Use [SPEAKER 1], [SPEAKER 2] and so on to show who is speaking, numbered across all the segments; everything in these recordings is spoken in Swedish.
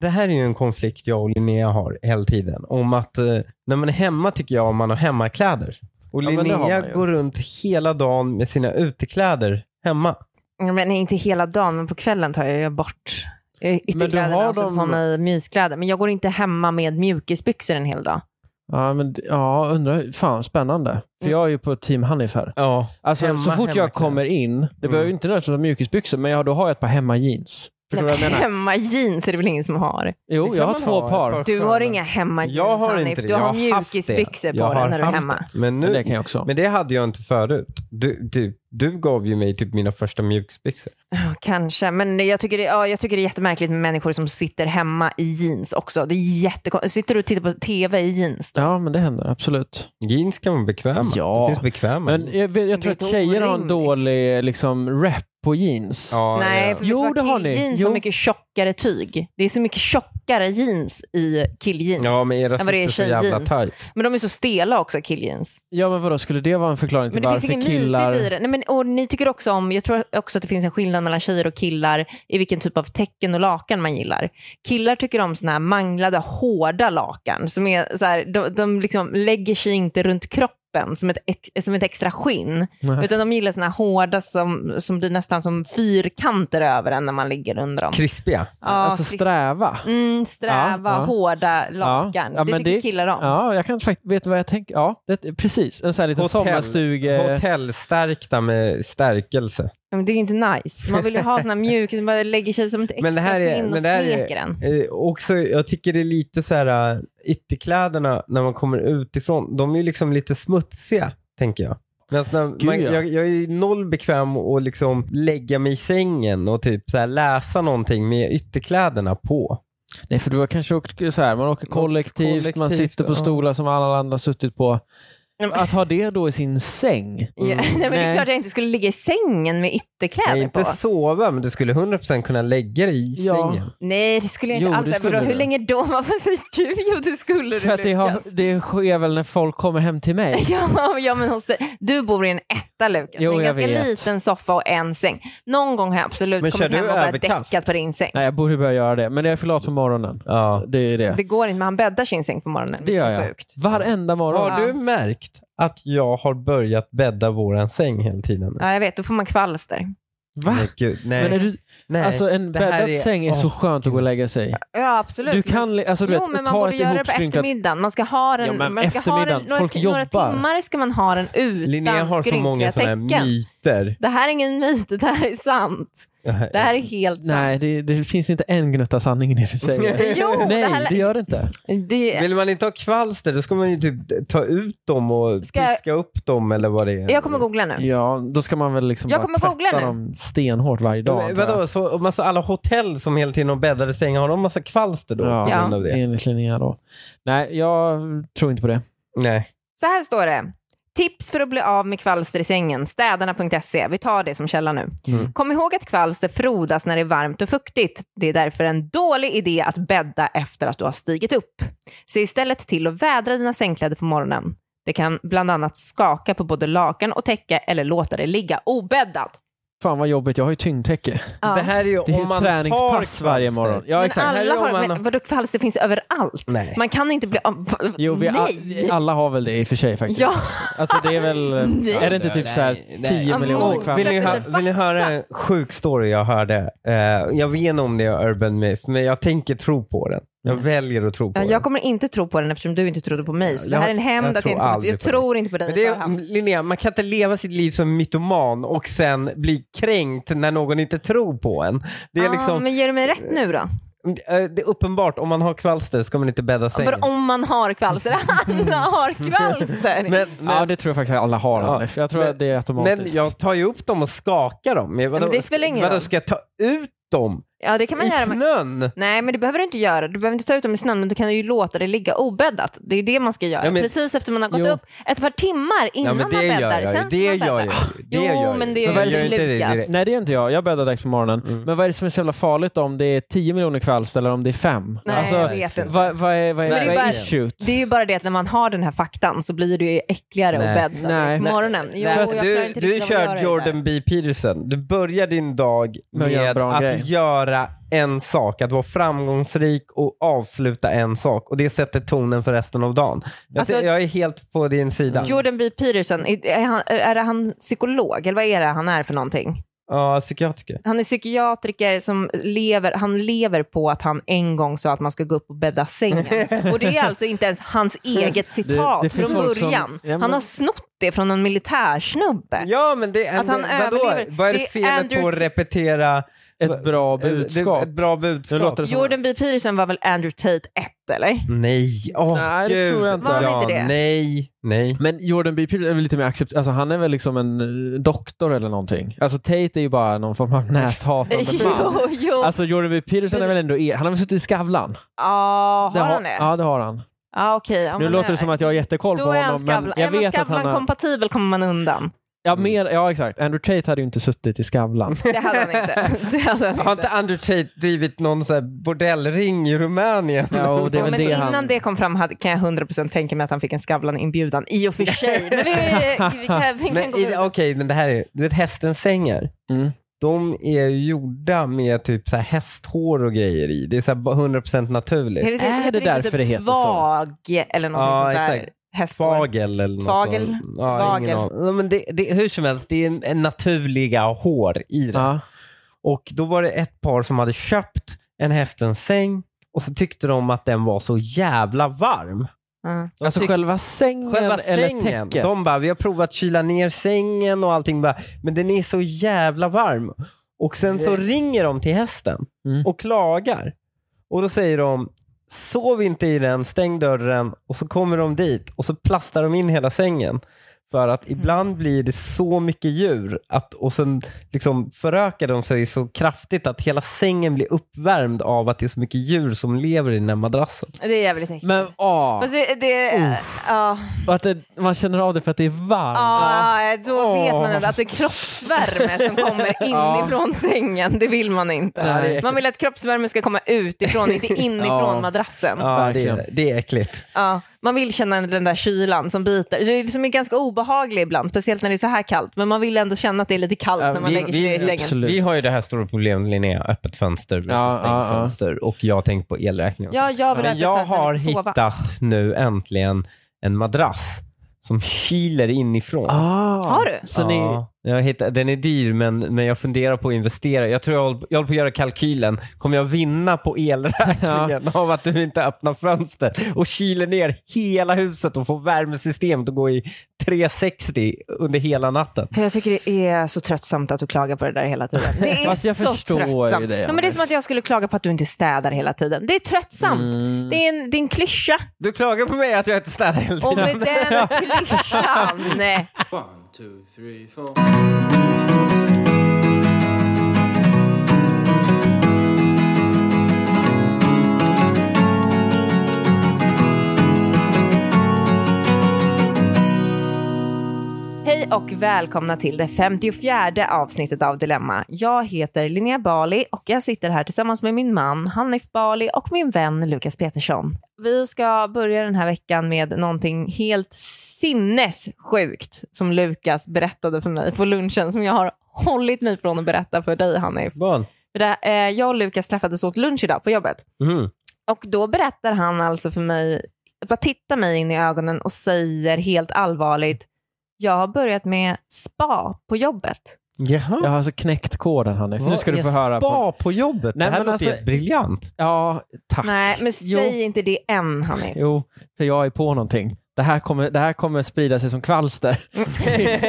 [SPEAKER 1] det här är ju en konflikt jag och Linnea har hela tiden. Om att eh, när man är hemma tycker jag om man har hemmakläder. Och
[SPEAKER 2] Ja, men det har
[SPEAKER 1] Linnea
[SPEAKER 2] man ju.
[SPEAKER 1] går runt hela dagen med sina utekläder hemma.
[SPEAKER 3] Ja, Men inte hela dagen, men på kvällen tar jag ju bort eh,
[SPEAKER 2] har
[SPEAKER 3] ytterkläderna och sätter
[SPEAKER 2] dem-
[SPEAKER 3] på mig myskläder. Men jag går inte hemma med mjukisbyxor en hel dag.
[SPEAKER 2] Ja, men, ja undrar, fan spännande. För jag är ju på team Hanif här.
[SPEAKER 1] Ja,
[SPEAKER 2] Alltså
[SPEAKER 1] Hemma,
[SPEAKER 2] så fort
[SPEAKER 1] hemma,
[SPEAKER 2] jag kommer in, det behöver ju inte nödvändigtvis vara mjukisbyxor, men jag, då har jag ett par hemmajeans. Förstår du vad jag menar?
[SPEAKER 3] Hemma jeans är det väl ingen som har?
[SPEAKER 2] Jo,
[SPEAKER 1] kan
[SPEAKER 2] jag har
[SPEAKER 1] man
[SPEAKER 2] två
[SPEAKER 1] ha, ett
[SPEAKER 2] par.
[SPEAKER 3] Du
[SPEAKER 1] sköna.
[SPEAKER 3] har inga hemma jeans,
[SPEAKER 1] Jag har
[SPEAKER 3] Hanif.
[SPEAKER 1] inte det.
[SPEAKER 3] Du
[SPEAKER 1] jag
[SPEAKER 3] har
[SPEAKER 1] haft det.
[SPEAKER 3] mjukisbyxor
[SPEAKER 1] Jag
[SPEAKER 3] på dig
[SPEAKER 1] har
[SPEAKER 3] när du är
[SPEAKER 1] haft
[SPEAKER 3] hemma.
[SPEAKER 1] det. Men,
[SPEAKER 2] Men
[SPEAKER 1] nu,
[SPEAKER 2] det kan jag också.
[SPEAKER 1] men det hade jag inte förut. Du, du, du gav ju mig typ mina första mjukisbyxor.
[SPEAKER 3] Ja, Kanske, men jag tycker, det, ja, jag tycker det är jättemärkligt med människor som sitter hemma i jeans också. Det är jättekon- sitter du och tittar på tv i jeans? Då?
[SPEAKER 2] Ja, men det händer absolut.
[SPEAKER 1] Jeans kan vara bekväma.
[SPEAKER 2] Ja.
[SPEAKER 1] Det finns bekväma.
[SPEAKER 2] Men jag, vet- jag tror
[SPEAKER 3] Det är
[SPEAKER 2] att tjejer har en
[SPEAKER 3] orimligt.
[SPEAKER 2] dålig liksom, rep på jeans.
[SPEAKER 1] ja,
[SPEAKER 3] Nej,
[SPEAKER 1] ja.
[SPEAKER 3] för
[SPEAKER 2] Jo,
[SPEAKER 3] vet du vad?
[SPEAKER 2] det har ni.
[SPEAKER 3] Killjeans
[SPEAKER 2] Jo.
[SPEAKER 3] har mycket tjockare tyg. Det är så mycket tjockare jeans i killjeans.
[SPEAKER 1] ja, men era
[SPEAKER 3] Men vad det är
[SPEAKER 1] sitter så jävla
[SPEAKER 3] tjejjeans.
[SPEAKER 1] tajt.
[SPEAKER 3] Men de är så stela också, killjeans.
[SPEAKER 2] Ja, men vadå, skulle det vara en förklaring till
[SPEAKER 3] Men det
[SPEAKER 2] varför
[SPEAKER 3] finns inget
[SPEAKER 2] killar...
[SPEAKER 3] mysigt i det. Nej, men, och ni tycker också om, jag tror också att det finns en skillnad mellan tjejer och killar i vilken typ av tecken och lakan man gillar. Killar tycker om såna här manglade, hårda lakan. Som är så här, de de liksom lägger sig inte runt kroppen som ett, ex, som ett extra skinn.
[SPEAKER 2] Nej.
[SPEAKER 3] Utan de gillar såna här hårda som, som blir nästan som fyrkanter över en när man ligger under dem.
[SPEAKER 1] Krispiga.
[SPEAKER 3] Ja,
[SPEAKER 2] Alltså
[SPEAKER 3] precis.
[SPEAKER 2] sträva.
[SPEAKER 3] Mm, sträva,
[SPEAKER 2] Ja, ja.
[SPEAKER 3] hårda
[SPEAKER 2] Ja,
[SPEAKER 3] lakan.
[SPEAKER 2] ja,
[SPEAKER 3] det
[SPEAKER 2] men
[SPEAKER 3] tycker killar om.
[SPEAKER 2] Ja, jag kan faktiskt, vet du vad jag tänker? Ja, det, precis. En sån här liten
[SPEAKER 1] Hotell.
[SPEAKER 2] sommarstuge...
[SPEAKER 1] Eh. Hotellstärkta med stärkelse.
[SPEAKER 3] Men det är ju inte nice. Man vill ju ha såna mjukis som bara lägger sig som ett extra
[SPEAKER 1] Men det här är-
[SPEAKER 3] skinn och
[SPEAKER 1] men det här är-
[SPEAKER 3] smeker en.
[SPEAKER 1] Eh, också, jag tycker det är lite så här äh, ytterkläderna när man kommer utifrån. De är ju liksom lite smutsiga, tänker jag. Medan när man,
[SPEAKER 2] ja.
[SPEAKER 1] jag, jag är noll bekväm att liksom lägga mig i sängen och typ så här läsa någonting med ytterkläderna på.
[SPEAKER 2] Nej, för du har kanske åkt så här, man åker
[SPEAKER 1] Något
[SPEAKER 2] kollektivt, man
[SPEAKER 1] kollektivt,
[SPEAKER 2] sitter på
[SPEAKER 1] ja.
[SPEAKER 2] stolar som alla andra har suttit på.
[SPEAKER 3] Nej, men-
[SPEAKER 2] Att ha det då i sin säng. Mm.
[SPEAKER 3] Ja, nej, men det är
[SPEAKER 2] Nej.
[SPEAKER 3] klart jag inte skulle ligga i sängen med
[SPEAKER 1] Nej,
[SPEAKER 3] ytterkläder
[SPEAKER 1] inte
[SPEAKER 3] på.
[SPEAKER 1] sova, men du skulle 100% kunna lägga dig i
[SPEAKER 2] Ja.
[SPEAKER 1] sängen.
[SPEAKER 3] Nej, det skulle jag
[SPEAKER 2] Jo,
[SPEAKER 3] inte
[SPEAKER 2] det
[SPEAKER 3] alls.
[SPEAKER 2] skulle
[SPEAKER 3] Vadå,
[SPEAKER 2] du.
[SPEAKER 3] hur länge då? Varför säger du? Jo, det skulle
[SPEAKER 2] För
[SPEAKER 3] du
[SPEAKER 2] att det, har,
[SPEAKER 3] Lukas.
[SPEAKER 2] det sker väl när folk kommer hem till mig.
[SPEAKER 3] Ja, ja, men hos dig. Du bor i en etta Lukas,
[SPEAKER 2] Jo,
[SPEAKER 3] med en
[SPEAKER 2] jag
[SPEAKER 3] ganska
[SPEAKER 2] vet.
[SPEAKER 3] liten soffa och en säng. Någon gång har jag absolut
[SPEAKER 1] Men kör
[SPEAKER 3] kommit
[SPEAKER 1] du
[SPEAKER 3] hem och bara
[SPEAKER 1] överkast?
[SPEAKER 3] däckat på din säng.
[SPEAKER 2] Nej, jag borde börja göra det, men jag är för lat på morgonen.
[SPEAKER 1] Ja.
[SPEAKER 2] Det är det.
[SPEAKER 3] Det går inte, men han bäddar sin säng på morgonen.
[SPEAKER 2] Det
[SPEAKER 3] vilket
[SPEAKER 2] gör
[SPEAKER 3] är
[SPEAKER 2] jag.
[SPEAKER 3] Sjukt.
[SPEAKER 2] Varenda morgon.
[SPEAKER 1] Har du märkt att jag har börjat bädda våran säng hela tiden?
[SPEAKER 3] Ja, jag vet, då får man kvalster.
[SPEAKER 2] Va?
[SPEAKER 1] Nej, gud, nej.
[SPEAKER 2] Men är du,
[SPEAKER 1] nej.
[SPEAKER 2] alltså en
[SPEAKER 1] det här
[SPEAKER 2] bäddad
[SPEAKER 1] är-
[SPEAKER 2] säng är så
[SPEAKER 1] åh,
[SPEAKER 2] skönt att gå och
[SPEAKER 1] gud.
[SPEAKER 2] lägga sig i.
[SPEAKER 3] Ja, absolut.
[SPEAKER 2] Du kan, li- alltså du
[SPEAKER 3] jo,
[SPEAKER 2] vet,
[SPEAKER 3] men man
[SPEAKER 2] ta
[SPEAKER 3] borde
[SPEAKER 2] ett
[SPEAKER 3] göra det på
[SPEAKER 2] ihopskrynklat...
[SPEAKER 3] eftermiddagen. Man ska ha den,
[SPEAKER 2] Ja, men
[SPEAKER 3] man ska ha den
[SPEAKER 2] eftermiddagen,
[SPEAKER 3] några,
[SPEAKER 2] folk
[SPEAKER 3] ti- några
[SPEAKER 2] jobbar.
[SPEAKER 3] timmar ska man ha den utan
[SPEAKER 1] Linnea har så många
[SPEAKER 3] skrynkliga
[SPEAKER 1] sådana här
[SPEAKER 3] tecken.
[SPEAKER 1] myter.
[SPEAKER 3] Det här är ingen myt, det här är sant. Det här är helt
[SPEAKER 2] Nej, det, det finns inte en gnutta sanning i det du säger.
[SPEAKER 3] sant. Jo, det
[SPEAKER 2] Nej,
[SPEAKER 3] här...
[SPEAKER 2] det gör det inte.
[SPEAKER 3] Det...
[SPEAKER 1] Vill man inte ha kvalster då ska man ju typ ta ut dem och
[SPEAKER 3] Ska jag-
[SPEAKER 1] piska upp dem eller vad det är.
[SPEAKER 3] Jag kommer googla nu.
[SPEAKER 2] Ja, då ska man väl liksom
[SPEAKER 3] Jag
[SPEAKER 2] bara
[SPEAKER 3] kommer googla
[SPEAKER 2] tvätta
[SPEAKER 3] nu.
[SPEAKER 2] dem stenhårt varje dag.
[SPEAKER 1] Men,
[SPEAKER 2] antar jag.
[SPEAKER 1] vadå, så, och massa, alla hotell som hela tiden har bäddade sängar, har de massa kvalster då?
[SPEAKER 2] Ja.
[SPEAKER 1] På grund av det?
[SPEAKER 2] Enligt Linnea då. Nej, jag tror inte på det.
[SPEAKER 1] Nej.
[SPEAKER 3] Så här står det. Tips för att bli av med kvalster i sängen, städarna.se. Vi tar det som källa nu.
[SPEAKER 1] Mm.
[SPEAKER 3] Kom ihåg att kvalster frodas när det är varmt och fuktigt. Det är därför en dålig idé att bädda efter att du har stigit upp. Se istället till att vädra dina sängkläder på morgonen. Det kan bland annat skaka på både lakan och täcke eller låta det ligga obäddat.
[SPEAKER 2] Fan vad jobbigt, jag har ju tyngdtäcke.
[SPEAKER 3] Ja.
[SPEAKER 1] Det här är ju
[SPEAKER 2] Det är
[SPEAKER 1] om
[SPEAKER 2] ett
[SPEAKER 1] man har
[SPEAKER 2] träningspass
[SPEAKER 1] kvalster.
[SPEAKER 2] varje morgon. Ja,
[SPEAKER 3] men
[SPEAKER 2] exakt.
[SPEAKER 1] Här
[SPEAKER 3] alla
[SPEAKER 1] är om
[SPEAKER 3] har,
[SPEAKER 1] man-
[SPEAKER 3] men vadå kvalster finns överallt?
[SPEAKER 1] Nej.
[SPEAKER 3] Man kan inte bli av... va-
[SPEAKER 2] Jo, vi a-
[SPEAKER 3] Nej!
[SPEAKER 2] alla har väl det i och för sig faktiskt.
[SPEAKER 3] Ja,
[SPEAKER 2] Alltså det är väl, är det inte typ så här
[SPEAKER 1] Nej, nej.
[SPEAKER 2] 10
[SPEAKER 3] Ja,
[SPEAKER 2] miljoner
[SPEAKER 3] men-
[SPEAKER 1] Vill ni,
[SPEAKER 2] kvadrater?
[SPEAKER 1] hö- vill ni höra en sjuk story jag hörde? Eh, jag vet inte om det är urban myth, men jag tänker tro på den. Jag
[SPEAKER 2] Mm.
[SPEAKER 1] väljer att tro på
[SPEAKER 3] Ja,
[SPEAKER 1] den.
[SPEAKER 3] jag kommer inte tro på den eftersom du inte trodde på mig. Så det
[SPEAKER 1] Jag-
[SPEAKER 3] här är en hämnd
[SPEAKER 1] jag
[SPEAKER 3] att jag
[SPEAKER 1] tror
[SPEAKER 3] inte kommer,
[SPEAKER 1] aldrig
[SPEAKER 3] Jag
[SPEAKER 1] på
[SPEAKER 3] tror inte på dig.
[SPEAKER 1] Men det
[SPEAKER 3] i förhand.
[SPEAKER 1] är, Linnea, man kan inte leva sitt liv som mytoman och sen bli kränkt när någon inte tror på en. Det är
[SPEAKER 3] Ah,
[SPEAKER 1] liksom,
[SPEAKER 3] Men ger du mig rätt nu då?
[SPEAKER 1] eh, det är uppenbart, om man har kvalster ska man inte bädda sängen.
[SPEAKER 3] Bara om man har kvalster. Alla har kvalster.
[SPEAKER 1] Men, men,
[SPEAKER 2] Ja, det tror jag faktiskt alla har.
[SPEAKER 1] Ja,
[SPEAKER 2] Hanif. jag tror
[SPEAKER 1] men-
[SPEAKER 2] att det är automatiskt.
[SPEAKER 1] men jag tar ju upp dem och skakar dem. Men vadå,
[SPEAKER 3] men det spelar ingen
[SPEAKER 1] vadå,
[SPEAKER 3] roll.
[SPEAKER 1] ska jag ta ut dem
[SPEAKER 3] ja, det kan man
[SPEAKER 1] i
[SPEAKER 3] göra. Men...
[SPEAKER 1] snön?
[SPEAKER 3] Nej, men det behöver du inte göra. Du behöver inte ta ut dem i snön, men du kan ju låta det ligga obäddat. Det är det man ska göra.
[SPEAKER 1] Ja, men-
[SPEAKER 3] Precis efter man har gått
[SPEAKER 2] Jo.
[SPEAKER 3] upp. Ett par timmar
[SPEAKER 1] Ja,
[SPEAKER 3] innan
[SPEAKER 1] men det
[SPEAKER 3] man
[SPEAKER 1] gör
[SPEAKER 3] bäddar.
[SPEAKER 1] jag ju.
[SPEAKER 3] Sen ska
[SPEAKER 1] Det
[SPEAKER 3] man
[SPEAKER 1] gör
[SPEAKER 3] bädda.
[SPEAKER 1] jag ju. Det
[SPEAKER 3] Jo,
[SPEAKER 1] gör jag ju.
[SPEAKER 3] men det
[SPEAKER 1] Jag
[SPEAKER 3] gör
[SPEAKER 1] gör
[SPEAKER 3] ju
[SPEAKER 1] inte det
[SPEAKER 3] Lukas.
[SPEAKER 1] direkt.
[SPEAKER 2] Nej, det är inte jag. Jag bäddar dags på morgonen.
[SPEAKER 1] Mm.
[SPEAKER 2] Men vad är det som är så jävla farligt då, om det är 10 miljoner kvalster eller om det är 5?
[SPEAKER 3] Nej,
[SPEAKER 2] alltså,
[SPEAKER 3] jag vet inte.
[SPEAKER 2] vad, vad är, vad är,
[SPEAKER 3] Men det är
[SPEAKER 2] vad är
[SPEAKER 3] bara-
[SPEAKER 2] issuet?
[SPEAKER 3] Det är ju bara det att när man har den här faktan så blir det ju äckligare
[SPEAKER 1] Nej.
[SPEAKER 3] att bädda
[SPEAKER 2] Nej.
[SPEAKER 3] direkt på morgonen. Jo,
[SPEAKER 1] Nej,
[SPEAKER 3] jag klarar
[SPEAKER 1] du
[SPEAKER 3] inte
[SPEAKER 1] du
[SPEAKER 3] riktigt av att göra
[SPEAKER 1] kör
[SPEAKER 3] det där.
[SPEAKER 1] Jordan B. Peterson. Du börjar din dag
[SPEAKER 2] Med att göra en
[SPEAKER 1] med
[SPEAKER 2] bra
[SPEAKER 1] att
[SPEAKER 2] grej.
[SPEAKER 1] göra en sak, att vara framgångsrik och avsluta en sak. Och det sätter tonen för resten av dagen. Jag,
[SPEAKER 3] Alltså-
[SPEAKER 1] jag är helt på din sida.
[SPEAKER 3] Jordan B. Peterson, är, är, han, är det han psykolog eller vad är det han är för någonting?
[SPEAKER 1] Ja, psykiatriker.
[SPEAKER 3] Han är psykiatriker som lever, han lever på att han en gång sa att man ska gå upp och bädda sängen. Och det är alltså inte ens hans eget citat
[SPEAKER 2] det finns
[SPEAKER 3] från
[SPEAKER 2] folk som-
[SPEAKER 3] början.
[SPEAKER 2] Ja, men-
[SPEAKER 3] Han har snott det från en militärsnubbe.
[SPEAKER 1] Ja, men det är...
[SPEAKER 3] Att han
[SPEAKER 1] men, vadå?
[SPEAKER 3] överlever.
[SPEAKER 1] Vad är det
[SPEAKER 3] Det är
[SPEAKER 1] felet på att
[SPEAKER 3] Andrew-
[SPEAKER 1] repetera
[SPEAKER 2] Ett bra
[SPEAKER 1] ett-
[SPEAKER 2] budskap.
[SPEAKER 1] Ett, bra
[SPEAKER 2] Nu
[SPEAKER 1] budskap?
[SPEAKER 2] låter det som...
[SPEAKER 3] Jordan B. Peterson var väl Andrew Tate 1 eller?
[SPEAKER 1] Nej, åh
[SPEAKER 2] Nej, det
[SPEAKER 1] gud.
[SPEAKER 2] tror jag inte.
[SPEAKER 3] Var han
[SPEAKER 1] Ja,
[SPEAKER 3] inte det?
[SPEAKER 1] Nej, nej.
[SPEAKER 2] Men Jordan B. Peterson är väl lite mer accept... Alltså han är väl liksom en eh, doktor eller någonting. Alltså Tate är ju bara någon form av näthatande man.
[SPEAKER 3] jo, jo.
[SPEAKER 2] Alltså Jordan B. Peterson är väl ändå... e- Han har väl suttit i Skavlan?
[SPEAKER 3] ja,
[SPEAKER 2] Det
[SPEAKER 3] har han det? Ja,
[SPEAKER 2] Ja, det har han.
[SPEAKER 3] okej. Ja,
[SPEAKER 2] nu
[SPEAKER 3] men-
[SPEAKER 2] låter det som att jag har jättekoll på
[SPEAKER 3] Då är han
[SPEAKER 2] honom, men
[SPEAKER 3] Skavlan.
[SPEAKER 2] jag vet att han har...
[SPEAKER 3] kompatibel kommer man undan.
[SPEAKER 2] Ja, mer... ja, exakt. Andrew Tate hade ju inte suttit i Skavlan.
[SPEAKER 3] Det hade han inte. Det hade han
[SPEAKER 1] Har
[SPEAKER 3] inte.
[SPEAKER 1] inte Andrew Tate drivit någon så här bordellring i Rumänien?
[SPEAKER 2] Ja, och det är
[SPEAKER 3] Ja,
[SPEAKER 2] väl
[SPEAKER 3] men
[SPEAKER 2] det
[SPEAKER 3] innan
[SPEAKER 2] han...
[SPEAKER 3] det kom fram hade, kan jag 100% tänka mig att han fick en Skavlan-inbjudan i och för sig. Men vi, vi kan, vi kan
[SPEAKER 1] Men
[SPEAKER 3] gå
[SPEAKER 1] i-
[SPEAKER 3] vidare.
[SPEAKER 1] Okej, men det här är, du vet hästens sängar.
[SPEAKER 2] Mm.
[SPEAKER 1] De är ju gjorda med typ så här hästhår och grejer i. Det är så här 100% naturligt.
[SPEAKER 3] det,
[SPEAKER 2] Är
[SPEAKER 3] heter
[SPEAKER 2] det
[SPEAKER 3] inte typ
[SPEAKER 2] därför det heter så?
[SPEAKER 3] Tvag eller något
[SPEAKER 1] Ja,
[SPEAKER 3] sånt där.
[SPEAKER 1] exakt.
[SPEAKER 3] Hästhår.
[SPEAKER 1] Fagel eller något
[SPEAKER 3] Fagel.
[SPEAKER 1] sånt. Ja, ingen
[SPEAKER 3] Fagel.
[SPEAKER 1] aning. Ja, men det, det, hur som helst, det är en- en naturliga hår i det.
[SPEAKER 2] Ja.
[SPEAKER 1] Och då var det ett par som hade köpt en hästens säng och så tyckte de att den var så jävla varm.
[SPEAKER 3] Ja.
[SPEAKER 1] De
[SPEAKER 2] Alltså
[SPEAKER 1] tyckte-
[SPEAKER 2] själva sängen
[SPEAKER 1] Själva
[SPEAKER 2] eller
[SPEAKER 1] sängen.
[SPEAKER 2] täcket?
[SPEAKER 1] De bara, vi har provat kyla ner sängen och allting. Bara, men den är så jävla varm. Och sen så ringer de till hästen
[SPEAKER 2] Mm.
[SPEAKER 1] och klagar. Och då säger de, sov inte i den, stäng dörren. Och så kommer de dit och så plastar de in hela sängen. För att ibland blir det så mycket djur att, och sen liksom förökar de sig så kraftigt att hela sängen blir uppvärmd av att det är så mycket djur som lever i den här madrassen.
[SPEAKER 3] Det är jävligt äckligt.
[SPEAKER 2] Men Oh. åh,
[SPEAKER 3] Fast det, det, ja,
[SPEAKER 2] och att det, man känner av det för att det är varmt.
[SPEAKER 3] ja, då
[SPEAKER 2] Åh.
[SPEAKER 3] vet man ändå att det är kroppsvärme som kommer
[SPEAKER 2] Ja.
[SPEAKER 3] inifrån sängen. Det vill man inte.
[SPEAKER 1] Nej, det är äckligt.
[SPEAKER 3] man vill att kroppsvärmen ska komma utifrån, inte inifrån
[SPEAKER 2] Ja.
[SPEAKER 3] madrassen.
[SPEAKER 1] Ja, det,
[SPEAKER 2] Verkligen.
[SPEAKER 1] är- det är äckligt.
[SPEAKER 3] Ja, man vill känna den där kylan som biter, Det är- som är ganska obehaglig ibland, speciellt när det är så här kallt. Men man vill ändå känna att det är lite kallt
[SPEAKER 2] Ja,
[SPEAKER 3] när man
[SPEAKER 1] vi-
[SPEAKER 3] lägger sig
[SPEAKER 1] vi-
[SPEAKER 3] ner i sängen.
[SPEAKER 2] Absolut.
[SPEAKER 1] Vi har ju det här stora problemet Linnea, öppet fönster versus
[SPEAKER 2] Ja,
[SPEAKER 1] stängt
[SPEAKER 2] ja, ja.
[SPEAKER 1] fönster och jag tänker på elräkningen. och
[SPEAKER 3] Ja, jag vill
[SPEAKER 1] Men
[SPEAKER 3] äta
[SPEAKER 1] jag
[SPEAKER 3] fast när vi
[SPEAKER 1] har
[SPEAKER 3] ska sova.
[SPEAKER 1] hittat nu äntligen en madrass som kyler inifrån.
[SPEAKER 2] Ah.
[SPEAKER 3] Har du?
[SPEAKER 2] Så ni,
[SPEAKER 1] Ja, jag hittar, den är dyr men, men jag funderar på att investera. Jag tror jag håller, på- jag håller på att göra kalkylen. Kommer jag vinna på elräkningen av att du inte öppnar fönstret och kyler ner hela huset och får värmesystemet att gå i 360 under hela natten?
[SPEAKER 3] Jag tycker det är så tröttsamt att du klagar på det där hela tiden. Det är
[SPEAKER 2] Fast jag
[SPEAKER 3] så
[SPEAKER 2] förstår ju
[SPEAKER 3] tröttsamt.
[SPEAKER 2] det,
[SPEAKER 3] ja, men det är som att jag skulle klaga på att du inte städar hela tiden. Det är tröttsamt.
[SPEAKER 2] Mm.
[SPEAKER 3] Det, är en, det är en klyscha.
[SPEAKER 1] Du klagar på mig att jag inte städar hela tiden.
[SPEAKER 3] Och med den klyschan. nej.
[SPEAKER 4] One, two, three, four.
[SPEAKER 3] Hej och välkomna till det 54 avsnittet av Dilemma. Jag heter Linnea Bali och jag sitter här tillsammans med min man Hanif Bali och min vän Lukas Petersson. Vi ska börja den här veckan med någonting helt sinnessjukt som Lukas berättade för mig på lunchen som jag har hållit mig från att berätta för dig Hanif.
[SPEAKER 1] Barn.
[SPEAKER 3] För det, eh, jag och Lukas träffades åt lunch idag på jobbet
[SPEAKER 1] Mhm.
[SPEAKER 3] och då berättar han alltså för mig, bara tittar mig in i ögonen och säger helt allvarligt, jag har börjat med spa på jobbet.
[SPEAKER 1] Jaha.
[SPEAKER 2] Jag har alltså knäckt koden Hanif. Nu
[SPEAKER 1] Vad
[SPEAKER 2] ska du få
[SPEAKER 1] är
[SPEAKER 2] höra.
[SPEAKER 1] spa
[SPEAKER 2] På.
[SPEAKER 1] på, jobbet?
[SPEAKER 2] Nej,
[SPEAKER 1] det här
[SPEAKER 2] men
[SPEAKER 1] låter
[SPEAKER 2] alltså-
[SPEAKER 1] helt briljant.
[SPEAKER 2] Ja, tack.
[SPEAKER 3] Nej, men
[SPEAKER 2] Ah. Jo.
[SPEAKER 3] säg inte det än Hanif.
[SPEAKER 2] Jo, för jag är på någonting. Det här kommer, det här kommer sprida sig som kvalster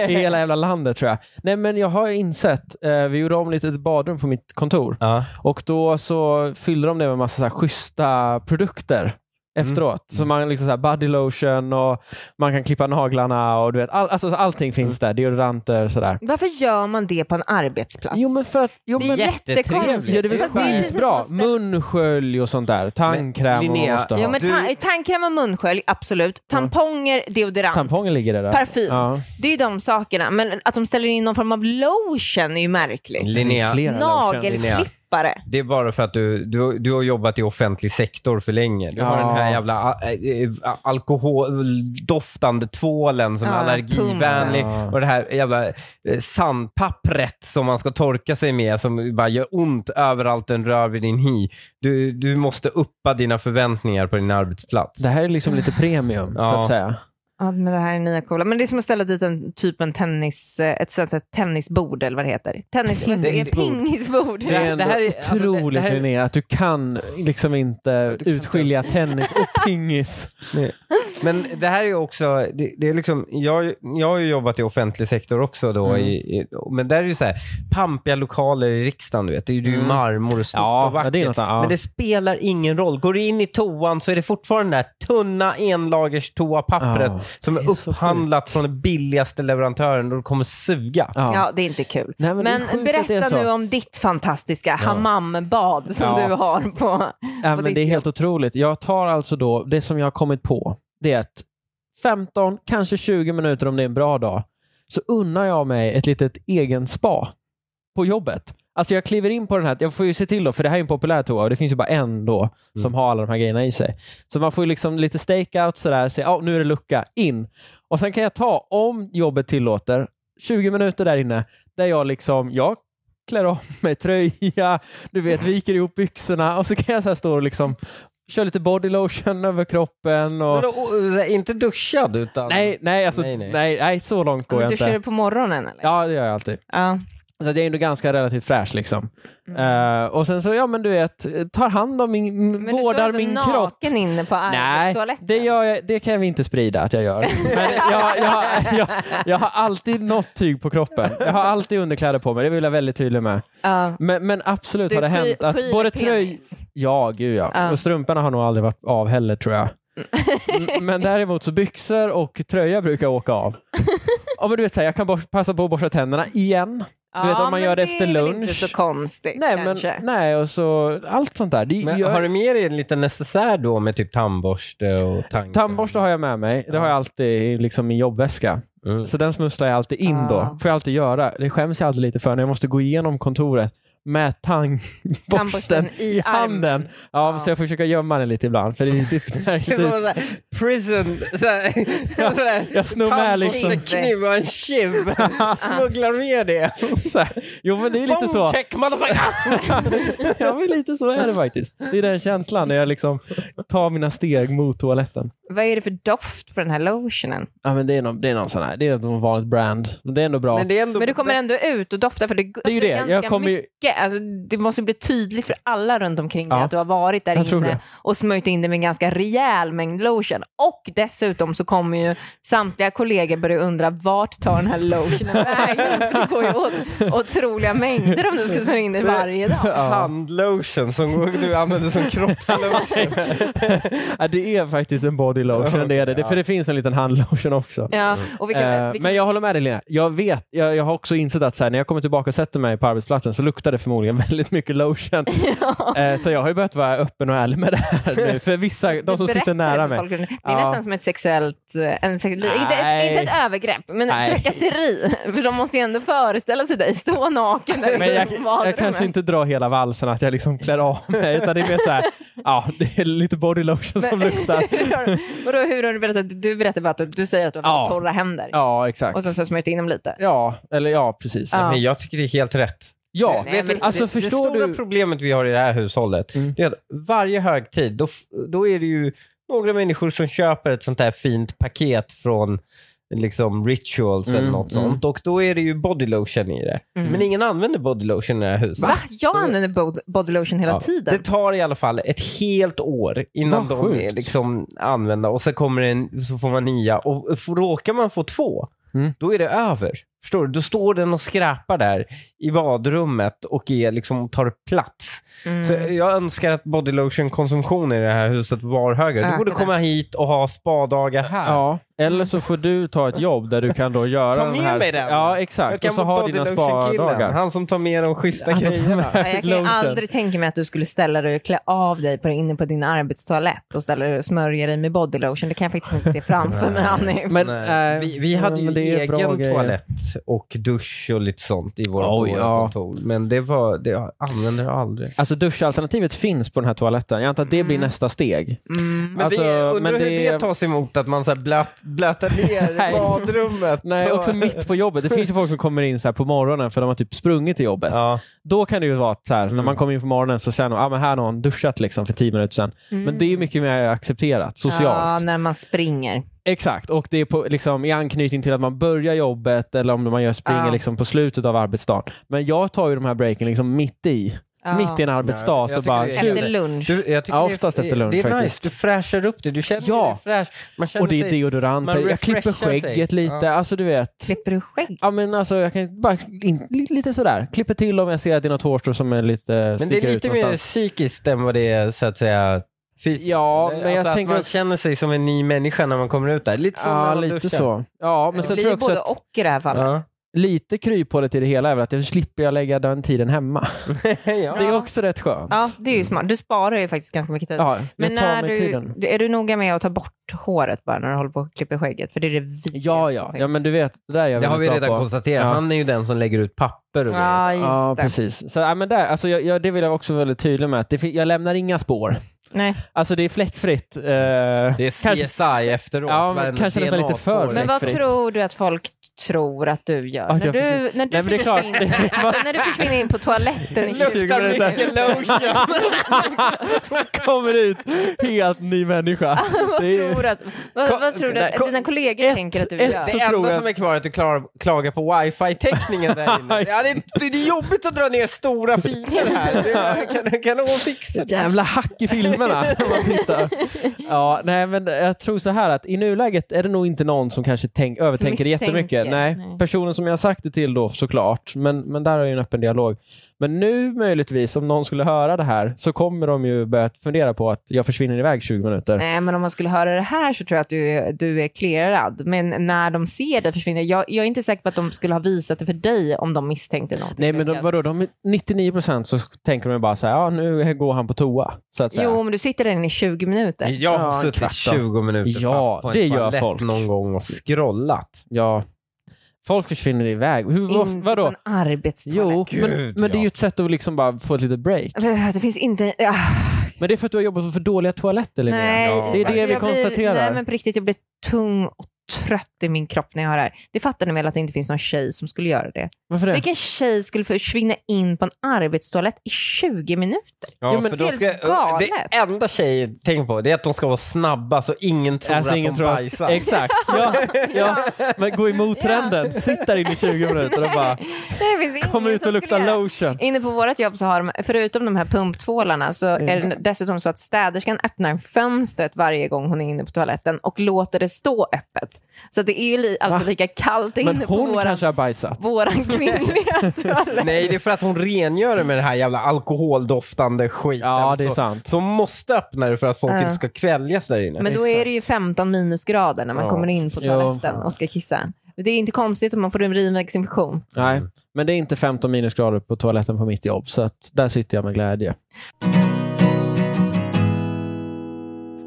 [SPEAKER 2] i hela jävla landet tror jag. Nej, men jag har insett. Eh, vi gjorde om lite ett badrum på mitt kontor
[SPEAKER 1] Ja.
[SPEAKER 2] och då så fyllde de det med massa så här schyssta produkter efteråt. Så man liksom så här body lotion och man kan klippa naglarna och du vet, all, alltså, så allting finns där. Deodoranter sådär.
[SPEAKER 3] Varför gör man det på en arbetsplats?
[SPEAKER 2] Jo, men för att... Jo,
[SPEAKER 3] det är
[SPEAKER 2] men,
[SPEAKER 1] jättetrevligt.
[SPEAKER 2] Ja, det är väl
[SPEAKER 1] Fast
[SPEAKER 3] det är precis som
[SPEAKER 2] bra.
[SPEAKER 3] att ställa-
[SPEAKER 2] Munskölj och sånt där. Tandkräm
[SPEAKER 1] Men Linnea,
[SPEAKER 2] och måste ha.
[SPEAKER 3] Jo, men
[SPEAKER 1] Du-
[SPEAKER 3] ta- tandkräm och munskölj, absolut. Tamponger, deodorant.
[SPEAKER 2] Tamponger ligger där.
[SPEAKER 3] Parfym.
[SPEAKER 2] Ja.
[SPEAKER 3] Det är ju de sakerna. Men att de ställer in någon form av lotion är ju märkligt.
[SPEAKER 1] Linnea,
[SPEAKER 2] Flera lotions.
[SPEAKER 1] Linnea.
[SPEAKER 3] Nagelklippare djupare.
[SPEAKER 1] Det är bara för att du, du, du har jobbat i offentlig sektor för länge. Du har
[SPEAKER 2] Ja.
[SPEAKER 1] den här jävla äh, äh, alkoholdoftande tvålen som
[SPEAKER 3] Ja,
[SPEAKER 1] är allergivänlig
[SPEAKER 2] pumpen.
[SPEAKER 1] och det här jävla eh, sandpappret som man ska torka sig med som bara gör ont överallt den rör vid din hy. Du, du måste uppa dina förväntningar på din arbetsplats.
[SPEAKER 2] Det här är liksom lite premium, så
[SPEAKER 1] Ja.
[SPEAKER 2] att säga.
[SPEAKER 3] Ja, men det här är nya coola. Men det är som att ställa dit en typ en tennis, eh, ett sånt här tennisbord eller vad det heter. Tennis,
[SPEAKER 1] Pingisbord.
[SPEAKER 3] pingisbord.
[SPEAKER 2] Det är ändå
[SPEAKER 1] här är- alltså, det-
[SPEAKER 2] otroligt,
[SPEAKER 1] det här är-
[SPEAKER 2] Linnea, att du kan liksom inte utskilja tennis och pingis.
[SPEAKER 1] Nej. Men det här är ju också, det, det är liksom, jag, jag har ju jobbat i offentlig sektor också då,
[SPEAKER 2] Mm.
[SPEAKER 1] i, i, men där är det ju så här, pampiga lokaler i riksdagen du vet, det är ju
[SPEAKER 2] Mm.
[SPEAKER 1] marmor och stort
[SPEAKER 2] Ja,
[SPEAKER 1] och vackert.
[SPEAKER 2] det är något annat.
[SPEAKER 1] Men det spelar ingen roll. Går du in i toan så är det fortfarande det här tunna enlagers toapappret
[SPEAKER 2] Ja,
[SPEAKER 1] som
[SPEAKER 2] det
[SPEAKER 1] är,
[SPEAKER 2] är så
[SPEAKER 1] upphandlat från den billigaste leverantören och det kommer suga.
[SPEAKER 2] Ja.
[SPEAKER 3] Ja, det är inte kul.
[SPEAKER 2] Nej, men
[SPEAKER 3] men
[SPEAKER 2] det är sjukt att det är
[SPEAKER 3] berätta
[SPEAKER 2] så.
[SPEAKER 3] nu om ditt fantastiska hammambad som
[SPEAKER 2] Ja.
[SPEAKER 3] du har på...
[SPEAKER 2] Ja,
[SPEAKER 3] på
[SPEAKER 2] men
[SPEAKER 3] ditt
[SPEAKER 2] det är
[SPEAKER 3] jobb.
[SPEAKER 2] helt otroligt. Jag tar alltså då, det som jag har kommit på, det är att 15, kanske 20 minuter om det är en bra dag, så unnar jag mig ett litet egen spa på jobbet. Alltså jag kliver in på den här, jag får ju se till då, för det här är ju en populär toa och det finns ju bara en
[SPEAKER 3] Mm.
[SPEAKER 2] då som har alla de här grejerna i sig. Så man får ju liksom lite stakeout sådär, se, ja nu är det lucka, in. Och sen kan jag ta, om jobbet tillåter, 20 minuter där inne, där jag liksom, jag klär av mig tröja, du vet, viker ihop byxorna och så kan jag så här stå och liksom köra lite body lotion över kroppen. Och...
[SPEAKER 1] Men då, och, så här, inte duschad utan...
[SPEAKER 2] Nej, nej, alltså, nej,
[SPEAKER 1] Nej,
[SPEAKER 2] nej.
[SPEAKER 1] nej.
[SPEAKER 2] så långt går
[SPEAKER 3] Men
[SPEAKER 2] jag
[SPEAKER 3] du kör det
[SPEAKER 2] inte.
[SPEAKER 3] på morgonen eller?
[SPEAKER 2] Ja, det gör jag alltid.
[SPEAKER 3] Ja.
[SPEAKER 2] Så att jag är ändå ganska relativt fräsch liksom. Eh, och sen så, ja men du vet, tar hand om min,
[SPEAKER 3] Mm. Men du står
[SPEAKER 2] vårdar
[SPEAKER 3] alltså
[SPEAKER 2] min
[SPEAKER 3] naken
[SPEAKER 2] kropp.
[SPEAKER 3] inne på
[SPEAKER 2] Nej,
[SPEAKER 3] arbetstoaletten?
[SPEAKER 2] det, gör jag, det kan vi inte sprida att jag gör. Men jag, jag, jag, jag har alltid något tyg på kroppen. Jag har alltid underkläder på mig, det vill jag väldigt tydlig med.
[SPEAKER 3] Ja.
[SPEAKER 2] Men, men absolut
[SPEAKER 3] Du
[SPEAKER 2] har det
[SPEAKER 3] sky-
[SPEAKER 2] hänt att
[SPEAKER 3] skyr
[SPEAKER 2] både tröj...
[SPEAKER 3] penis.
[SPEAKER 2] Ja, gud ja.
[SPEAKER 3] Ja.
[SPEAKER 2] Och strumporna har nog aldrig varit av heller tror jag. M- men däremot så byxor och tröja brukar åka av. ja, men du vet, så här, jag kan bors- passa på att borsta tänderna igen. Du vet
[SPEAKER 3] Ja,
[SPEAKER 2] om man
[SPEAKER 3] men
[SPEAKER 2] gör det efter
[SPEAKER 3] är väl
[SPEAKER 2] lunch.
[SPEAKER 3] inte så konstigt
[SPEAKER 2] Nej, men,
[SPEAKER 3] kanske.
[SPEAKER 2] nej, och så allt sånt där. Det
[SPEAKER 1] Men
[SPEAKER 2] gör...
[SPEAKER 1] har du med dig en liten necessär då med typ tandborste och tandkräm?
[SPEAKER 2] Tandborste har jag med mig. Det har jag alltid i liksom, min jobbväska.
[SPEAKER 1] Mm.
[SPEAKER 2] Så den smusslar jag alltid in då.
[SPEAKER 3] Ah.
[SPEAKER 2] Får jag alltid göra. Det skäms jag alltid lite för när jag måste gå igenom kontoret med tandborsten
[SPEAKER 3] Tandborsten
[SPEAKER 2] i,
[SPEAKER 3] i
[SPEAKER 2] handen.
[SPEAKER 3] armen.
[SPEAKER 2] Ja,
[SPEAKER 3] Ja.
[SPEAKER 2] Så jag försöker gömma den lite ibland. För det är lite
[SPEAKER 1] Det är som
[SPEAKER 2] märkligt.
[SPEAKER 1] en sån här prison, så här, så här,
[SPEAKER 2] Jag snor med liksom.
[SPEAKER 1] tandborste, kniv och en tjuv. Smugglar med det.
[SPEAKER 2] liksom Så här. Jo, men det är lite så.
[SPEAKER 1] Bone check, motherfucker!
[SPEAKER 2] Ja, men lite så är det faktiskt. Det är den känslan när jag liksom tar mina steg mot toaletten.
[SPEAKER 3] Vad är det för doft på den här lotionen?
[SPEAKER 2] Ja, men det är någon, det är någon sån här. Det är någon vanligt brand. Men det är ändå bra.
[SPEAKER 1] Men det är ändå...
[SPEAKER 3] Men du kommer ändå ut och doftar för det, alltså, det
[SPEAKER 2] är ju det. Jag
[SPEAKER 3] ganska
[SPEAKER 2] kommer ju-
[SPEAKER 3] mycket. Alltså, det måste bli tydligt för alla runt omkring dig
[SPEAKER 2] Ja.
[SPEAKER 3] att du har varit där
[SPEAKER 2] Jag tror det.
[SPEAKER 3] inne och smörjt in dig med en ganska rejäl mängd lotion. Och dessutom så kommer ju samtliga kollegor börja undra vart tar den här lotionen vägen? Det går ju åt otroliga mängder om du ska smörja in dig varje dag.
[SPEAKER 1] Handlotion som du använder som kroppslotion.
[SPEAKER 2] Ja, det är faktiskt en body lotion. det är det. För det finns en liten handlotion också.
[SPEAKER 3] Ja, och vi kan,
[SPEAKER 2] Eh,
[SPEAKER 3] vi kan,
[SPEAKER 2] Men jag håller med dig Lena. Jag, vet, jag, jag har också insett att så här, när jag kommer tillbaka och sätter mig på arbetsplatsen så luktar det förmodligen väldigt mycket lotion. Eh, Så jag har ju börjat vara öppen och ärlig med det här nu. För vissa, de som
[SPEAKER 3] berätta
[SPEAKER 2] sitter nära
[SPEAKER 3] för
[SPEAKER 2] mig.
[SPEAKER 3] folk. Det är
[SPEAKER 2] Ja.
[SPEAKER 3] nästan som ett sexuellt, eh, en sex, inte, ett,
[SPEAKER 2] Nej.
[SPEAKER 3] inte ett övergrepp, men
[SPEAKER 2] Nej.
[SPEAKER 3] ett trakasseri. För de måste ju ändå föreställa sig dig stå naken där
[SPEAKER 2] Men
[SPEAKER 3] i
[SPEAKER 2] jag, jag
[SPEAKER 3] badrummet.
[SPEAKER 2] kanske inte drar hela valsen att jag liksom klär av mig. Utan det är mer så här, ja, det är lite body lotion som
[SPEAKER 3] Men-
[SPEAKER 2] luktar.
[SPEAKER 3] Hur har du- Vadå, hur har du berättat? Du berättar bara att du, du säger att du har
[SPEAKER 2] Ja.
[SPEAKER 3] haft torra händer
[SPEAKER 2] Ja, exakt.
[SPEAKER 3] och sen så har du smörjt in dem lite.
[SPEAKER 2] Ja, eller ja, precis.
[SPEAKER 3] Ja.
[SPEAKER 1] Men jag tycker det är helt rätt.
[SPEAKER 2] Ja,
[SPEAKER 3] Nej,
[SPEAKER 1] Vet du,
[SPEAKER 3] men
[SPEAKER 2] alltså
[SPEAKER 1] det,
[SPEAKER 2] förstår
[SPEAKER 1] det stora
[SPEAKER 2] du-
[SPEAKER 1] problemet vi har i det här hushållet
[SPEAKER 2] Mm.
[SPEAKER 1] det är att varje högtid, då, f- då är det ju några människor som köper ett sånt här fint paket från liksom rituals
[SPEAKER 2] Mm,
[SPEAKER 1] eller något
[SPEAKER 2] mm.
[SPEAKER 1] sånt och då är det ju bodylotion i det.
[SPEAKER 3] Mm.
[SPEAKER 1] Men ingen använder bodylotion i det här huset.
[SPEAKER 3] Va? Jag använder bod- body lotion hela
[SPEAKER 1] Ja.
[SPEAKER 3] tiden.
[SPEAKER 1] Det tar i alla fall ett helt år innan
[SPEAKER 2] Vad
[SPEAKER 1] de är
[SPEAKER 2] sjukt.
[SPEAKER 1] liksom använda och sen kommer det en, så får man nya och f- råkar man få två
[SPEAKER 2] Mm.
[SPEAKER 1] då är det över. Förstår du? Då står den och skräpar där i badrummet och är, liksom, tar plats.
[SPEAKER 3] Mm.
[SPEAKER 1] Så jag önskar att bodylotion-konsumtionen i det här huset var högre. Du borde
[SPEAKER 3] Ökade.
[SPEAKER 1] komma hit och ha spadagar här.
[SPEAKER 2] Ja, Eller så får du ta ett jobb där du kan då göra
[SPEAKER 1] Ta
[SPEAKER 2] den
[SPEAKER 1] med
[SPEAKER 2] här...
[SPEAKER 1] mig den.
[SPEAKER 2] Ja,
[SPEAKER 1] Jag
[SPEAKER 2] exakt.
[SPEAKER 1] kan
[SPEAKER 2] Och så
[SPEAKER 1] vara
[SPEAKER 2] har
[SPEAKER 1] Body
[SPEAKER 2] dina
[SPEAKER 1] Lotion-killen,
[SPEAKER 2] spa-dagar. Alltså,
[SPEAKER 1] han som tar med de schyssta
[SPEAKER 2] Han tar med
[SPEAKER 1] grejerna.
[SPEAKER 3] Ja, Jag kan ju
[SPEAKER 2] lotion.
[SPEAKER 3] aldrig tänka mig att du skulle ställa dig och klä av dig på, inne på din arbetstoalett och ställa dig och smörja dig med bodylotion. Det kan jag faktiskt inte se framför mig, Hanif.
[SPEAKER 2] Men,
[SPEAKER 1] Nej.
[SPEAKER 2] eh,
[SPEAKER 1] vi, vi hade
[SPEAKER 2] men
[SPEAKER 1] ju
[SPEAKER 2] det är bra
[SPEAKER 1] egen
[SPEAKER 2] grejer.
[SPEAKER 1] toalett och dusch och lite sånt i våra,
[SPEAKER 2] Oj,
[SPEAKER 1] på våra
[SPEAKER 2] ja.
[SPEAKER 1] kontor. Men det, var, det använde jag aldrig.
[SPEAKER 2] Alltså duschalternativet finns på den här toaletten. Jag antar att det blir
[SPEAKER 3] Mm.
[SPEAKER 2] nästa steg.
[SPEAKER 1] Men
[SPEAKER 2] Alltså,
[SPEAKER 1] det, undrar
[SPEAKER 2] men
[SPEAKER 1] hur
[SPEAKER 2] det-
[SPEAKER 1] det tas emot att man så här blöt, blötar ner
[SPEAKER 2] Nej.
[SPEAKER 1] badrummet.
[SPEAKER 2] Nej,
[SPEAKER 1] Och-
[SPEAKER 2] också mitt på jobbet. Det finns ju folk som kommer in så här på morgonen för de har typ sprungit till jobbet.
[SPEAKER 1] Ja. Mm.
[SPEAKER 2] Då kan det ju vara så här, när man kommer in på morgonen så känner man att ah, men här har någon duschat liksom för tio minuter sedan. Men det är ju mycket mer accepterat
[SPEAKER 3] Mm. Ja,
[SPEAKER 2] socialt.
[SPEAKER 3] när man springer.
[SPEAKER 2] Exakt, och det är på, liksom, i anknytning till att man börjar jobbet eller om man gör springer
[SPEAKER 3] Ja.
[SPEAKER 2] liksom, på slutet av arbetsdagen. Men jag tar ju de här breaken liksom mitt i.
[SPEAKER 3] Ja.
[SPEAKER 2] Mitt i en arbetsdag.
[SPEAKER 1] Ja, jag-
[SPEAKER 2] så
[SPEAKER 1] jag
[SPEAKER 2] bara,
[SPEAKER 1] tycker det är-
[SPEAKER 3] Efter lunch.
[SPEAKER 1] Du, jag tycker
[SPEAKER 2] Ja,
[SPEAKER 1] det är-
[SPEAKER 2] oftast efter lunch
[SPEAKER 1] Det är nice,
[SPEAKER 2] faktiskt.
[SPEAKER 1] du fräschar upp det. Du känner
[SPEAKER 2] Ja.
[SPEAKER 1] dig fräsch. Man känner
[SPEAKER 2] och det är
[SPEAKER 1] sig...
[SPEAKER 2] deodorant.
[SPEAKER 1] man
[SPEAKER 2] Jag klipper
[SPEAKER 1] refreshar sig.
[SPEAKER 2] skägget lite.
[SPEAKER 1] Ja.
[SPEAKER 2] Alltså du vet.
[SPEAKER 3] Klipper du skägg?
[SPEAKER 2] Ja men alltså jag kan bara in, li- lite sådär. Klipper till om jag ser att det är något hårstrå som är lite
[SPEAKER 1] Men det
[SPEAKER 2] sticker
[SPEAKER 1] är
[SPEAKER 2] ut
[SPEAKER 1] lite mer
[SPEAKER 2] någonstans.
[SPEAKER 1] psykiskt än vad det är så att säga fysiskt.
[SPEAKER 2] Ja,
[SPEAKER 1] eller?
[SPEAKER 2] men jag
[SPEAKER 1] alltså
[SPEAKER 2] tänker
[SPEAKER 1] att man
[SPEAKER 2] också-
[SPEAKER 1] känner sig som en ny människa när man kommer ut där. Lite som när
[SPEAKER 2] Ja
[SPEAKER 1] man
[SPEAKER 2] lite
[SPEAKER 1] duschar.
[SPEAKER 2] så. Ja men
[SPEAKER 3] det
[SPEAKER 2] sen
[SPEAKER 3] blir
[SPEAKER 2] tror
[SPEAKER 3] ju
[SPEAKER 2] jag också
[SPEAKER 3] både
[SPEAKER 2] att
[SPEAKER 3] och i det här fallet.
[SPEAKER 1] Ja.
[SPEAKER 2] lite kryphålet i det hela är väl att jag slipper jag lägga den tiden hemma.
[SPEAKER 1] ja.
[SPEAKER 2] Det är också rätt skönt.
[SPEAKER 3] Ja, det är ju smart. Du sparar ju faktiskt ganska mycket tid.
[SPEAKER 2] Ja, jag
[SPEAKER 3] Men
[SPEAKER 2] tar
[SPEAKER 3] när
[SPEAKER 2] mig
[SPEAKER 3] du,
[SPEAKER 2] tiden.
[SPEAKER 3] är du noga med att ta bort håret bara när du håller på och klipper skägget? För det är det vidrigaste
[SPEAKER 2] Ja,
[SPEAKER 3] som
[SPEAKER 2] ja.
[SPEAKER 3] finns.
[SPEAKER 2] ja, men du vet, det där är jag
[SPEAKER 1] Det har vi
[SPEAKER 2] väldigt bra
[SPEAKER 1] redan
[SPEAKER 2] på.
[SPEAKER 1] konstaterat.
[SPEAKER 2] Ja.
[SPEAKER 1] Han är ju den som lägger ut papper och grejer.
[SPEAKER 3] Ja, just
[SPEAKER 2] Ja,
[SPEAKER 3] det.
[SPEAKER 2] precis. Så, ja, men där, alltså, jag, jag, det vill jag också vara väldigt tydlig med. Att det, fin- jag lämnar inga spår.
[SPEAKER 3] Nej.
[SPEAKER 2] Alltså det är fläckfritt. eh,
[SPEAKER 1] Det är
[SPEAKER 2] kanske-
[SPEAKER 1] CSI efteråt.
[SPEAKER 2] Ja, men
[SPEAKER 1] varenda
[SPEAKER 2] kanske nästan lite
[SPEAKER 1] DNA-spår.
[SPEAKER 2] för-
[SPEAKER 3] Men vad
[SPEAKER 2] Fläckfritt.
[SPEAKER 3] tror du att folk tror att du gör?
[SPEAKER 2] Att
[SPEAKER 3] när,
[SPEAKER 2] jag
[SPEAKER 3] du,
[SPEAKER 2] försvinner-
[SPEAKER 3] när, du
[SPEAKER 2] Nej, men det är klart.
[SPEAKER 3] försvinner, alltså, när du försvinner in på toaletten i
[SPEAKER 2] Luktar
[SPEAKER 3] 20 minuter.
[SPEAKER 2] mycket kommer ut helt ny människa.
[SPEAKER 3] vad,
[SPEAKER 2] Det är-
[SPEAKER 3] tror du att, vad,
[SPEAKER 1] Ko-
[SPEAKER 3] vad tror du att
[SPEAKER 1] ko-
[SPEAKER 3] dina kollegor
[SPEAKER 2] ett-
[SPEAKER 3] tänker att du
[SPEAKER 2] ett-
[SPEAKER 3] gör?
[SPEAKER 1] Det
[SPEAKER 2] Så tror
[SPEAKER 1] enda
[SPEAKER 2] jag-
[SPEAKER 1] som är kvar är att du klar, klagar på wifi-täckningen där inne. ja, det, det är jobbigt att dra ner stora filer här. Det är- kan, kan någon fixa det?
[SPEAKER 2] Jävla hack i filmerna. om man tittar. ja, nej, men jag tror så här att i nuläget är det nog inte någon som kanske tänk, övertänker det
[SPEAKER 3] misstänker.
[SPEAKER 2] jättemycket. Nej,
[SPEAKER 3] Nej.
[SPEAKER 2] personen som jag har sagt det till då såklart, men, men där har jag ju en öppen dialog. Men nu möjligtvis, om någon skulle höra det här, så kommer de ju börja fundera på att jag försvinner iväg 20 minuter.
[SPEAKER 3] Nej, men om man skulle höra det här så tror jag att du är, du är clearad. Men när de ser det försvinner, jag, jag är inte säker på att de skulle ha visat det för dig om de misstänkte någonting.
[SPEAKER 2] Nej, men de,
[SPEAKER 3] Lukas.
[SPEAKER 2] vadå, de, 99 procent så tänker de bara så här, ja, nu går han på toa. Så att säga.
[SPEAKER 3] Jo, men du sitter där inne i 20 minuter.
[SPEAKER 1] Jag
[SPEAKER 2] Ja,
[SPEAKER 1] har
[SPEAKER 2] en
[SPEAKER 1] suttit
[SPEAKER 2] kvart då.
[SPEAKER 1] 20 minuter
[SPEAKER 2] Ja,
[SPEAKER 1] fast på en
[SPEAKER 2] det gör
[SPEAKER 1] toalett
[SPEAKER 2] folk.
[SPEAKER 1] någon gång och scrollat.
[SPEAKER 2] Ja. Folk försvinner iväg. Hur, vad,
[SPEAKER 3] inte
[SPEAKER 2] vadå?
[SPEAKER 3] på en arbetstoalett.
[SPEAKER 2] Jo,
[SPEAKER 1] Gud,
[SPEAKER 2] men, men det är
[SPEAKER 1] ja.
[SPEAKER 2] ju ett sätt att liksom bara få ett litet break.
[SPEAKER 3] Det finns inte... Ah,
[SPEAKER 2] Men det är för att du har jobbat för dåliga toaletter, Linnea.
[SPEAKER 3] nej,
[SPEAKER 1] Ja.
[SPEAKER 2] Det är det
[SPEAKER 3] Alltså,
[SPEAKER 2] vi
[SPEAKER 3] jag blir-
[SPEAKER 2] konstaterar.
[SPEAKER 3] Nej, men på riktigt, jag blir tung och trött i min kropp när jag hör det här. Det fattar ni väl att det inte finns någon tjej som skulle göra det?
[SPEAKER 2] Varför det?
[SPEAKER 3] Vilken tjej skulle försvinna in på en arbetstoalett i 20 minuter?
[SPEAKER 1] Ja,
[SPEAKER 2] Jo, men
[SPEAKER 1] för då
[SPEAKER 3] helt
[SPEAKER 1] ska,
[SPEAKER 3] galet.
[SPEAKER 1] det enda tjejer tänker på det är att de ska vara snabba så ingen tror att de
[SPEAKER 2] Alltså, tror-
[SPEAKER 1] bajsar.
[SPEAKER 2] Exakt. Ja, ja. Men gå emot trenden. Sitt där inne i 20 minuter och bara
[SPEAKER 3] Nej, det finns ingen
[SPEAKER 2] kom ut
[SPEAKER 3] som
[SPEAKER 2] och lukta
[SPEAKER 3] skulle göra det.
[SPEAKER 2] lotion.
[SPEAKER 3] Inne på vårt jobb så har de, förutom de här pumptvålarna, så är
[SPEAKER 2] Mm.
[SPEAKER 3] det dessutom så att städerskan öppnar fönstret varje gång hon är inne på toaletten och låter det stå öppet. Så det är ju li, alltså lika kallt
[SPEAKER 2] Men
[SPEAKER 3] inne på
[SPEAKER 2] hon
[SPEAKER 3] våran,
[SPEAKER 2] kanske har bajsat.
[SPEAKER 3] våran kvinnliga toalett.
[SPEAKER 1] Nej, det är för att hon rengör det med den här jävla alkoholdoftande skiten.
[SPEAKER 2] Ja, det är
[SPEAKER 1] så-
[SPEAKER 2] sant.
[SPEAKER 1] Som måste öppna det för att folk
[SPEAKER 3] Ja.
[SPEAKER 1] inte ska kväljas där inne.
[SPEAKER 3] Men då är det ju 15 minusgrader när man
[SPEAKER 1] Ja.
[SPEAKER 3] kommer in på
[SPEAKER 2] Ja.
[SPEAKER 3] toaletten och ska kissa. Det är inte konstigt om man får en urinvägsinfektion.
[SPEAKER 2] Nej, men det är inte 15 minusgrader på toaletten på mitt jobb, så att där sitter jag med glädje.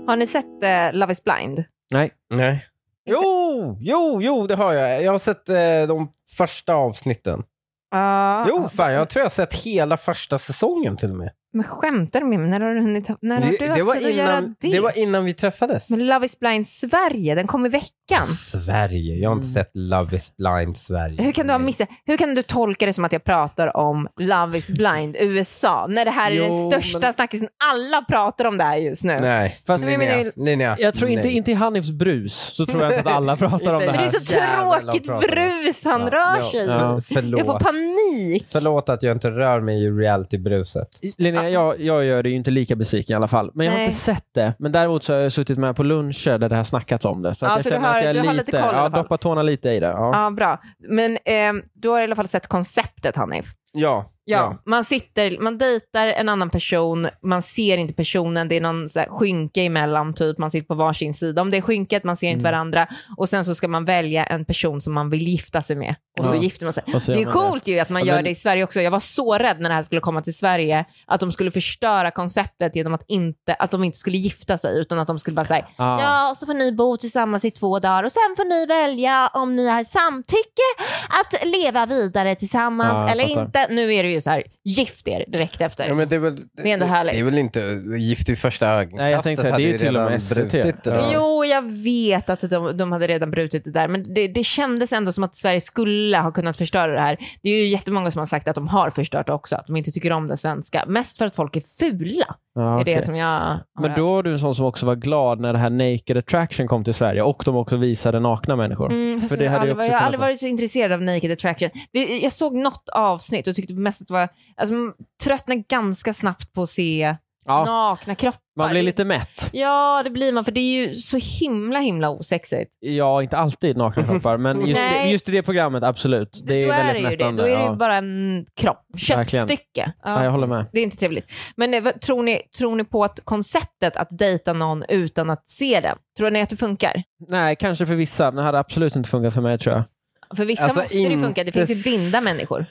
[SPEAKER 3] Har ni sett eh, Love is blind?
[SPEAKER 2] Nej,
[SPEAKER 1] Nej. Jo, jo, jo, det har jag. Jag har sett eh, de första avsnitten.
[SPEAKER 3] Ja.
[SPEAKER 1] Jo, fan, jag tror jag har sett hela första säsongen till och med.
[SPEAKER 3] Men skämtar du med mig? När har du hunnit ta- när har du haft
[SPEAKER 1] var
[SPEAKER 3] tid att göra
[SPEAKER 1] innan, det var innan vi träffades.
[SPEAKER 3] Men Love is blind Sverige, den kom i veckan.
[SPEAKER 1] Sverige. Jag har inte sett Love is blind Sverige.
[SPEAKER 3] Hur kan du ha
[SPEAKER 1] Nej.
[SPEAKER 3] missat? Hur kan du tolka det som att jag pratar om Love is blind USA när det här är
[SPEAKER 2] Jo,
[SPEAKER 3] den största
[SPEAKER 2] men-
[SPEAKER 3] snackisen? Alla pratar om det här just nu.
[SPEAKER 1] Nej.
[SPEAKER 2] Fast-
[SPEAKER 1] Linnea,
[SPEAKER 3] Men jag menar-
[SPEAKER 1] Linnea,
[SPEAKER 2] jag tror inte,
[SPEAKER 1] nej.
[SPEAKER 2] inte i Hanifs brus så tror jag inte att alla pratar om det
[SPEAKER 1] Inte
[SPEAKER 3] Men det
[SPEAKER 2] här.
[SPEAKER 3] är så
[SPEAKER 1] Jävlar vad
[SPEAKER 3] tråkigt
[SPEAKER 1] pratar de.
[SPEAKER 3] brus han
[SPEAKER 1] Ja,
[SPEAKER 3] rör
[SPEAKER 1] ja,
[SPEAKER 3] sig i.
[SPEAKER 1] ja,
[SPEAKER 3] Jag får
[SPEAKER 1] Förlåt.
[SPEAKER 3] panik.
[SPEAKER 1] Förlåt att jag inte rör mig i reality-bruset.
[SPEAKER 2] Linnea, jag, jag gör det ju inte lika besviken i alla fall. Men jag har
[SPEAKER 3] Ah. Nej.
[SPEAKER 2] inte sett det. Men däremot så har jag suttit med på luncher där det har snackats om det. Så, att
[SPEAKER 3] Ja,
[SPEAKER 2] jag
[SPEAKER 3] så du
[SPEAKER 2] känner
[SPEAKER 3] har-
[SPEAKER 2] att jag
[SPEAKER 3] du har
[SPEAKER 2] är
[SPEAKER 3] lite
[SPEAKER 2] lite,
[SPEAKER 3] koll i alla
[SPEAKER 2] ja,
[SPEAKER 3] fall.
[SPEAKER 2] doppar tårna lite i det. Ja.
[SPEAKER 3] eh, Ja, bra. Men ehm, du har i alla fall sett konceptet, Hanif.
[SPEAKER 1] Ja.
[SPEAKER 3] Ja, Man sitter, man dejtar en annan person, man ser inte personen, det är någon så här skynke emellan, typ. man sitter på varsin sida. Om det är skynket, man ser inte
[SPEAKER 1] Mm.
[SPEAKER 3] varandra. Och sen så ska man välja en person som man vill gifta sig med. Och så
[SPEAKER 2] Ja.
[SPEAKER 3] gifter man sig.
[SPEAKER 2] Och så
[SPEAKER 3] Det
[SPEAKER 2] gör
[SPEAKER 3] är
[SPEAKER 2] man
[SPEAKER 3] coolt ju att man
[SPEAKER 2] Ja,
[SPEAKER 3] gör
[SPEAKER 2] men-
[SPEAKER 3] det i Sverige också. Jag var så rädd när det här skulle komma till Sverige, att de skulle förstöra konceptet genom att, inte, att de inte skulle gifta sig, utan att de skulle bara säga
[SPEAKER 2] Ja.
[SPEAKER 3] ja, och så får ni bo tillsammans i två dagar och sen får ni välja om ni har samtycke att leva vidare tillsammans
[SPEAKER 2] Ja, jag
[SPEAKER 3] eller
[SPEAKER 2] fattar.
[SPEAKER 3] inte. Nu är det ju så här, gift er direkt efter.
[SPEAKER 1] Ja, men det, är väl,
[SPEAKER 3] är ändå härligt.
[SPEAKER 1] Det är väl inte gift i första ögonkastet.
[SPEAKER 2] Nej, jag tänkte säga, det är ju
[SPEAKER 1] hade
[SPEAKER 2] till och med
[SPEAKER 1] redan
[SPEAKER 2] SVT.
[SPEAKER 1] brutit det
[SPEAKER 2] Ja.
[SPEAKER 1] där.
[SPEAKER 3] Jo, jag vet att de, de hade redan brutit det där, men det, det kändes ändå som att Sverige skulle ha kunnat förstöra det här. Det är ju jättemånga som har sagt att de har förstört det också, att de inte tycker om den svenska. Mest för att folk är fula,
[SPEAKER 2] Ja,
[SPEAKER 3] är
[SPEAKER 2] okej.
[SPEAKER 3] det som jag har
[SPEAKER 2] Men
[SPEAKER 3] hört.
[SPEAKER 2] då var du en sån som också var glad när det här Naked Attraction kom till Sverige och de också visade nakna människor.
[SPEAKER 3] Mm,
[SPEAKER 2] För
[SPEAKER 3] fast
[SPEAKER 2] det
[SPEAKER 3] jag,
[SPEAKER 2] hade ju
[SPEAKER 3] aldrig,
[SPEAKER 2] också
[SPEAKER 3] jag har
[SPEAKER 2] kunnat
[SPEAKER 3] aldrig
[SPEAKER 2] vara-
[SPEAKER 3] varit så intresserad av Naked Attraction. Vi- Jag såg något avsnitt och tyckte mest att det var... Alltså, man tröttnade ganska snabbt på att se
[SPEAKER 2] Ja,
[SPEAKER 3] nakna kroppar.
[SPEAKER 2] man blir lite mätt.
[SPEAKER 3] Ja, det blir man för det är ju så himla himla osexigt.
[SPEAKER 2] Ja, inte alltid nakna kroppar, men just,
[SPEAKER 3] Nej.
[SPEAKER 2] just i det programmet, absolut. Det är
[SPEAKER 3] Då är det
[SPEAKER 2] väldigt
[SPEAKER 3] ju det.
[SPEAKER 2] mättande.
[SPEAKER 3] Då är det ju
[SPEAKER 2] ja.
[SPEAKER 3] bara en kropp,
[SPEAKER 2] Verkligen.
[SPEAKER 3] köttstycke.
[SPEAKER 2] ja, jag håller med.
[SPEAKER 3] Det är inte trevligt. Men eh, vad, tror, ni, tror ni på att konceptet att dejta någon utan att se den, tror ni att det funkar?
[SPEAKER 2] Nej, kanske för vissa, men det hade absolut inte funkat för mig tror jag.
[SPEAKER 3] För vissa
[SPEAKER 1] Alltså,
[SPEAKER 3] måste det ju funka, det
[SPEAKER 1] inte
[SPEAKER 3] finns ju blinda människor.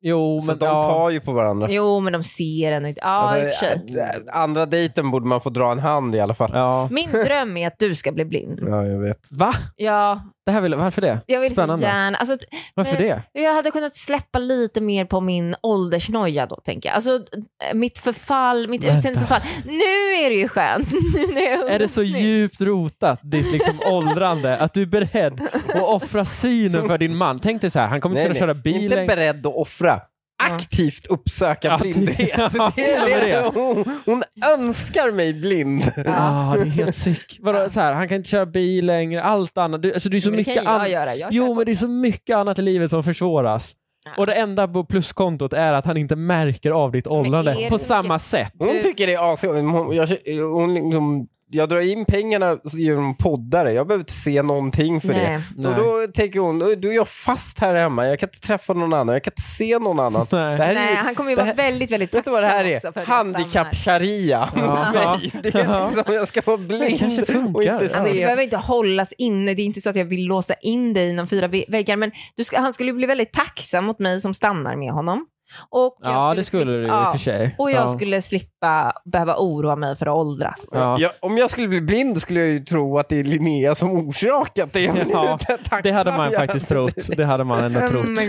[SPEAKER 2] Jo,
[SPEAKER 1] För
[SPEAKER 2] men
[SPEAKER 1] de
[SPEAKER 2] ja.
[SPEAKER 1] tar ju på varandra.
[SPEAKER 3] Jo, men de ser en inte. Ja, i
[SPEAKER 1] Alltså,
[SPEAKER 3] och för sig.
[SPEAKER 1] att- andra dejten borde man få dra en hand i alla fall. Ja,
[SPEAKER 2] Ja.
[SPEAKER 3] Min dröm är att du ska bli blind.
[SPEAKER 1] jag vet.
[SPEAKER 2] Va?
[SPEAKER 3] Ja,
[SPEAKER 2] Det här vill, varför det?
[SPEAKER 3] jag vill så
[SPEAKER 2] Spännande.
[SPEAKER 3] gärna. Alltså, t-
[SPEAKER 2] Varför det?
[SPEAKER 3] jag hade kunnat släppa lite mer på min åldersnoja då, tänker jag. Alltså, eh, mitt förfall, mitt
[SPEAKER 2] Vänta.
[SPEAKER 3] utseende förfall. Nu är det ju skönt. nu när jag
[SPEAKER 2] Är det så
[SPEAKER 3] ungsnygg.
[SPEAKER 2] djupt rotat, ditt liksom åldrande, att du är beredd att offra synen för din man? Tänk dig så här, han kommer inte kunna köra bil
[SPEAKER 1] inte
[SPEAKER 2] längre.
[SPEAKER 1] beredd att offra. Aktivt uppsöka
[SPEAKER 2] Ja, det-
[SPEAKER 1] blindhet.
[SPEAKER 2] Ja,
[SPEAKER 1] det är det.
[SPEAKER 2] det.
[SPEAKER 1] Hon, hon önskar mig blind.
[SPEAKER 2] Ah, det är helt sick. Vadå, så här, han kan inte köra bil längre, allt annat. Du, alltså, det är så
[SPEAKER 3] Men det kan
[SPEAKER 2] mycket
[SPEAKER 3] ju jag
[SPEAKER 2] an-
[SPEAKER 3] göra. Jag
[SPEAKER 2] Jo,
[SPEAKER 3] kör på.
[SPEAKER 2] men det är så mycket annat i livet som försvåras. Och det enda på pluskontot är att han inte märker av ditt
[SPEAKER 3] är
[SPEAKER 2] åldrande
[SPEAKER 3] det
[SPEAKER 2] på
[SPEAKER 3] inte-
[SPEAKER 2] samma sätt.
[SPEAKER 1] Hon
[SPEAKER 3] Du-
[SPEAKER 1] tycker det är asigt. Hon, jag, hon, liksom, jag drar in pengarna genom poddare. Jag behöver inte se någonting för
[SPEAKER 3] Nej.
[SPEAKER 1] det. Och då tänker hon, "Oj, då är jag fast här hemma. Jag kan inte träffa någon annan. Jag kan inte se någon annan.
[SPEAKER 2] Nej.
[SPEAKER 1] Det här är
[SPEAKER 3] Nej,
[SPEAKER 1] ju-
[SPEAKER 3] han kommer ju
[SPEAKER 1] det
[SPEAKER 3] vara
[SPEAKER 1] här-
[SPEAKER 3] väldigt, väldigt
[SPEAKER 1] Vet du vad det här
[SPEAKER 3] tacksam också för
[SPEAKER 1] är?
[SPEAKER 3] att jag stannar.
[SPEAKER 1] Handikapp-sharia mot
[SPEAKER 2] Ja.
[SPEAKER 1] mig. Det är liksom, jag ska få
[SPEAKER 2] Det kanske
[SPEAKER 1] blind
[SPEAKER 2] funkar.
[SPEAKER 1] och inte
[SPEAKER 3] Alltså, du
[SPEAKER 1] se.
[SPEAKER 3] behöver inte hållas inne, det är inte så att jag vill låsa in dig inom fyra vä- väggar, men du ska, han skulle ju bli väldigt tacksam mot mig som stannar med honom. Och jag
[SPEAKER 2] Ja, det skulle
[SPEAKER 3] slippa-
[SPEAKER 2] du i och
[SPEAKER 3] ja.
[SPEAKER 2] för sig.
[SPEAKER 3] Och jag
[SPEAKER 2] ja.
[SPEAKER 3] skulle slippa behöva oroa mig för att åldras.
[SPEAKER 2] Ja.
[SPEAKER 1] Jag, om jag skulle bli blind skulle jag ju tro att det är Linnea som orsakat det. Men
[SPEAKER 2] Ja,
[SPEAKER 1] det är tacksam
[SPEAKER 2] Det hade man
[SPEAKER 1] jag-
[SPEAKER 2] faktiskt trott. Det hade man ändå
[SPEAKER 3] Mm,
[SPEAKER 2] trott.
[SPEAKER 3] Men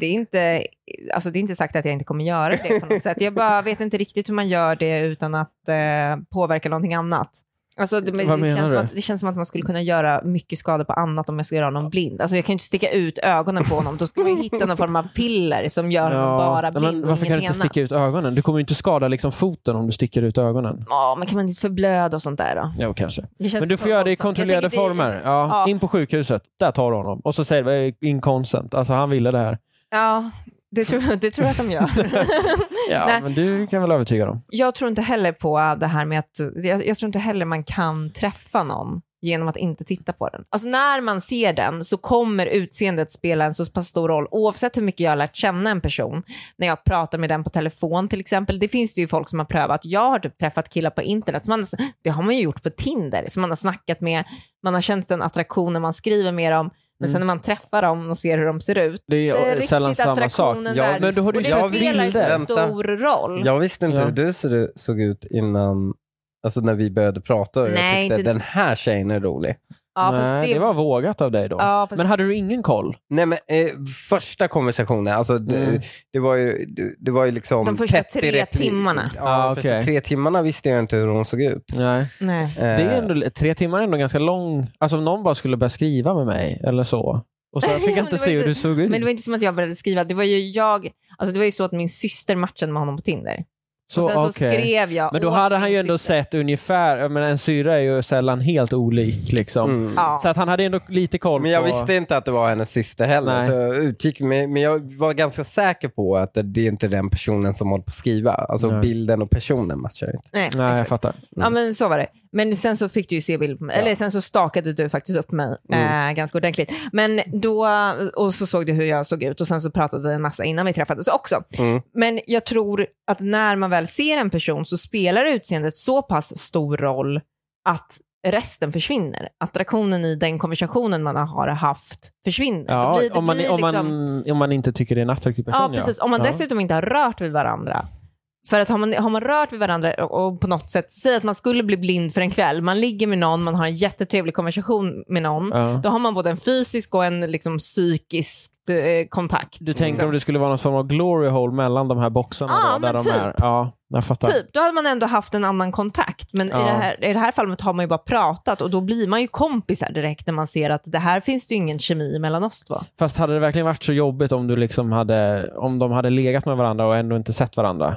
[SPEAKER 3] det, är inte, alltså det är inte sagt att jag inte kommer göra det på något sätt. Jag bara vet inte riktigt hur man gör det utan att eh, påverka någonting annat. Alltså, det, men
[SPEAKER 2] Vad
[SPEAKER 3] det,
[SPEAKER 2] menar
[SPEAKER 3] känns
[SPEAKER 2] du?
[SPEAKER 3] som att, det känns som att man skulle kunna göra mycket skada på annat om jag ska göra honom blind. Alltså, jag kan ju inte sticka ut ögonen på honom. Då skulle man ju hitta någon form av piller som gör honom bara
[SPEAKER 2] men
[SPEAKER 3] blind och
[SPEAKER 2] varför kan du
[SPEAKER 3] ingen
[SPEAKER 2] inte
[SPEAKER 3] annan.
[SPEAKER 2] sticka ut ögonen? Du kommer ju inte skada liksom foten om du sticker ut ögonen.
[SPEAKER 3] Ja, men kan man inte förblöda och sånt där då?
[SPEAKER 2] Jo, kanske.
[SPEAKER 3] Det känns
[SPEAKER 2] Men du
[SPEAKER 3] för
[SPEAKER 2] får göra det i
[SPEAKER 3] våldsamt. Jag
[SPEAKER 2] kontrollerade
[SPEAKER 3] tänker
[SPEAKER 2] former.
[SPEAKER 3] det-
[SPEAKER 2] Ja,
[SPEAKER 3] Ja.
[SPEAKER 2] In på sjukhuset, där tar du honom. Och så säger du inconsent, alltså han ville det här.
[SPEAKER 3] Ja, det tror, det tror jag att de gör.
[SPEAKER 2] Ja,
[SPEAKER 3] Nej.
[SPEAKER 2] men du kan väl övertyga dem?
[SPEAKER 3] jag tror inte heller på det här med att, jag, jag tror inte heller man kan träffa någon genom att inte titta på den. Alltså när man ser den så kommer utseendet spela en så pass stor roll oavsett hur mycket jag har lärt känna en person. När jag pratar med den på telefon till exempel, det finns det ju folk som har prövat. Jag har typ träffat killar på internet, som man, har- det har man ju gjort på Tinder, som man har snackat med, man har känt en attraktion när man skriver med dem, men sen när man träffar dem och ser hur de ser ut,
[SPEAKER 2] Det
[SPEAKER 3] det
[SPEAKER 2] är,
[SPEAKER 3] är
[SPEAKER 2] Mm. sällan
[SPEAKER 3] riktigt
[SPEAKER 2] samma sak.
[SPEAKER 3] attraktionen
[SPEAKER 1] Ja,
[SPEAKER 3] där.
[SPEAKER 1] men då har du
[SPEAKER 3] och det
[SPEAKER 1] ju sett
[SPEAKER 3] spelar ju
[SPEAKER 1] bilder.
[SPEAKER 3] så
[SPEAKER 1] Vänta.
[SPEAKER 3] stor roll.
[SPEAKER 1] Jag visste inte
[SPEAKER 2] Ja.
[SPEAKER 1] hur du såg- såg ut innan, alltså när vi började prata. och Jag
[SPEAKER 3] Nej,
[SPEAKER 1] tyckte
[SPEAKER 3] inte-
[SPEAKER 1] den här tjejen är rolig.
[SPEAKER 3] Ja, fast
[SPEAKER 2] Nej, det... var vågat av dig då.
[SPEAKER 3] Ja, fast-
[SPEAKER 2] Men hade du ingen koll?
[SPEAKER 1] Nej men eh, första konversationen, alltså det,
[SPEAKER 2] Mm.
[SPEAKER 1] det var ju, det, det var ju liksom
[SPEAKER 3] De första
[SPEAKER 1] tätt i
[SPEAKER 3] tre
[SPEAKER 1] repli-
[SPEAKER 3] timmarna.
[SPEAKER 1] Ja,
[SPEAKER 2] Ah,
[SPEAKER 1] första
[SPEAKER 2] okej.
[SPEAKER 1] tre timmarna visste jag inte hur hon såg ut. Eh,
[SPEAKER 2] Nej.
[SPEAKER 3] Nej.
[SPEAKER 2] Det är ändå, tre timmar är ändå ganska lång. Alltså om någon bara skulle börja skriva med mig eller så. Och så jag
[SPEAKER 3] Ja,
[SPEAKER 2] fick
[SPEAKER 3] men
[SPEAKER 2] inte
[SPEAKER 3] det var
[SPEAKER 2] se hur
[SPEAKER 3] inte-
[SPEAKER 2] du såg ut.
[SPEAKER 3] Men det var inte som att jag började skriva. Det var ju jag, alltså det var ju så att min syster matchade med honom på Tinder.
[SPEAKER 2] Så,
[SPEAKER 3] och sen så
[SPEAKER 2] okej.
[SPEAKER 3] skrev jag
[SPEAKER 2] Men då
[SPEAKER 3] åt
[SPEAKER 2] hade han
[SPEAKER 3] min
[SPEAKER 2] ju ändå
[SPEAKER 3] syster.
[SPEAKER 2] sett ungefär, jag menar, en syra är ju sällan helt olik liksom.
[SPEAKER 1] Mm.
[SPEAKER 3] Ja.
[SPEAKER 2] Så att han hade ändå lite koll
[SPEAKER 1] Men jag
[SPEAKER 2] på...
[SPEAKER 1] visste inte att det var hennes syster heller.
[SPEAKER 2] Nej.
[SPEAKER 1] Så jag utgick, med- men jag var ganska säker på att det är inte den personen som håller på att skriva. Alltså
[SPEAKER 2] Nej.
[SPEAKER 1] bilden och personen matchar inte.
[SPEAKER 3] Nej,
[SPEAKER 2] Nej, jag
[SPEAKER 3] exakt.
[SPEAKER 2] fattar.
[SPEAKER 3] Ja, men så var det. Men sen så fick du ju se bild på mig. Eller sen så stakade du faktiskt upp mig
[SPEAKER 2] Mm.
[SPEAKER 3] eh, ganska ordentligt. Men då, och så såg du hur jag såg ut och sen så pratade vi en massa innan vi träffades också.
[SPEAKER 1] Mm.
[SPEAKER 3] Men jag tror att när man väl ser en person så spelar utseendet så pass stor roll att resten försvinner. Attraktionen i den konversationen man har haft försvinner.
[SPEAKER 2] Ja,
[SPEAKER 3] Det blir- det
[SPEAKER 2] om, man,
[SPEAKER 3] blir
[SPEAKER 2] om,
[SPEAKER 3] liksom-
[SPEAKER 2] man, om man inte tycker det är en attraktiv person.
[SPEAKER 3] Ja, precis. Om man dessutom inte har rört vid varandra. För att har man, har man rört vid varandra och och på något sätt, säg att man skulle bli blind för en kväll, man ligger med någon, man har en jättetrevlig konversation med någon,
[SPEAKER 2] Ja.
[SPEAKER 3] då har man både en fysisk och en liksom, psykisk eh, kontakt.
[SPEAKER 2] Du tänker om det skulle vara någon form av glory hole mellan de här boxarna?
[SPEAKER 3] Ja,
[SPEAKER 2] då, där
[SPEAKER 3] men
[SPEAKER 2] de
[SPEAKER 3] typ.
[SPEAKER 2] är. Ja, jag fattar.
[SPEAKER 3] Typ, då hade man ändå haft en annan kontakt. Men
[SPEAKER 2] Ja.
[SPEAKER 3] i, det här, i det här fallet har man ju bara pratat och då blir man ju kompisar direkt när man ser att det här finns det ju ingen kemi mellan oss två.
[SPEAKER 2] Fast hade det verkligen varit så jobbigt om, du liksom hade, om de hade legat med varandra och ändå inte sett varandra?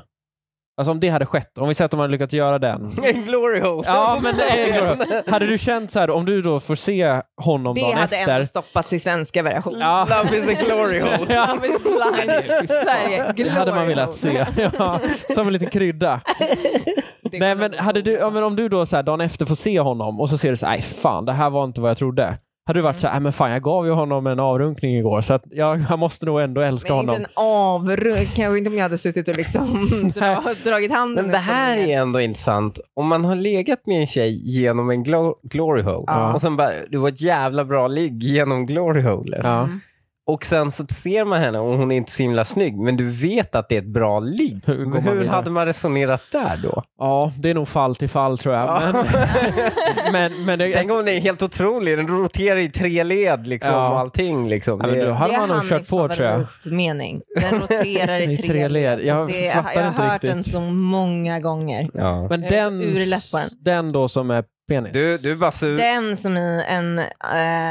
[SPEAKER 2] Alltså om det hade skett, om vi säger att de hade lyckats göra den.
[SPEAKER 1] En glory hole!
[SPEAKER 2] Ja, men det är ändå- Hade du känt så här, om du då får se honom
[SPEAKER 3] Det
[SPEAKER 2] dagen
[SPEAKER 3] hade
[SPEAKER 2] efter.
[SPEAKER 3] ändå stoppats i svenska versionen.
[SPEAKER 2] Ja.
[SPEAKER 1] Love is a glory hole.
[SPEAKER 2] Ja.
[SPEAKER 3] Love is blind. Sverige,
[SPEAKER 2] Det hade man
[SPEAKER 3] glory
[SPEAKER 2] velat
[SPEAKER 3] hole.
[SPEAKER 2] se. Ja, som en liten krydda.
[SPEAKER 3] Det
[SPEAKER 2] Nej,
[SPEAKER 3] kommer
[SPEAKER 2] men
[SPEAKER 3] gå
[SPEAKER 2] hade du, ja, men om du då så här, dagen efter får se honom och så ser du så här, "Aj, fan, det här var inte vad jag trodde. Hade du
[SPEAKER 3] Mm.
[SPEAKER 2] varit så här, "Aj, men fan, jag gav ju honom en avrunkning igår så att jag, jag måste nog ändå älska
[SPEAKER 3] Men inte
[SPEAKER 2] honom.
[SPEAKER 3] en avrund, kanske inte om jag hade suttit och liksom dra, dragit handen.
[SPEAKER 1] Men
[SPEAKER 2] Mm.
[SPEAKER 1] det här
[SPEAKER 3] efter
[SPEAKER 1] är ändå intressant. Om man har legat med en tjej genom en glo- glory hole
[SPEAKER 2] Ja.
[SPEAKER 1] och sen bara, det var ett jävla bra ligg genom glory holet.
[SPEAKER 2] Ja.
[SPEAKER 3] Mm.
[SPEAKER 1] Och sen så ser man henne och hon är inte så himla snygg men du vet att det är ett bra ligg.
[SPEAKER 2] Hur går man
[SPEAKER 1] Hur,
[SPEAKER 2] vidare?
[SPEAKER 1] hade man resonerat där då?
[SPEAKER 2] ja, det är nog fall till fall tror jag. Men, men, men det,
[SPEAKER 1] Tänk om det är helt otrolig, den roterar i tre led liksom
[SPEAKER 2] Ja.
[SPEAKER 1] och allting. Liksom.
[SPEAKER 2] ja, men
[SPEAKER 1] Det-
[SPEAKER 2] då hade
[SPEAKER 3] Det liksom är
[SPEAKER 2] man nog
[SPEAKER 3] Hanifs
[SPEAKER 2] kört på tror jag.
[SPEAKER 3] favoritmening. Den roterar i tre led.
[SPEAKER 2] Jag
[SPEAKER 3] Det, jag
[SPEAKER 2] fattar
[SPEAKER 3] har
[SPEAKER 2] inte
[SPEAKER 3] hört
[SPEAKER 2] riktigt.
[SPEAKER 3] den så många gånger.
[SPEAKER 1] ja.
[SPEAKER 2] Men
[SPEAKER 3] Jag är så
[SPEAKER 2] den,
[SPEAKER 3] ur i läpparna.
[SPEAKER 2] den då som är penis.
[SPEAKER 1] du, du är bara sur.
[SPEAKER 3] Den som i en, eh,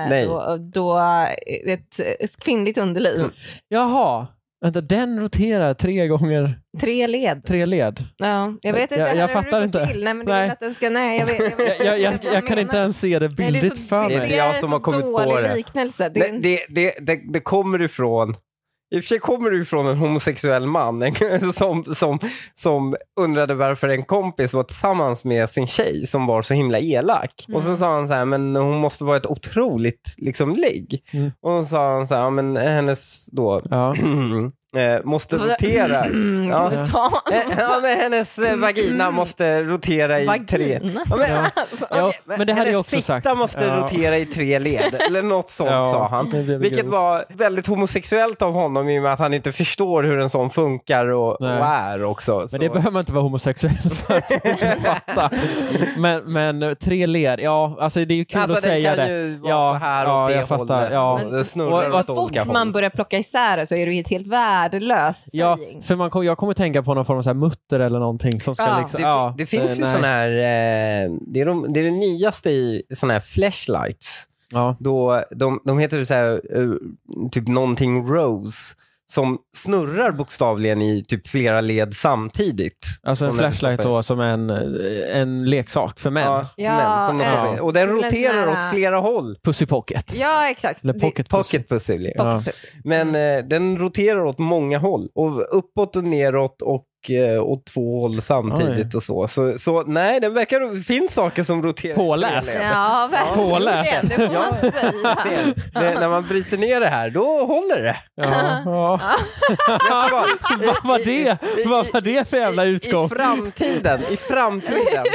[SPEAKER 1] Nej.
[SPEAKER 3] då, då ett eh, kvinnligt
[SPEAKER 2] Mm.
[SPEAKER 3] underliv.
[SPEAKER 2] Jaha, vänta, den roterar tre gånger
[SPEAKER 3] Tre led.
[SPEAKER 2] tre led.
[SPEAKER 3] Ja, jag vet inte
[SPEAKER 2] Jag- jag
[SPEAKER 3] heller hur
[SPEAKER 2] fattar
[SPEAKER 3] det går
[SPEAKER 2] inte.
[SPEAKER 3] Till. Nej, men det är
[SPEAKER 2] Nej.
[SPEAKER 3] väl att den ska, nej, jag, vet, jag, vet
[SPEAKER 2] Jag, jag, jag,
[SPEAKER 3] inte vad
[SPEAKER 2] jag kan
[SPEAKER 3] menar.
[SPEAKER 2] inte ens se det
[SPEAKER 3] Nej, det är så-
[SPEAKER 2] bildigt för
[SPEAKER 1] det är
[SPEAKER 2] mig.
[SPEAKER 1] inte jag som har kommit på
[SPEAKER 3] Det är en så
[SPEAKER 1] det.
[SPEAKER 3] dålig liknelse. Det är
[SPEAKER 1] Det,
[SPEAKER 3] en
[SPEAKER 1] det, det, det, det kommer ifrån i och för sig kommer du ifrån en homosexuell man som, som, som undrade varför en kompis var tillsammans med sin tjej som var så himla elak. Och sen sa han så här, men hon måste vara ett otroligt liksom, ligg.
[SPEAKER 2] Mm.
[SPEAKER 1] Och så sa han så här, ja, men hennes då
[SPEAKER 2] Ja.
[SPEAKER 1] eh, måste rotera.
[SPEAKER 3] Mm, Kan
[SPEAKER 1] Ja.
[SPEAKER 3] du ta
[SPEAKER 1] Eh, Ja, men hennes eh, vagina måste rotera i tre.
[SPEAKER 3] vagin?
[SPEAKER 1] Ja, men,
[SPEAKER 2] Ja.
[SPEAKER 3] Alltså,
[SPEAKER 2] Ja,
[SPEAKER 1] okej,
[SPEAKER 2] men det hade
[SPEAKER 1] hennes
[SPEAKER 2] jag också
[SPEAKER 1] fitta
[SPEAKER 2] sagt.
[SPEAKER 1] måste
[SPEAKER 2] Ja.
[SPEAKER 1] rotera i tre led, eller något sånt
[SPEAKER 2] Ja,
[SPEAKER 1] sa han.
[SPEAKER 2] det blev
[SPEAKER 1] Vilket
[SPEAKER 2] grovt.
[SPEAKER 1] var väldigt homosexuellt av honom i och med att han inte förstår hur en sån funkar och, och
[SPEAKER 2] Nej.
[SPEAKER 1] är också. Så.
[SPEAKER 2] Men det behöver man inte vara homosexuell för att fatta. Men, men eh, tre led, ja, alltså det är ju kul
[SPEAKER 1] Alltså,
[SPEAKER 2] att
[SPEAKER 1] den
[SPEAKER 2] säga
[SPEAKER 1] kan
[SPEAKER 2] det.
[SPEAKER 1] ju vara
[SPEAKER 2] Ja,
[SPEAKER 1] så här
[SPEAKER 2] ja,
[SPEAKER 1] åt det
[SPEAKER 2] jag fattar,
[SPEAKER 1] hållet.
[SPEAKER 2] ja.
[SPEAKER 1] Och Det snurrar
[SPEAKER 2] Men-
[SPEAKER 1] åt
[SPEAKER 3] så
[SPEAKER 1] olika
[SPEAKER 3] fort
[SPEAKER 1] håll.
[SPEAKER 3] man börjar plocka isär det så är det ju ett helt värdelöst
[SPEAKER 2] Ja,
[SPEAKER 3] saying.
[SPEAKER 2] för man kom, jag kommer tänka på någon form av så här mutter eller någonting som ska
[SPEAKER 3] Ja.
[SPEAKER 2] liksom...
[SPEAKER 1] Det,
[SPEAKER 2] ja,
[SPEAKER 1] det finns ju
[SPEAKER 2] nej.
[SPEAKER 1] sådana här, eh, det är, de, det är det nyaste i sådana här flashlights.
[SPEAKER 2] Ja.
[SPEAKER 1] då, de, de heter så här, eh, typ någonting Rose som snurrar bokstavligen i typ flera led samtidigt.
[SPEAKER 2] Alltså en
[SPEAKER 1] Som när du
[SPEAKER 2] flashlight
[SPEAKER 1] stoppar-
[SPEAKER 2] då som en, eh, en leksak för män.
[SPEAKER 1] Ja,
[SPEAKER 3] Ja,
[SPEAKER 1] men, som de
[SPEAKER 3] eh,
[SPEAKER 1] stoppar i. Och den
[SPEAKER 3] till en
[SPEAKER 1] roterar
[SPEAKER 3] sån
[SPEAKER 1] åt
[SPEAKER 3] här-
[SPEAKER 1] flera håll.
[SPEAKER 2] Pussy pocket.
[SPEAKER 3] Ja, exakt.
[SPEAKER 2] Eller
[SPEAKER 3] Det-
[SPEAKER 2] pocket pussy.
[SPEAKER 1] Pocket pussy blir det.
[SPEAKER 2] Ja.
[SPEAKER 3] pocket.
[SPEAKER 1] Men
[SPEAKER 3] Mm.
[SPEAKER 1] eh, den roterar åt många håll. Och uppåt och neråt och eh, åt två håll samtidigt och så. så. Så nej, den verkar, det finns saker som roterar. i tre
[SPEAKER 2] Påläst.
[SPEAKER 1] led.
[SPEAKER 3] Ja,
[SPEAKER 2] Påläst.
[SPEAKER 3] verkligen. Det får man säga.
[SPEAKER 1] När- när man bryter ner det här, då håller det.
[SPEAKER 2] Ja. Ja.
[SPEAKER 1] Vet du vad? I-
[SPEAKER 2] Vad var
[SPEAKER 1] i-
[SPEAKER 2] det?
[SPEAKER 1] i-
[SPEAKER 2] Vad var
[SPEAKER 1] i-
[SPEAKER 2] det för jävla
[SPEAKER 1] I-
[SPEAKER 2] utgång?
[SPEAKER 1] I framtiden, i framtiden,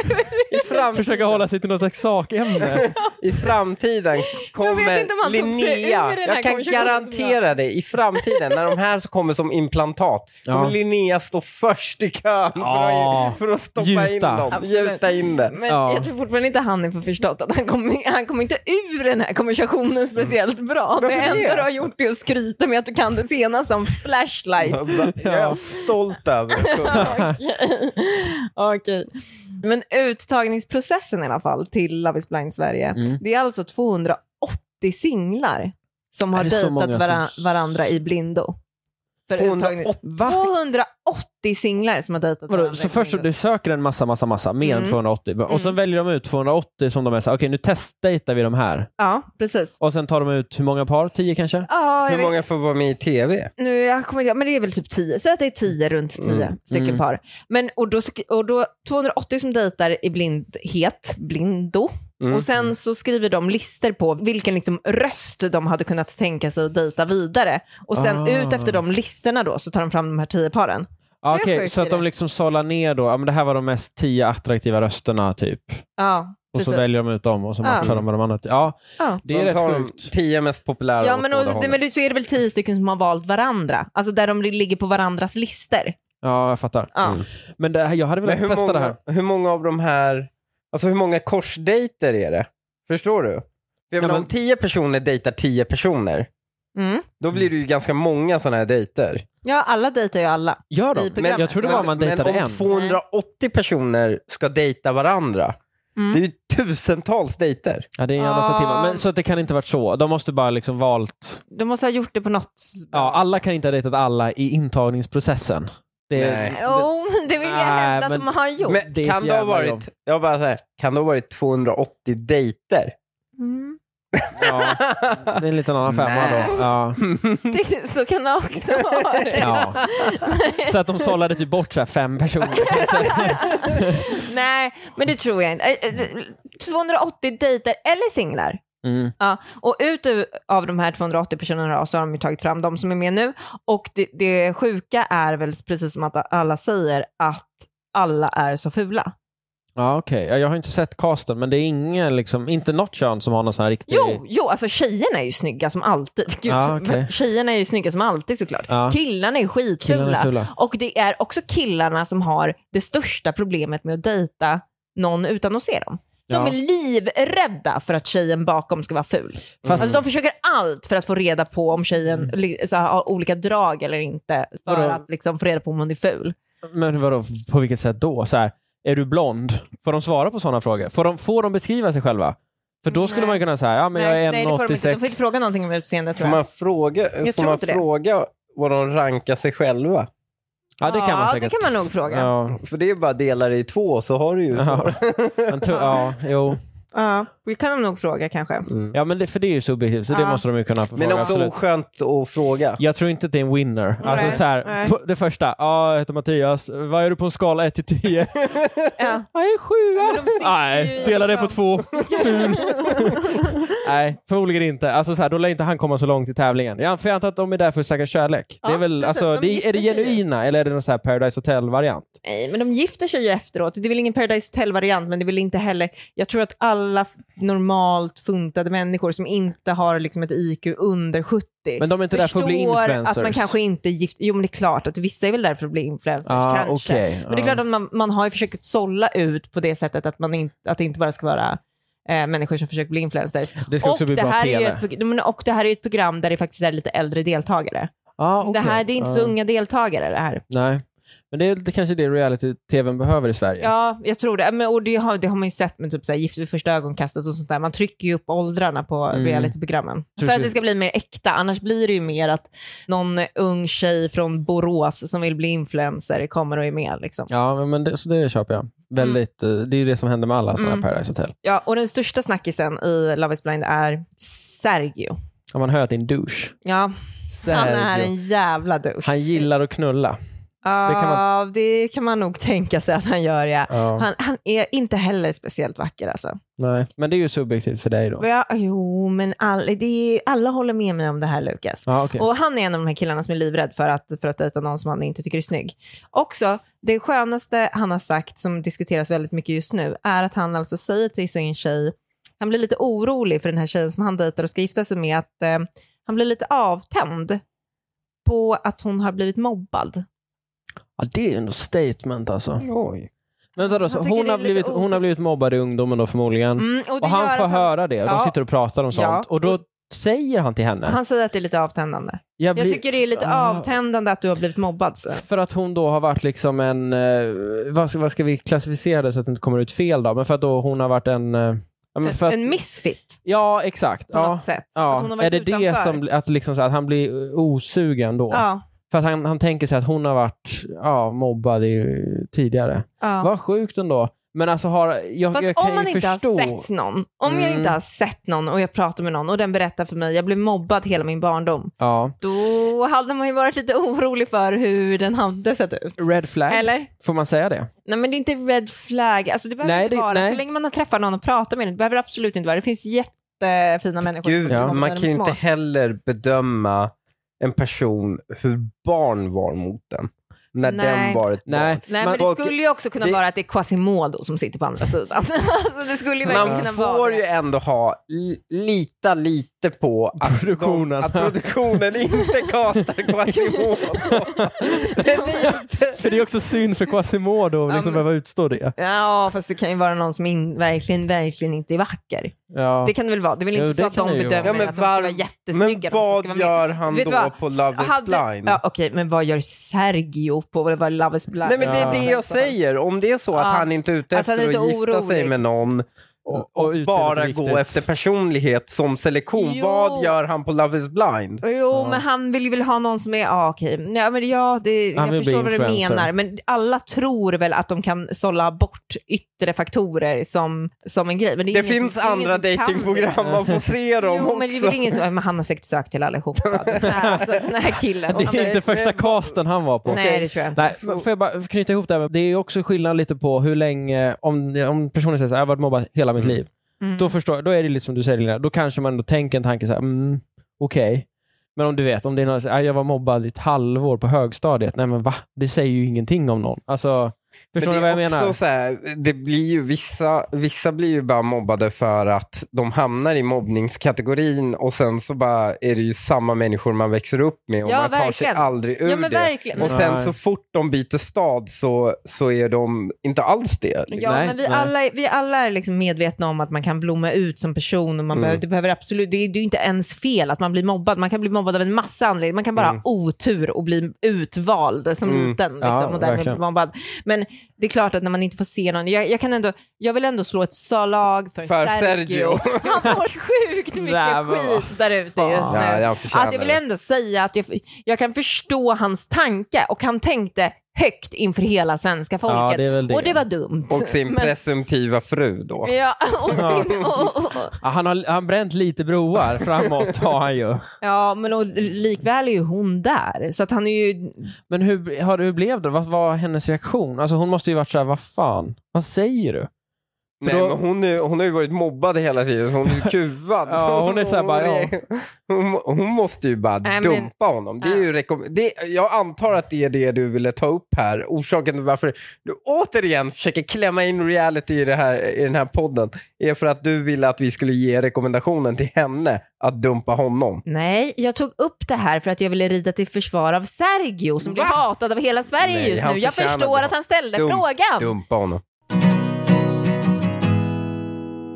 [SPEAKER 1] i framtiden,
[SPEAKER 2] Försöka hålla sig till något slags sakämne.
[SPEAKER 1] i framtiden
[SPEAKER 3] Jag vet
[SPEAKER 1] kommer
[SPEAKER 3] inte om han tog sig ur
[SPEAKER 1] Linnea,
[SPEAKER 3] den här
[SPEAKER 1] jag kan
[SPEAKER 3] konversationen
[SPEAKER 1] garantera det, i framtiden när de här så kommer som implantat, kommer
[SPEAKER 2] Ja.
[SPEAKER 1] Linnea stå först i kön för,
[SPEAKER 2] Ja.
[SPEAKER 1] att, för att stoppa in
[SPEAKER 2] Gjuta.
[SPEAKER 1] dem,
[SPEAKER 3] Absolut.
[SPEAKER 1] gjuta in det.
[SPEAKER 3] Men
[SPEAKER 2] Ja.
[SPEAKER 3] jag tror fortfarande inte han har förstått att han kommer han kom inte ur den här konversationen speciellt bra. Det
[SPEAKER 1] Varför
[SPEAKER 3] enda
[SPEAKER 1] det?
[SPEAKER 3] du har gjort är att skryta med att du kan det senaste om flashlight.
[SPEAKER 1] Alltså, Jag är stolt över det.
[SPEAKER 3] Okej. Okej. Men uttagningsprocessen i alla fall till Love is blind Sverige,
[SPEAKER 2] Mm.
[SPEAKER 3] det är alltså 280 singlar som har
[SPEAKER 2] Är det så
[SPEAKER 3] dejtat
[SPEAKER 2] många
[SPEAKER 3] vara-
[SPEAKER 2] som-
[SPEAKER 3] varandra i blindo. för uttagning.
[SPEAKER 1] 208. Va?
[SPEAKER 3] 280 singlar som har dejtat
[SPEAKER 2] Vadå,
[SPEAKER 3] varandra
[SPEAKER 2] så
[SPEAKER 3] i
[SPEAKER 2] först så
[SPEAKER 3] kommunen.
[SPEAKER 2] du söker en massa, massa, massa, mer än
[SPEAKER 3] Mm.
[SPEAKER 2] 280. Och sen
[SPEAKER 3] Mm.
[SPEAKER 2] väljer de ut 280 som de är så här, okej nu testdejtar vi de här.
[SPEAKER 3] Ja, precis.
[SPEAKER 2] Och sen tar de ut hur många par? 10 kanske?
[SPEAKER 3] Ja, jag
[SPEAKER 1] Hur
[SPEAKER 3] vet
[SPEAKER 1] många får vara med i tv?
[SPEAKER 3] nu, jag kommer inte, men det är väl typ 10, säg att det är 10, runt 10
[SPEAKER 1] Mm.
[SPEAKER 3] stycken
[SPEAKER 2] Mm.
[SPEAKER 3] par. Men, och, då, sk- och då 280 som dejtar i blindhet, blindo,
[SPEAKER 1] Mm.
[SPEAKER 3] och sen så skriver de lister på vilken liksom röst de hade kunnat tänka sig att dejta vidare. Och sen
[SPEAKER 2] Ah.
[SPEAKER 3] ut efter de listerna då så tar de fram de här 10 paren.
[SPEAKER 2] Ja,
[SPEAKER 3] är
[SPEAKER 2] Okej,
[SPEAKER 3] sjukt
[SPEAKER 2] så att
[SPEAKER 3] i
[SPEAKER 2] de
[SPEAKER 3] det.
[SPEAKER 2] liksom sållar ner då, ja men det här var de mest 10 attraktiva rösterna typ.
[SPEAKER 3] Ja,
[SPEAKER 2] Och så
[SPEAKER 3] precis.
[SPEAKER 2] väljer de ut dem och så
[SPEAKER 3] Ja.
[SPEAKER 2] matchar de med de andra. Ja,
[SPEAKER 3] Ja.
[SPEAKER 2] det är
[SPEAKER 1] de tar
[SPEAKER 2] rätt
[SPEAKER 1] de
[SPEAKER 2] sjukt.
[SPEAKER 1] tio mest populära
[SPEAKER 3] Ja
[SPEAKER 1] åt
[SPEAKER 3] men,
[SPEAKER 1] båda
[SPEAKER 3] och, det,
[SPEAKER 1] hållen.
[SPEAKER 3] men det- så är det väl 10 stycken som har valt varandra. Alltså där de ligger på varandras lister.
[SPEAKER 2] Ja, jag fattar.
[SPEAKER 3] Ja.
[SPEAKER 1] Mm.
[SPEAKER 2] Men det här, jag hade
[SPEAKER 1] Men
[SPEAKER 2] velat
[SPEAKER 1] hur
[SPEAKER 2] testa
[SPEAKER 1] många,
[SPEAKER 2] det här.
[SPEAKER 1] hur många av de här, alltså hur många korsdejter är det? Förstår du? För jag menar,
[SPEAKER 2] men-
[SPEAKER 1] om tio personer dejtar tio personer,
[SPEAKER 3] Mm.
[SPEAKER 1] då blir det ju ganska många sådana här dejter.
[SPEAKER 3] Ja alla dejtar ju alla.
[SPEAKER 2] Gör de?
[SPEAKER 3] i programmet.
[SPEAKER 2] jag trodde
[SPEAKER 1] Typ Men-
[SPEAKER 2] bara man dejtade
[SPEAKER 1] Men om
[SPEAKER 2] en.
[SPEAKER 1] 280 personer ska dejta varandra,
[SPEAKER 3] Mm.
[SPEAKER 1] det är ju tusentals dejter.
[SPEAKER 2] Ja, det är en jävla
[SPEAKER 3] Ah.
[SPEAKER 2] sativa. Men, så att det kan inte varit så. De måste bara liksom valt.
[SPEAKER 3] De måste ha gjort det på något
[SPEAKER 2] Ja, alla kan inte ha dejtat alla i intagningsprocessen. Det,
[SPEAKER 1] Nej.
[SPEAKER 3] Jo, det vill jag
[SPEAKER 2] Nej,
[SPEAKER 3] hävda att
[SPEAKER 2] men-
[SPEAKER 3] de har gjort.
[SPEAKER 1] Men
[SPEAKER 2] det är ett
[SPEAKER 1] kan det ha
[SPEAKER 2] jävla
[SPEAKER 1] varit,
[SPEAKER 2] jobb.
[SPEAKER 1] jag bara säger, kan det ha varit 280 dejter?
[SPEAKER 3] Mm.
[SPEAKER 2] ja, det är en liten annan femma
[SPEAKER 1] Nej.
[SPEAKER 2] då. Ja.
[SPEAKER 3] Det, så kan det också ha varit.
[SPEAKER 2] Ja. Så att de sållade typ bort så här fem personer. kanske.
[SPEAKER 3] Nej, men det tror jag inte. Eh, eh, 280 dejter eller singlar.
[SPEAKER 2] Mm.
[SPEAKER 3] Ja, och ut ur- av de här 280 personerna då, så har de ju tagit fram de som är med nu. Och det, det sjuka är väl precis som att alla säger att alla är så fula.
[SPEAKER 2] Ja, okej. Ja, Jag har inte sett casten, men det är ingen, liksom, inte något kön som har någon sån här riktig...
[SPEAKER 3] Jo, jo, alltså tjejerna är ju snygga som alltid. Gud,
[SPEAKER 2] Ja, okej.
[SPEAKER 3] Tjejerna är ju snygga som alltid såklart.
[SPEAKER 2] Ja.
[SPEAKER 3] Killarna är skitfula.
[SPEAKER 2] Killarna är fula.
[SPEAKER 3] Och det är också killarna som har det största problemet med att dejta någon utan att se dem. De
[SPEAKER 2] Ja.
[SPEAKER 3] är livrädda för att tjejen bakom ska vara ful.
[SPEAKER 2] Fast- Mm.
[SPEAKER 3] Alltså de försöker allt för att få reda på om tjejen li- så här, har olika drag eller inte. För
[SPEAKER 2] Vadå?
[SPEAKER 3] att liksom få reda på om hon är ful.
[SPEAKER 2] Men vadå, på vilket sätt då? Så här, är du blond? Får de svara på sådana frågor? Får de, får de beskriva sig själva? För då skulle
[SPEAKER 3] Nej.
[SPEAKER 2] man ju kunna säga, ja men jag är
[SPEAKER 3] nej, det får de inte. De får inte
[SPEAKER 2] 1,86.
[SPEAKER 3] fråga någonting om utseendet
[SPEAKER 1] Får
[SPEAKER 3] tror jag.
[SPEAKER 1] man fråga,
[SPEAKER 3] Jag
[SPEAKER 1] får
[SPEAKER 3] tror
[SPEAKER 1] man
[SPEAKER 3] inte det.
[SPEAKER 1] fråga vad de rankar sig själva?
[SPEAKER 2] Ja, det kan man
[SPEAKER 3] ja,
[SPEAKER 2] säkert.
[SPEAKER 3] det kan man nog fråga. Ja.
[SPEAKER 2] Ja,
[SPEAKER 1] För det är ju bara delar i två så har du ju så.
[SPEAKER 2] ja. Men to- ja, jo.
[SPEAKER 3] det kan de nog fråga kanske.
[SPEAKER 2] ja men det, för det är ju subjektivt, så det
[SPEAKER 3] Ja.
[SPEAKER 2] måste de ju kunna få
[SPEAKER 1] Mm. Men
[SPEAKER 2] fråga.
[SPEAKER 1] också
[SPEAKER 2] absolut.
[SPEAKER 1] oskönt att fråga.
[SPEAKER 2] Jag tror inte att det är en winner. Alltså
[SPEAKER 3] Nej,
[SPEAKER 2] så här,
[SPEAKER 3] nej.
[SPEAKER 2] på- det första, ja, jag heter Mattias, vad är du på en skala 1 till 10?
[SPEAKER 3] Ja.
[SPEAKER 2] Jag är sjua.
[SPEAKER 3] Men de sitter ju
[SPEAKER 2] Nej,
[SPEAKER 3] i
[SPEAKER 2] dela det på
[SPEAKER 3] liksom-
[SPEAKER 2] två. Ful. Nej, förmodligen inte. Alltså så här, då lär inte han komma så långt i tävlingen. Jag för jag antar att de är där för att söka kärlek. det är,
[SPEAKER 3] Ja,
[SPEAKER 2] väl,
[SPEAKER 3] precis.
[SPEAKER 2] alltså,
[SPEAKER 3] De
[SPEAKER 2] det, är det
[SPEAKER 3] gifter sig ju.
[SPEAKER 2] genuina eller är det någon så här Paradise Hotel-variant?
[SPEAKER 3] Nej, Eh, men de gifter sig ju efteråt. Det är väl ingen Paradise Hotel-variant, men det är väl inte heller... Jag tror att alla f- normalt funtade människor som inte har liksom ett IQ under 70
[SPEAKER 2] Men de är inte där för att bli
[SPEAKER 3] förstår
[SPEAKER 2] influencers.
[SPEAKER 3] att man kanske inte gift... Jo, men det är klart att vissa är väl där för att bli influencers,
[SPEAKER 2] ah,
[SPEAKER 3] kanske.
[SPEAKER 2] okej.
[SPEAKER 3] Men det är klart att man, man har ju försökt sålla ut på det sättet att, man in, att det inte bara ska vara eh, människor som försöker bli influencers.
[SPEAKER 2] Det ska också bli
[SPEAKER 3] det
[SPEAKER 2] bra
[SPEAKER 3] här är ju
[SPEAKER 2] TV.
[SPEAKER 3] ett, prog- men- och det här är ju ett program där det faktiskt är lite äldre deltagare.
[SPEAKER 2] Ah, okej.
[SPEAKER 3] Det här det är inte så
[SPEAKER 2] Ah,
[SPEAKER 3] unga deltagare det här.
[SPEAKER 2] Nej. Men det är lite kanske det reality-tvn behöver i Sverige.
[SPEAKER 3] Ja, jag tror det. Men, och det har, det har man ju sett med typ så här, Gift vid första ögonkastet och sånt där. Man trycker ju upp åldrarna på
[SPEAKER 2] Mm.
[SPEAKER 3] realityprogrammen.
[SPEAKER 2] Tror
[SPEAKER 3] För att
[SPEAKER 2] du-
[SPEAKER 3] det ska bli mer äkta. Annars blir det ju mer att någon ung tjej från Borås som vill bli influencer kommer och är med. Liksom.
[SPEAKER 2] Ja, men det, så det köper jag. Väldigt, eh, Det är ju det som händer med alla sådana här
[SPEAKER 3] Mm.
[SPEAKER 2] Paradise Hotel.
[SPEAKER 3] Ja, och den största snackisen i Love is blind är Sergio.
[SPEAKER 2] Har man hört din douche?
[SPEAKER 3] Ja, han är
[SPEAKER 2] Sergio.
[SPEAKER 3] en jävla douche.
[SPEAKER 2] Han gillar att knulla.
[SPEAKER 3] Ja,
[SPEAKER 2] kan
[SPEAKER 3] det kan man nog tänka sig att han gör. Ja.
[SPEAKER 2] Ja,
[SPEAKER 3] Han, han är inte heller speciellt vacker alltså.
[SPEAKER 2] nej. Men det är ju subjektivt för dig då.
[SPEAKER 3] Ja, jo, men all, det är, alla håller med mig om det här Lukas.
[SPEAKER 2] Ja, okej.
[SPEAKER 3] Och han är en av de här killarna som är livrädd för att, för att dejta någon som han inte tycker är snygg. Också, det skönaste han har sagt som diskuteras väldigt mycket just nu är att han alltså säger till sin tjej, han blir lite orolig för den här tjejen som han dejtar och ska gifta sig med, att eh, han blir lite avtänd på att hon har blivit mobbad.
[SPEAKER 2] Ja, det är ju ändå statement alltså.
[SPEAKER 1] Oj.
[SPEAKER 2] Men vänta då, så
[SPEAKER 3] Han tycker
[SPEAKER 2] hon,
[SPEAKER 3] det är
[SPEAKER 2] har
[SPEAKER 3] lite
[SPEAKER 2] blivit, hon har
[SPEAKER 3] osex-
[SPEAKER 2] blivit mobbad i ungdomen då förmodligen.
[SPEAKER 3] Mm, det
[SPEAKER 2] och
[SPEAKER 3] gör
[SPEAKER 2] han
[SPEAKER 3] att
[SPEAKER 2] får höra det.
[SPEAKER 3] Ja.
[SPEAKER 2] De sitter och pratar om sånt.
[SPEAKER 3] Ja.
[SPEAKER 2] Och då säger han till henne.
[SPEAKER 3] Han säger att det är lite avtändande.
[SPEAKER 2] jag
[SPEAKER 3] Jag
[SPEAKER 2] blir-
[SPEAKER 3] tycker det är lite
[SPEAKER 2] Ah.
[SPEAKER 3] avtändande att du har blivit mobbad. Så.
[SPEAKER 2] För att hon då har varit liksom en, eh, vad ska, vad ska vi klassificera det så att det inte kommer ut fel då? Men för att då hon har varit en... eh, ja, men för att,
[SPEAKER 3] En misfit
[SPEAKER 2] ja, exakt.
[SPEAKER 3] på
[SPEAKER 2] ja.
[SPEAKER 3] något sätt.
[SPEAKER 2] Ja.
[SPEAKER 3] Att hon har
[SPEAKER 2] är
[SPEAKER 3] varit
[SPEAKER 2] det det
[SPEAKER 3] utanför.
[SPEAKER 2] som, bli- att, liksom, så här, att han blir eh, osugen då?
[SPEAKER 3] Ja,
[SPEAKER 2] För att han, han tänker sig att hon har varit ja, mobbad i, tidigare.
[SPEAKER 3] Ja.
[SPEAKER 2] Vad sjukt ändå. Men alltså, har, jag,
[SPEAKER 3] Fast
[SPEAKER 2] jag kan
[SPEAKER 3] om man
[SPEAKER 2] ju
[SPEAKER 3] inte
[SPEAKER 2] förstå.
[SPEAKER 3] har sett någon, om jag
[SPEAKER 2] Mm.
[SPEAKER 3] inte har sett någon och jag pratar med någon och den berättar för mig jag blev mobbad hela min barndom,
[SPEAKER 2] Ja.
[SPEAKER 3] då hade man ju varit lite orolig för hur den hade sett ut.
[SPEAKER 2] Red flag.
[SPEAKER 3] Eller?
[SPEAKER 2] Får man säga det?
[SPEAKER 3] Nej men det är inte red flag, alltså det behöver
[SPEAKER 2] Nej,
[SPEAKER 3] inte
[SPEAKER 2] det-
[SPEAKER 3] vara,
[SPEAKER 2] nej.
[SPEAKER 3] så länge man har träffat någon och pratat med den, det behöver det absolut inte vara, det finns jättefina människor.
[SPEAKER 1] Gud,
[SPEAKER 2] Ja.
[SPEAKER 3] som
[SPEAKER 1] man
[SPEAKER 3] är
[SPEAKER 1] kan ju
[SPEAKER 3] små.
[SPEAKER 1] inte heller bedöma en person hur barn var mot den. När
[SPEAKER 3] Nej.
[SPEAKER 1] den var ett
[SPEAKER 2] Nej.
[SPEAKER 1] barn.
[SPEAKER 3] Nej
[SPEAKER 2] man,
[SPEAKER 3] men det
[SPEAKER 1] folk-
[SPEAKER 3] skulle ju också kunna
[SPEAKER 1] det-
[SPEAKER 3] vara att det är Quasimodo som sitter på andra sidan. alltså, det skulle ju verkligen kunna
[SPEAKER 1] Man
[SPEAKER 3] vara
[SPEAKER 1] får
[SPEAKER 3] det.
[SPEAKER 1] ju ändå ha, li- lita lite på att,
[SPEAKER 2] Produktionen.
[SPEAKER 1] De, att produktionen inte kastar Quasimodo. Det är lite-
[SPEAKER 2] För det är också synd för Quasimodo att
[SPEAKER 3] Ja,
[SPEAKER 2] liksom
[SPEAKER 3] men-
[SPEAKER 2] behöva utstå det.
[SPEAKER 3] Ja fast det kan ju vara någon som in, verkligen, verkgen inte är vacker.
[SPEAKER 2] Ja.
[SPEAKER 3] Det kan det väl vara? Det är väl
[SPEAKER 2] Jo,
[SPEAKER 3] inte
[SPEAKER 2] det
[SPEAKER 3] så att
[SPEAKER 2] kan
[SPEAKER 3] de
[SPEAKER 2] det ju
[SPEAKER 3] bedömer
[SPEAKER 2] vara.
[SPEAKER 1] Ja, men
[SPEAKER 3] att de ska
[SPEAKER 1] var-
[SPEAKER 3] vara
[SPEAKER 1] Men
[SPEAKER 3] jättesnygga. de ska
[SPEAKER 1] vad
[SPEAKER 3] ska vara
[SPEAKER 1] gör han
[SPEAKER 3] Vet du
[SPEAKER 1] då
[SPEAKER 3] vad?
[SPEAKER 1] på Love is
[SPEAKER 3] Hade-
[SPEAKER 1] blind?
[SPEAKER 3] Ja, Okej, men vad gör Sergio på vad Love is blind?
[SPEAKER 1] Nej men det är
[SPEAKER 2] Ja.
[SPEAKER 1] det jag säger, om det är så att
[SPEAKER 3] Ja.
[SPEAKER 1] han inte är ute
[SPEAKER 3] Att han är
[SPEAKER 1] efter att
[SPEAKER 3] lite
[SPEAKER 1] gifta sig
[SPEAKER 3] orolig.
[SPEAKER 1] med någon
[SPEAKER 2] Och-
[SPEAKER 1] och,
[SPEAKER 2] och utseendet
[SPEAKER 1] bara
[SPEAKER 2] riktigt.
[SPEAKER 1] gå efter personlighet som selektion,
[SPEAKER 3] Jo.
[SPEAKER 1] vad gör han på Love is blind?
[SPEAKER 3] Jo, men han vill ju väl ha någon som är, ja okej, ja, men ja, det, jag
[SPEAKER 2] Han vill
[SPEAKER 3] förstår
[SPEAKER 2] bli
[SPEAKER 3] vad du
[SPEAKER 2] influencer.
[SPEAKER 3] menar, men alla tror väl att de kan sålla bort yttre faktorer som, som en grej. Men det är
[SPEAKER 1] Det
[SPEAKER 3] ingen som-
[SPEAKER 1] finns
[SPEAKER 3] är ingen
[SPEAKER 1] andra
[SPEAKER 3] som kan
[SPEAKER 1] datingprogram
[SPEAKER 3] det.
[SPEAKER 1] man får se dem
[SPEAKER 3] Jo,
[SPEAKER 1] också.
[SPEAKER 3] men det är väl ingen som, men han har säkert sökt till allihopa, den här, alltså, den här killen.
[SPEAKER 2] Det är inte första casten han var på.
[SPEAKER 3] Nej, det tror jag inte.
[SPEAKER 2] Nej, men får jag bara knyta ihop det här? med- Det är ju också skillnad lite på hur länge, om, om personen säger så här, jag har varit mobbad hela mitt liv.
[SPEAKER 3] Mm.
[SPEAKER 2] Då förstår jag, då är det lite som du säger Lina, då kanske man ändå tänker en tanke så här, mm, okej. Men om du vet, om det är någon som säger, "Ah, jag var mobbad i ett halvår på högstadiet, nej men va? Det säger ju ingenting om någon. Alltså, förstår
[SPEAKER 1] Men
[SPEAKER 2] ni
[SPEAKER 1] det
[SPEAKER 2] vad jag
[SPEAKER 1] är också
[SPEAKER 2] menar?
[SPEAKER 1] Så här, det blir ju vissa, vissa blir ju bara mobbade för att de hamnar i mobbningskategorin och sen så bara är det ju samma människor man växer upp med och
[SPEAKER 3] Ja,
[SPEAKER 1] man tar sig
[SPEAKER 3] verkligen.
[SPEAKER 1] aldrig ur
[SPEAKER 3] Ja, men
[SPEAKER 1] det.
[SPEAKER 3] verkligen.
[SPEAKER 1] Och sen
[SPEAKER 2] Nej.
[SPEAKER 1] så fort de byter stad så, så är de inte alls det. liksom.
[SPEAKER 3] Ja,
[SPEAKER 2] Nej,
[SPEAKER 3] men vi
[SPEAKER 2] nej.
[SPEAKER 3] alla, är- vi alla är liksom medvetna om att man kan blomma ut som person. Och man
[SPEAKER 1] Mm.
[SPEAKER 3] behöver, det, behöver absolut, det är det är ju inte ens fel att man blir mobbad. Man kan bli mobbad av en massa anledningar. Man kan bara
[SPEAKER 1] Mm.
[SPEAKER 3] ha otur och bli utvald som
[SPEAKER 1] Mm.
[SPEAKER 3] liten. Liksom,
[SPEAKER 2] Ja,
[SPEAKER 3] och därmed bli
[SPEAKER 2] verkligen.
[SPEAKER 3] mobbad. Men det är klart att när man inte får se någon. Jag, jag, kan ändå, jag vill ändå slå ett slag för,
[SPEAKER 1] För
[SPEAKER 3] Sergio.
[SPEAKER 1] Sergio.
[SPEAKER 3] Han får sjukt mycket
[SPEAKER 2] Där var-
[SPEAKER 3] skit där ute just nu.
[SPEAKER 1] Ja, jag förtjänar
[SPEAKER 3] Att jag vill
[SPEAKER 1] det.
[SPEAKER 3] ändå säga att jag, jag kan förstå hans tanke och han tänkte högt inför hela svenska folket.
[SPEAKER 2] Ja, det är väl det.
[SPEAKER 3] Och det var dumt.
[SPEAKER 1] Och sin
[SPEAKER 3] Men-
[SPEAKER 1] presumtiva fru då.
[SPEAKER 3] Ja, och sin, och, och, och,
[SPEAKER 2] Ja, han har han bränt lite broar framåt har han ju.
[SPEAKER 3] ja, men och, likväl är ju hon där. Så att han är ju...
[SPEAKER 2] Men hur, har, hur blev det? Vad var hennes reaktion? Alltså hon måste ju varit så här, vad fan, vad säger du?
[SPEAKER 1] Nej,
[SPEAKER 2] då-
[SPEAKER 1] men hon, är, hon har ju varit mobbad hela tiden, så hon är ju kuvad.
[SPEAKER 2] Ja,
[SPEAKER 1] Så
[SPEAKER 2] hon är så här bara, ja.
[SPEAKER 1] hon, hon måste ju bara
[SPEAKER 3] Nej, men-
[SPEAKER 1] dumpa honom. Det är ju rekom- det, jag antar att det är det du ville ta upp här. Orsaken till varför du återigen försöker klämma in reality i, det här, i den här podden är för att du ville att vi skulle ge rekommendationen till henne att dumpa honom.
[SPEAKER 3] Nej, jag tog upp det här för att jag ville rida till försvar av Sergio som blir
[SPEAKER 1] Va?
[SPEAKER 3] hatad av hela Sverige
[SPEAKER 1] Nej,
[SPEAKER 3] just
[SPEAKER 1] han
[SPEAKER 3] nu. Jag
[SPEAKER 1] förtjänar
[SPEAKER 3] förstår
[SPEAKER 1] det.
[SPEAKER 3] att han ställde
[SPEAKER 1] Dum-
[SPEAKER 3] frågan.
[SPEAKER 1] Dumpa honom.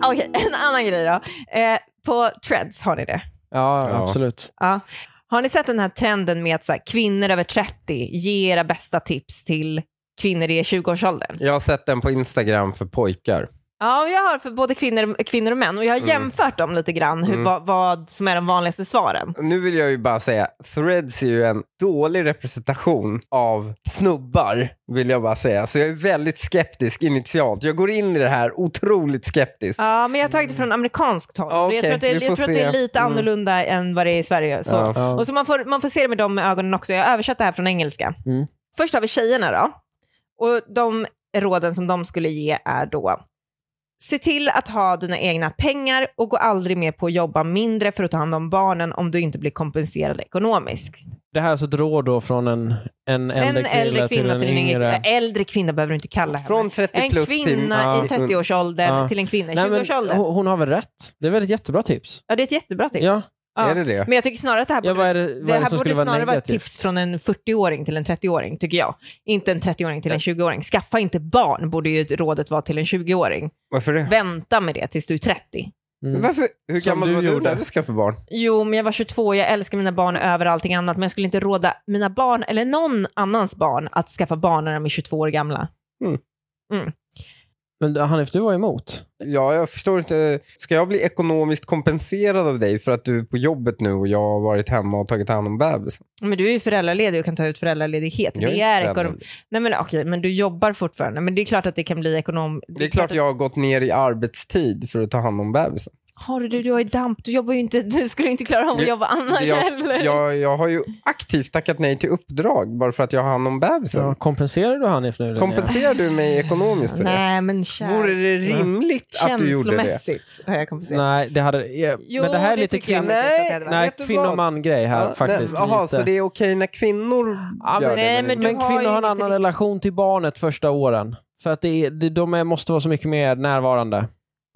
[SPEAKER 3] Okej, en annan grej då. Eh, på Treads, har ni det?
[SPEAKER 2] Ja,
[SPEAKER 1] Ja.
[SPEAKER 2] absolut.
[SPEAKER 3] Ja. Har ni sett den här trenden med att så här, kvinnor över 30 ger era bästa tips till kvinnor i 20-årsåldern?
[SPEAKER 1] Jag har sett den på Instagram för pojkar.
[SPEAKER 3] Ja, jag har för både kvinnor, kvinnor och män och jag
[SPEAKER 1] Mm.
[SPEAKER 3] har jämfört dem lite grann, hur, vad, vad som är de vanligaste svaren.
[SPEAKER 1] nu vill jag ju bara säga, Threads är ju en dålig representation av snubbar, vill jag bara säga. Så jag är väldigt skeptisk initialt. Jag går in i det här otroligt skeptisk.
[SPEAKER 3] Ja, men jag har tagit det från amerikanskt håll.
[SPEAKER 1] Ja, okej,
[SPEAKER 3] jag tror att det,
[SPEAKER 1] vi
[SPEAKER 3] jag
[SPEAKER 1] får
[SPEAKER 3] tror att det är
[SPEAKER 1] se.
[SPEAKER 3] lite
[SPEAKER 1] Mm.
[SPEAKER 3] annorlunda än vad det är i Sverige. Så.
[SPEAKER 1] Ja.
[SPEAKER 2] Ja.
[SPEAKER 3] Och så man får, man får se det med de ögonen också. Jag har översatt det här från engelska.
[SPEAKER 2] Mm.
[SPEAKER 3] Först har vi tjejerna då. Och de råden som de skulle ge är då, se till att ha dina egna pengar och gå aldrig med på att jobba mindre för att ta hand om barnen om du inte blir kompenserad ekonomiskt.
[SPEAKER 2] Det här är alltså ett råd då från en, en äldre,
[SPEAKER 3] en äldre kvinna till en yngre.
[SPEAKER 2] yngre.
[SPEAKER 3] Äldre kvinna behöver du inte kalla henne.
[SPEAKER 1] Från 30
[SPEAKER 3] en
[SPEAKER 1] plus till...
[SPEAKER 3] kvinna
[SPEAKER 2] Ja.
[SPEAKER 3] i 30-årsåldern
[SPEAKER 2] Ja.
[SPEAKER 3] till en kvinna i
[SPEAKER 2] Nej, men,
[SPEAKER 3] 20-årsåldern.
[SPEAKER 2] hon, hon har väl rätt? Det är väl ett jättebra tips.
[SPEAKER 3] Ja, det är ett jättebra tips.
[SPEAKER 2] Ja.
[SPEAKER 3] Ja.
[SPEAKER 1] Är det det?
[SPEAKER 3] Men jag tycker snarare att det här
[SPEAKER 2] Ja,
[SPEAKER 3] borde,
[SPEAKER 2] vad är det- vad är det
[SPEAKER 3] här
[SPEAKER 2] som
[SPEAKER 3] borde
[SPEAKER 2] skulle vara
[SPEAKER 3] snarare vara ett
[SPEAKER 2] negativt?
[SPEAKER 3] tips från en 40-åring till en 30-åring, tycker jag. Inte en 30-åring till en 20-åring. Skaffa inte barn, borde ju rådet vara till en 20-åring.
[SPEAKER 1] Varför det?
[SPEAKER 3] Vänta med det tills du är 30.
[SPEAKER 2] Mm.
[SPEAKER 1] Varför? Hur
[SPEAKER 2] Som
[SPEAKER 1] gammal
[SPEAKER 2] du
[SPEAKER 1] var du
[SPEAKER 2] gjorde.
[SPEAKER 1] när du skaffade barn?
[SPEAKER 3] Jo, men jag var 22, jag älskar mina barn över allting annat, men jag skulle inte råda mina barn eller någon annans barn att skaffa barn när de är 22 år gamla.
[SPEAKER 1] Mm.
[SPEAKER 3] Mm.
[SPEAKER 2] Men Hanif, du var emot.
[SPEAKER 1] Ja, jag förstår inte. Ska jag bli ekonomiskt kompenserad av dig för att du är på jobbet nu och jag har varit hemma och tagit hand om bebisen?
[SPEAKER 3] Men du är ju föräldraledig och kan ta ut föräldraledighet.
[SPEAKER 1] Jag är
[SPEAKER 3] det
[SPEAKER 1] inte
[SPEAKER 3] är
[SPEAKER 1] föräldraledig.
[SPEAKER 3] ekonom... Nej, men, okej, men du jobbar fortfarande. Men det är klart att det kan bli ekonom...
[SPEAKER 1] Det är klart
[SPEAKER 3] att-
[SPEAKER 1] jag har gått ner i arbetstid för att ta hand om bebisen.
[SPEAKER 3] Har du, du har ju damp. Du jobbar ju inte... Du skulle ju inte klara av
[SPEAKER 1] Det-
[SPEAKER 3] att jobba annars heller.
[SPEAKER 1] Jag, jag, jag har ju aktivt tackat nej till uppdrag bara för att jag har hand om bebisen.
[SPEAKER 2] Ja, kompenserar du Hanif nu? Linnea?
[SPEAKER 1] Kompenserar du mig ekonomiskt för det?
[SPEAKER 3] Nej, men kär... Mm.
[SPEAKER 1] Vore det rimligt att du gjorde det?
[SPEAKER 3] Känslomässigt har jag kompenserat.
[SPEAKER 2] Nej, det hade... ja,
[SPEAKER 3] Jo,
[SPEAKER 2] men det här är
[SPEAKER 3] det
[SPEAKER 2] lite
[SPEAKER 3] tycker jag.
[SPEAKER 2] kvin...
[SPEAKER 1] Nej,
[SPEAKER 2] Nej,
[SPEAKER 1] vet du
[SPEAKER 2] kvinno
[SPEAKER 1] vad?
[SPEAKER 2] och man-grej här
[SPEAKER 1] Ja,
[SPEAKER 2] faktiskt.
[SPEAKER 1] nej, Jaha,
[SPEAKER 2] lite.
[SPEAKER 1] så det är okej när kvinnor
[SPEAKER 2] Ja,
[SPEAKER 1] gör
[SPEAKER 2] men-
[SPEAKER 1] det?
[SPEAKER 3] Nej,
[SPEAKER 1] men
[SPEAKER 3] men
[SPEAKER 1] inte-
[SPEAKER 2] Men
[SPEAKER 3] Du har
[SPEAKER 2] kvinnor
[SPEAKER 3] ju
[SPEAKER 2] har en
[SPEAKER 3] inte
[SPEAKER 2] annan
[SPEAKER 3] riktigt-
[SPEAKER 2] relation till barnet första åren. För att det är, det, de är, måste vara så mycket mer närvarande.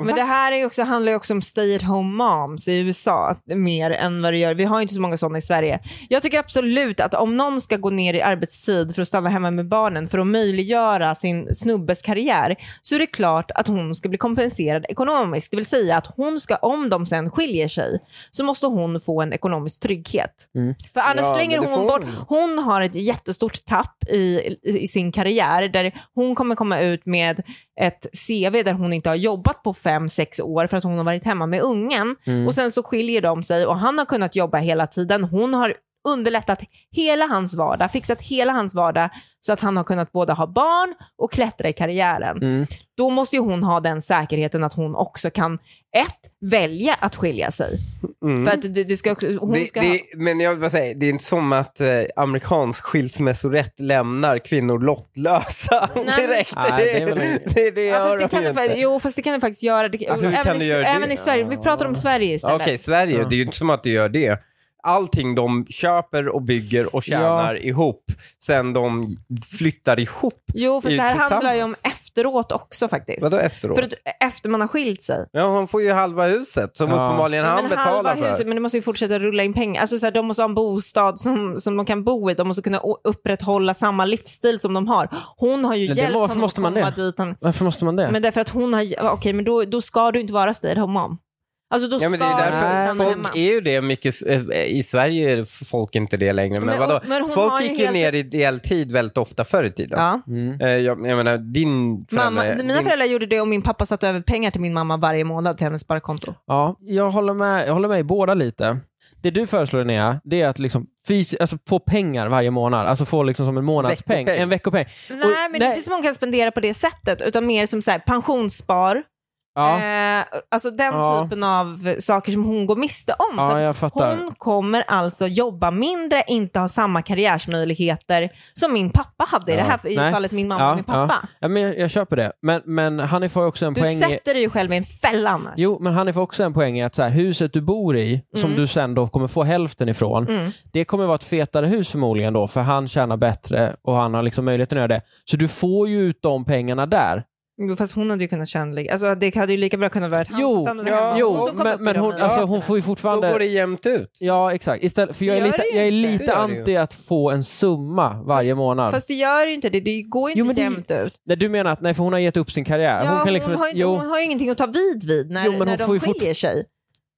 [SPEAKER 3] Men det här är ju också, handlar ju också om stay at home moms i USA att- mer än vad det gör. Vi har ju inte så många sådana i Sverige. Jag tycker absolut att om någon ska gå ner i arbetstid för att stanna hemma med barnen för att möjliggöra sin snubbes karriär så är det klart att hon ska bli kompenserad ekonomiskt. Det vill säga att hon ska, om de sen skiljer sig, så måste hon få en ekonomisk trygghet.
[SPEAKER 2] Mm.
[SPEAKER 3] För annars
[SPEAKER 1] Ja,
[SPEAKER 3] slänger
[SPEAKER 1] men det
[SPEAKER 3] hon
[SPEAKER 1] får
[SPEAKER 3] bort,
[SPEAKER 1] hon.
[SPEAKER 3] hon har ett jättestort tapp i, i sin karriär där hon kommer komma ut med ett CV där hon inte har jobbat på fem sex år för att hon har varit hemma med ungen.
[SPEAKER 2] Mm.
[SPEAKER 3] Och sen så skiljer de sig och han har kunnat jobba hela tiden. Hon har underlättat hela hans vardag, fixat hela hans vardag så att han har kunnat både ha barn och klättra i karriären.
[SPEAKER 2] Mm.
[SPEAKER 3] Då måste ju hon ha den säkerheten att hon också kan, ett, välja att skilja sig.
[SPEAKER 1] Mm.
[SPEAKER 3] För att det, det ska också, hon
[SPEAKER 1] Det,
[SPEAKER 3] ska ha...
[SPEAKER 1] det, men jag vill bara säga, det är inte som att eh, amerikansk skilsmässorätt lämnar kvinnor lottlösa
[SPEAKER 3] Nej.
[SPEAKER 1] direkt.
[SPEAKER 2] Nej, det är väl
[SPEAKER 1] det,
[SPEAKER 2] inget.
[SPEAKER 1] det, det
[SPEAKER 3] Ja,
[SPEAKER 1] gör
[SPEAKER 3] fast
[SPEAKER 1] de
[SPEAKER 3] det kan
[SPEAKER 1] ju
[SPEAKER 3] det, fa-
[SPEAKER 1] inte.
[SPEAKER 3] jo, fast det kan det faktiskt göra. Det,
[SPEAKER 1] Ja, hur
[SPEAKER 3] även
[SPEAKER 1] kan
[SPEAKER 3] i,
[SPEAKER 1] det göra det?
[SPEAKER 3] även i Sverige. Vi pratar om Sverige
[SPEAKER 1] Okej,
[SPEAKER 3] istället.
[SPEAKER 1] Sverige,
[SPEAKER 2] Ja.
[SPEAKER 1] det är ju inte som att du gör det. Allting de köper och bygger och tjänar ihop sen de flyttar ihop.
[SPEAKER 3] Jo, för
[SPEAKER 1] Ju
[SPEAKER 3] det här handlar ju om
[SPEAKER 1] tillsammans.
[SPEAKER 3] efteråt också faktiskt.
[SPEAKER 1] Vadå efteråt?
[SPEAKER 3] För att efter man har skilt sig.
[SPEAKER 1] Ja, han får ju halva huset som
[SPEAKER 2] Ja.
[SPEAKER 1] uppenbarligen han
[SPEAKER 3] men halva
[SPEAKER 1] betalar för.
[SPEAKER 3] huset, men du måste ju fortsätta rulla in pengar. Alltså, så här, de måste ha en bostad som, som de kan bo i. De måste kunna å- upprätthålla samma livsstil som de har. Hon har ju
[SPEAKER 2] Men det-
[SPEAKER 3] hjälpt
[SPEAKER 2] varför
[SPEAKER 3] honom
[SPEAKER 2] måste man
[SPEAKER 3] att komma
[SPEAKER 2] det?
[SPEAKER 3] dit. Han,
[SPEAKER 2] Varför måste man det?
[SPEAKER 3] men därför att hon har... Okej, men då, då ska du inte vara stay at home mom. Alltså då
[SPEAKER 1] Ja, men det är
[SPEAKER 3] ska du
[SPEAKER 1] därför
[SPEAKER 3] stanna
[SPEAKER 1] folk
[SPEAKER 3] hemma.
[SPEAKER 1] är ju det mycket, eh, i Sverige är folk inte det längre. Men,
[SPEAKER 3] Men-
[SPEAKER 1] vadå?
[SPEAKER 3] men hon
[SPEAKER 1] folk
[SPEAKER 3] har ju
[SPEAKER 1] gick ju
[SPEAKER 3] helt-
[SPEAKER 1] ner i deltid väldigt ofta förr i tiden.
[SPEAKER 3] Ja.
[SPEAKER 2] Mm.
[SPEAKER 1] Eh, Jag, jag menar, din
[SPEAKER 3] Mamma,
[SPEAKER 1] förälder...
[SPEAKER 3] mina
[SPEAKER 1] din,
[SPEAKER 3] föräldrar gjorde det och min pappa satte över pengar till min mamma varje månad till hennes sparkonto.
[SPEAKER 2] Ja, jag håller, med, jag håller med i båda lite. Det du föreslår Linnea, det är att liksom fys- alltså få pengar varje månad. Alltså få liksom som en månadspeng,
[SPEAKER 1] Veckopeng.
[SPEAKER 2] en veckopeng.
[SPEAKER 3] Nej,
[SPEAKER 2] Och-
[SPEAKER 3] men det är
[SPEAKER 2] nej.
[SPEAKER 3] inte som hon kan spendera på det sättet, utan mer som så här, pensionsspar.
[SPEAKER 2] Ja,
[SPEAKER 3] Eh, alltså den
[SPEAKER 2] Ja.
[SPEAKER 3] typen av saker som hon går miste om. för
[SPEAKER 2] ja
[SPEAKER 3] att
[SPEAKER 2] jag fattar.
[SPEAKER 3] hon kommer alltså jobba mindre, inte ha samma karriärsmöjligheter som min pappa hade i
[SPEAKER 2] Ja.
[SPEAKER 3] det här i
[SPEAKER 2] Nej.
[SPEAKER 3] fallet min mamma
[SPEAKER 2] Ja,
[SPEAKER 3] och min pappa.
[SPEAKER 2] Ja, men jag, jag köper det. Men, men Hanif har ju också en
[SPEAKER 3] Du
[SPEAKER 2] poäng i...
[SPEAKER 3] sätter dig ju själv i en fälla annars.
[SPEAKER 2] Jo, men Hanif har också en poäng i att så här, huset du bor i, som
[SPEAKER 3] Mm.
[SPEAKER 2] du sen då kommer få hälften ifrån,
[SPEAKER 3] Mm.
[SPEAKER 2] det kommer vara ett fetare hus förmodligen då, för han tjänar bättre och han har liksom möjligheten att göra det. Så du får ju ut de pengarna där.
[SPEAKER 3] Jo, Fast hon hade ju kunnat tjäna... lika- Alltså, det hade ju lika bra kunnat vara att han som
[SPEAKER 2] Jo,
[SPEAKER 3] stannade hemma
[SPEAKER 2] ja,
[SPEAKER 3] och hon
[SPEAKER 2] jo
[SPEAKER 3] som kom upp
[SPEAKER 2] men,
[SPEAKER 3] i
[SPEAKER 2] men
[SPEAKER 3] de
[SPEAKER 2] hon, alltså, hon
[SPEAKER 3] möjligheterna.
[SPEAKER 2] får ju
[SPEAKER 1] då
[SPEAKER 2] fortfarande...
[SPEAKER 1] går det jämnt ut.
[SPEAKER 2] Ja, exakt. Istället, för jag är
[SPEAKER 3] Det gör
[SPEAKER 2] lite,
[SPEAKER 3] det ju
[SPEAKER 2] jag är
[SPEAKER 3] inte.
[SPEAKER 1] Det
[SPEAKER 2] lite
[SPEAKER 1] gör det ju.
[SPEAKER 2] anti att få en summa varje månad.
[SPEAKER 3] Fast det gör ju inte det. Det går ju
[SPEAKER 2] Jo,
[SPEAKER 3] inte
[SPEAKER 2] men det-
[SPEAKER 3] jämnt ut.
[SPEAKER 2] nej, du menar att nej, för hon har gett upp sin karriär?
[SPEAKER 3] Ja,
[SPEAKER 2] hon
[SPEAKER 3] hon,
[SPEAKER 2] kan liksom...
[SPEAKER 3] har ju inte,
[SPEAKER 2] jo,
[SPEAKER 3] hon har ju ingenting att ta vid vid när,
[SPEAKER 2] Jo, men
[SPEAKER 3] när
[SPEAKER 2] hon får
[SPEAKER 3] de
[SPEAKER 2] ju fort-
[SPEAKER 3] skiljer sig.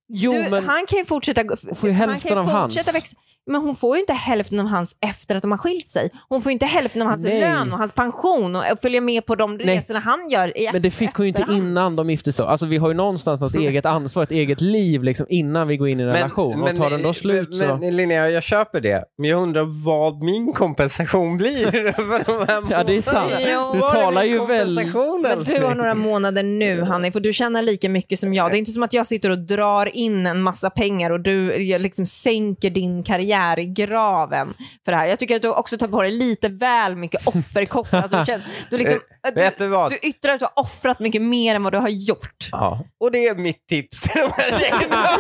[SPEAKER 2] jo
[SPEAKER 3] du,
[SPEAKER 2] men...
[SPEAKER 3] han kan ju fortsätta...
[SPEAKER 2] får ju
[SPEAKER 3] han
[SPEAKER 2] hälften
[SPEAKER 3] kan
[SPEAKER 2] av
[SPEAKER 3] ju
[SPEAKER 2] hans.
[SPEAKER 3] fortsätta Växa, men hon får ju inte hälften av hans efter att de har skilt sig. Hon får ju inte hälften av hans
[SPEAKER 2] Nej.
[SPEAKER 3] lön och hans pension och följa med på de
[SPEAKER 2] Nej.
[SPEAKER 3] resorna han gör. I,
[SPEAKER 2] Men det fick hon ju inte
[SPEAKER 3] efterhand.
[SPEAKER 2] innan de gifte sig. Alltså vi har ju någonstans något eget ansvar, ett eget liv liksom, innan vi går in i en relation. och tar den då slut
[SPEAKER 1] men,
[SPEAKER 2] så...
[SPEAKER 1] men Linnea, jag köper det. Men jag undrar vad min kompensation blir för de här
[SPEAKER 2] Ja, det är sant.
[SPEAKER 1] månaderna.
[SPEAKER 3] Du
[SPEAKER 1] Var är
[SPEAKER 2] talar
[SPEAKER 1] min
[SPEAKER 2] ju väl-
[SPEAKER 1] kompensation,
[SPEAKER 3] Men du har
[SPEAKER 1] älskling?
[SPEAKER 3] några månader nu Hanif och du tjänar lika mycket som jag. Det är inte som att jag sitter och drar in en massa pengar och du jag liksom sänker din karriär i graven för det här. Jag tycker att du också tar på dig lite väl mycket offerkofta. Att du, känner, du, liksom, att
[SPEAKER 1] Eh, Vet du vad?
[SPEAKER 3] du yttrar att du har offrat mycket mer än vad du har gjort.
[SPEAKER 1] Ja. Och det är mitt tips till de här tjejerna.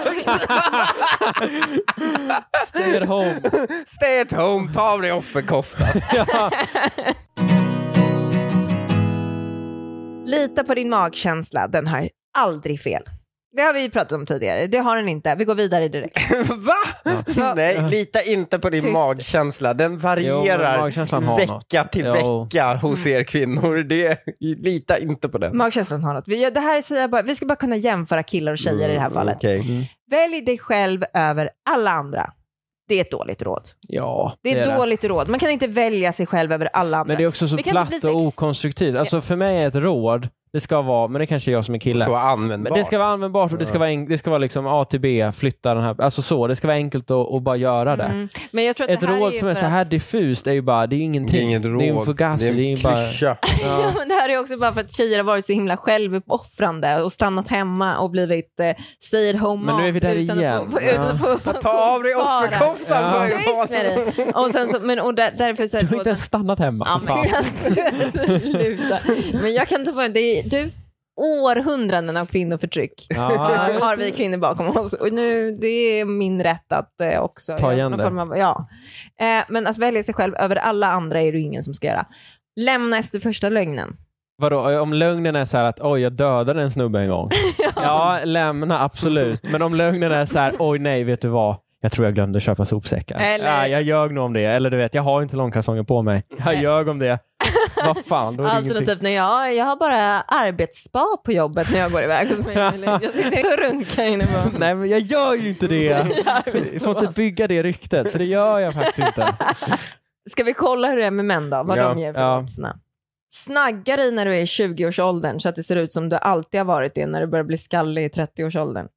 [SPEAKER 2] Stay at home.
[SPEAKER 1] Stay at home, ta av dig offerkoftan.
[SPEAKER 2] ja.
[SPEAKER 3] Lita på din magkänsla, den har aldrig fel. Det har vi ju pratat om tidigare, det har den inte. Vi går vidare direkt.
[SPEAKER 1] Va?
[SPEAKER 3] Så-
[SPEAKER 1] Nej, lita inte på din
[SPEAKER 3] Tyst.
[SPEAKER 1] magkänsla. Den varierar
[SPEAKER 2] Jo, magkänslan har
[SPEAKER 1] vecka till
[SPEAKER 2] Jo.
[SPEAKER 1] vecka hos er kvinnor. Det, lita inte på den.
[SPEAKER 3] Magkänslan har något. Vi, gör- det här säger jag bara, vi ska bara kunna jämföra killar och tjejer i det här
[SPEAKER 2] Mm.
[SPEAKER 3] fallet.
[SPEAKER 1] Okej.
[SPEAKER 3] Välj dig själv över alla andra. Det är ett dåligt råd.
[SPEAKER 2] ja,
[SPEAKER 3] Det är, dåligt råd. Man kan inte välja sig själv över alla andra.
[SPEAKER 2] Men det är också så
[SPEAKER 3] Vi kan inte
[SPEAKER 2] platt
[SPEAKER 3] bli
[SPEAKER 2] och
[SPEAKER 3] sex-
[SPEAKER 2] okonstruktivt. Alltså för mig är ett råd Det ska vara, men det kanske är jag som är
[SPEAKER 1] Det
[SPEAKER 2] kille.
[SPEAKER 1] ska vara användbart.
[SPEAKER 2] Men det ska vara användbart och det ska
[SPEAKER 1] Ja.
[SPEAKER 2] vara, en, det ska vara liksom A till B, flytta den här, alltså så. Det ska vara enkelt att, att bara göra det.
[SPEAKER 3] Mm. Men jag tror att
[SPEAKER 2] Ett
[SPEAKER 3] det här
[SPEAKER 2] råd
[SPEAKER 3] är
[SPEAKER 2] som är
[SPEAKER 3] för
[SPEAKER 2] så här
[SPEAKER 3] att...
[SPEAKER 2] diffust är ju bara, det är ju
[SPEAKER 1] det är
[SPEAKER 2] ingenting.
[SPEAKER 1] inget råd.
[SPEAKER 2] Det är ju en fugazi. Det är ju bara...
[SPEAKER 1] klyscha.
[SPEAKER 3] Ja. men det här är också bara för att tjejer har varit så himla självuppoffrande och stannat hemma och blivit eh, stay at home
[SPEAKER 2] Men nu är vi
[SPEAKER 3] moms
[SPEAKER 2] där
[SPEAKER 3] utan
[SPEAKER 2] igen.
[SPEAKER 3] att få, utan att få,
[SPEAKER 1] Ta av dig
[SPEAKER 3] Svara.
[SPEAKER 1] offerkoftan
[SPEAKER 2] Ja.
[SPEAKER 1] på en
[SPEAKER 3] Tyst med dig. Och, sen så, men, och där, därför så är
[SPEAKER 2] Du har inte
[SPEAKER 3] råden-
[SPEAKER 2] ens stannat hemma.
[SPEAKER 3] Ja, men,
[SPEAKER 2] Fan.
[SPEAKER 3] sluta. men jag kan ta på det. är du, århundraden av kvinnoförtryck
[SPEAKER 2] Ja.
[SPEAKER 3] har, har vi kvinnor bakom oss. Och nu, det är min rätt att eh, också...
[SPEAKER 2] Ta
[SPEAKER 3] göra
[SPEAKER 2] igen
[SPEAKER 3] någon
[SPEAKER 2] det.
[SPEAKER 3] form av, ja. eh, men att välja sig själv över alla andra är det ju ingen som ska göra. Lämna efter första lögnen.
[SPEAKER 2] Vadå, om lögnen är så här att oj, jag dödade en snubbe en gång. ja, lämna absolut. Men om lögnen är så här, oj nej, vet du vad? Jag tror jag glömde köpa sopsäckar.
[SPEAKER 3] Eller-
[SPEAKER 2] Ja, jag ljög nog om det. Eller du vet, jag har inte långkalsonger på mig. Jag ljög om det. Vad fan, då är det ingenting.
[SPEAKER 3] Alternativt när jag, jag har bara arbetsspa på jobbet när jag går iväg hos mig. Jag sitter och runkar inne på
[SPEAKER 2] Nej, men jag gör ju inte det. Vi får inte bygga det ryktet, för det gör jag faktiskt inte.
[SPEAKER 3] Ska vi kolla hur det är med män då? Vad
[SPEAKER 1] Ja.
[SPEAKER 3] de ger för
[SPEAKER 2] Ja.
[SPEAKER 3] vuxna. Snagga dig när du är i 20-årsåldern så att det ser ut som du alltid har varit det när du börjar bli skallig i 30-årsåldern.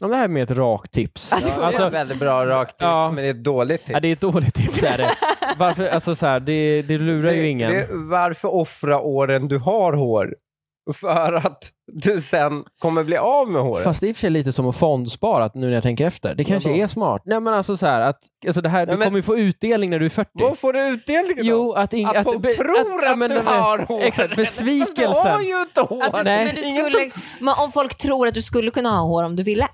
[SPEAKER 2] Ja, Det här är mer ett rakt tips.
[SPEAKER 3] Alltså,
[SPEAKER 1] Det är ett väldigt bra rakt tips,
[SPEAKER 2] Ja.
[SPEAKER 1] men det är ett dåligt typ. tips.
[SPEAKER 2] Ja, det är ett dåligt tips. Är det. Varför, alltså, så här, det, det lurar ju ingen.
[SPEAKER 1] det- varför offra åren du har hår? För att du sen kommer bli av med håret.
[SPEAKER 2] Fast det är i och för sig lite som att fondspara att nu när jag tänker efter. Det kanske
[SPEAKER 1] Vadå?
[SPEAKER 2] är smart. Nej men alltså så här, att alltså det här,
[SPEAKER 1] Ja,
[SPEAKER 2] du
[SPEAKER 1] men-
[SPEAKER 2] kommer ju få utdelning när du är 40.
[SPEAKER 1] Vad får du utdelningen då?
[SPEAKER 2] Jo, att, ing-
[SPEAKER 1] att, folk
[SPEAKER 2] be-
[SPEAKER 1] tror att,
[SPEAKER 2] ja, men
[SPEAKER 1] du
[SPEAKER 2] de-
[SPEAKER 1] har hår.
[SPEAKER 2] Exakt,
[SPEAKER 1] Fast du har
[SPEAKER 2] besvikelsen.
[SPEAKER 1] ju inte hår.
[SPEAKER 3] Att du,
[SPEAKER 2] Nej.
[SPEAKER 3] Alltså, men du
[SPEAKER 1] Ingen
[SPEAKER 3] skulle, men om folk tror att du skulle kunna ha hår om du ville.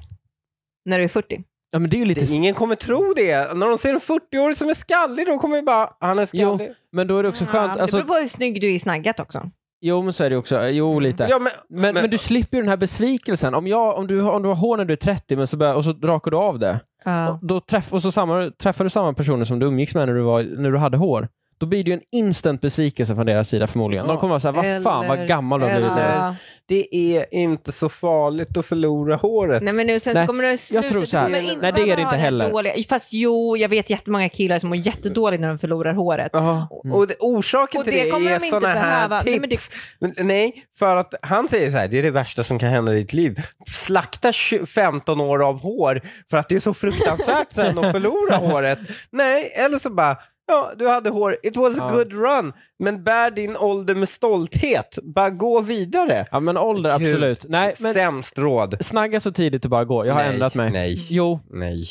[SPEAKER 3] När du är 40.
[SPEAKER 2] Ja men det är ju lite...
[SPEAKER 1] Det, ingen kommer tro det. När de ser en 40-åring som är skallig, de kommer ju bara, han är
[SPEAKER 2] Jo,
[SPEAKER 1] skallig.
[SPEAKER 2] men då är det också skönt.
[SPEAKER 3] det
[SPEAKER 2] Alltså,
[SPEAKER 3] beror på hur snygg du är i snaggat också.
[SPEAKER 2] jo men så är det ju också. Jo lite.
[SPEAKER 1] Mm. Ja, men,
[SPEAKER 2] Men, men,
[SPEAKER 1] men-
[SPEAKER 2] du slipper ju den här besvikelsen. Om, jag, om, du, har- om du har hår när du är 30 men så börjar, och så rakar du av det. Och, då träff, och så samma, träffar du samma personer som du umgicks med när du, var, när du hade hår. Då blir det ju en instant besvikelse från deras sida förmodligen. De
[SPEAKER 1] Ja,
[SPEAKER 2] kommer vara såhär, vad fan
[SPEAKER 1] eller-
[SPEAKER 2] vad gammal du har blivit nu.
[SPEAKER 1] eller- Det är inte så farligt att förlora håret.
[SPEAKER 3] Nej men nu sen
[SPEAKER 2] Nej,
[SPEAKER 3] så kommer det slutet.
[SPEAKER 2] tror
[SPEAKER 3] du
[SPEAKER 2] så här.
[SPEAKER 3] kommer inte
[SPEAKER 2] Nej, det är
[SPEAKER 3] behöva
[SPEAKER 2] det inte
[SPEAKER 3] ha
[SPEAKER 2] heller.
[SPEAKER 3] Dåliga. Fast jo, jag vet jättemånga killar som mår jättedåligt när de förlorar håret.
[SPEAKER 1] Ja,
[SPEAKER 2] Mm.
[SPEAKER 1] och det, orsaken
[SPEAKER 3] Och
[SPEAKER 1] till
[SPEAKER 3] det
[SPEAKER 1] det,
[SPEAKER 3] kommer
[SPEAKER 1] är
[SPEAKER 3] de inte
[SPEAKER 1] sådana här
[SPEAKER 3] behöva. Nej, men
[SPEAKER 1] tips. Nej, Nej, för att han säger så här, det är det värsta som kan hända i ditt liv. Slakta tju- 15 år av hår för att det är så fruktansvärt sen att förlora håret. Nej, eller så bara, ja du hade hår, it was a
[SPEAKER 2] Ja.
[SPEAKER 1] good run, men bär din ålder med stolthet. Bara gå vidare.
[SPEAKER 2] Ja men ålder
[SPEAKER 1] Kul.
[SPEAKER 2] absolut. Nej men
[SPEAKER 1] Sämst råd.
[SPEAKER 2] snagga så tidigt det bara går. Jag har
[SPEAKER 1] Nej,
[SPEAKER 2] ändrat mig.
[SPEAKER 1] nej.
[SPEAKER 2] Jo,
[SPEAKER 1] Nej.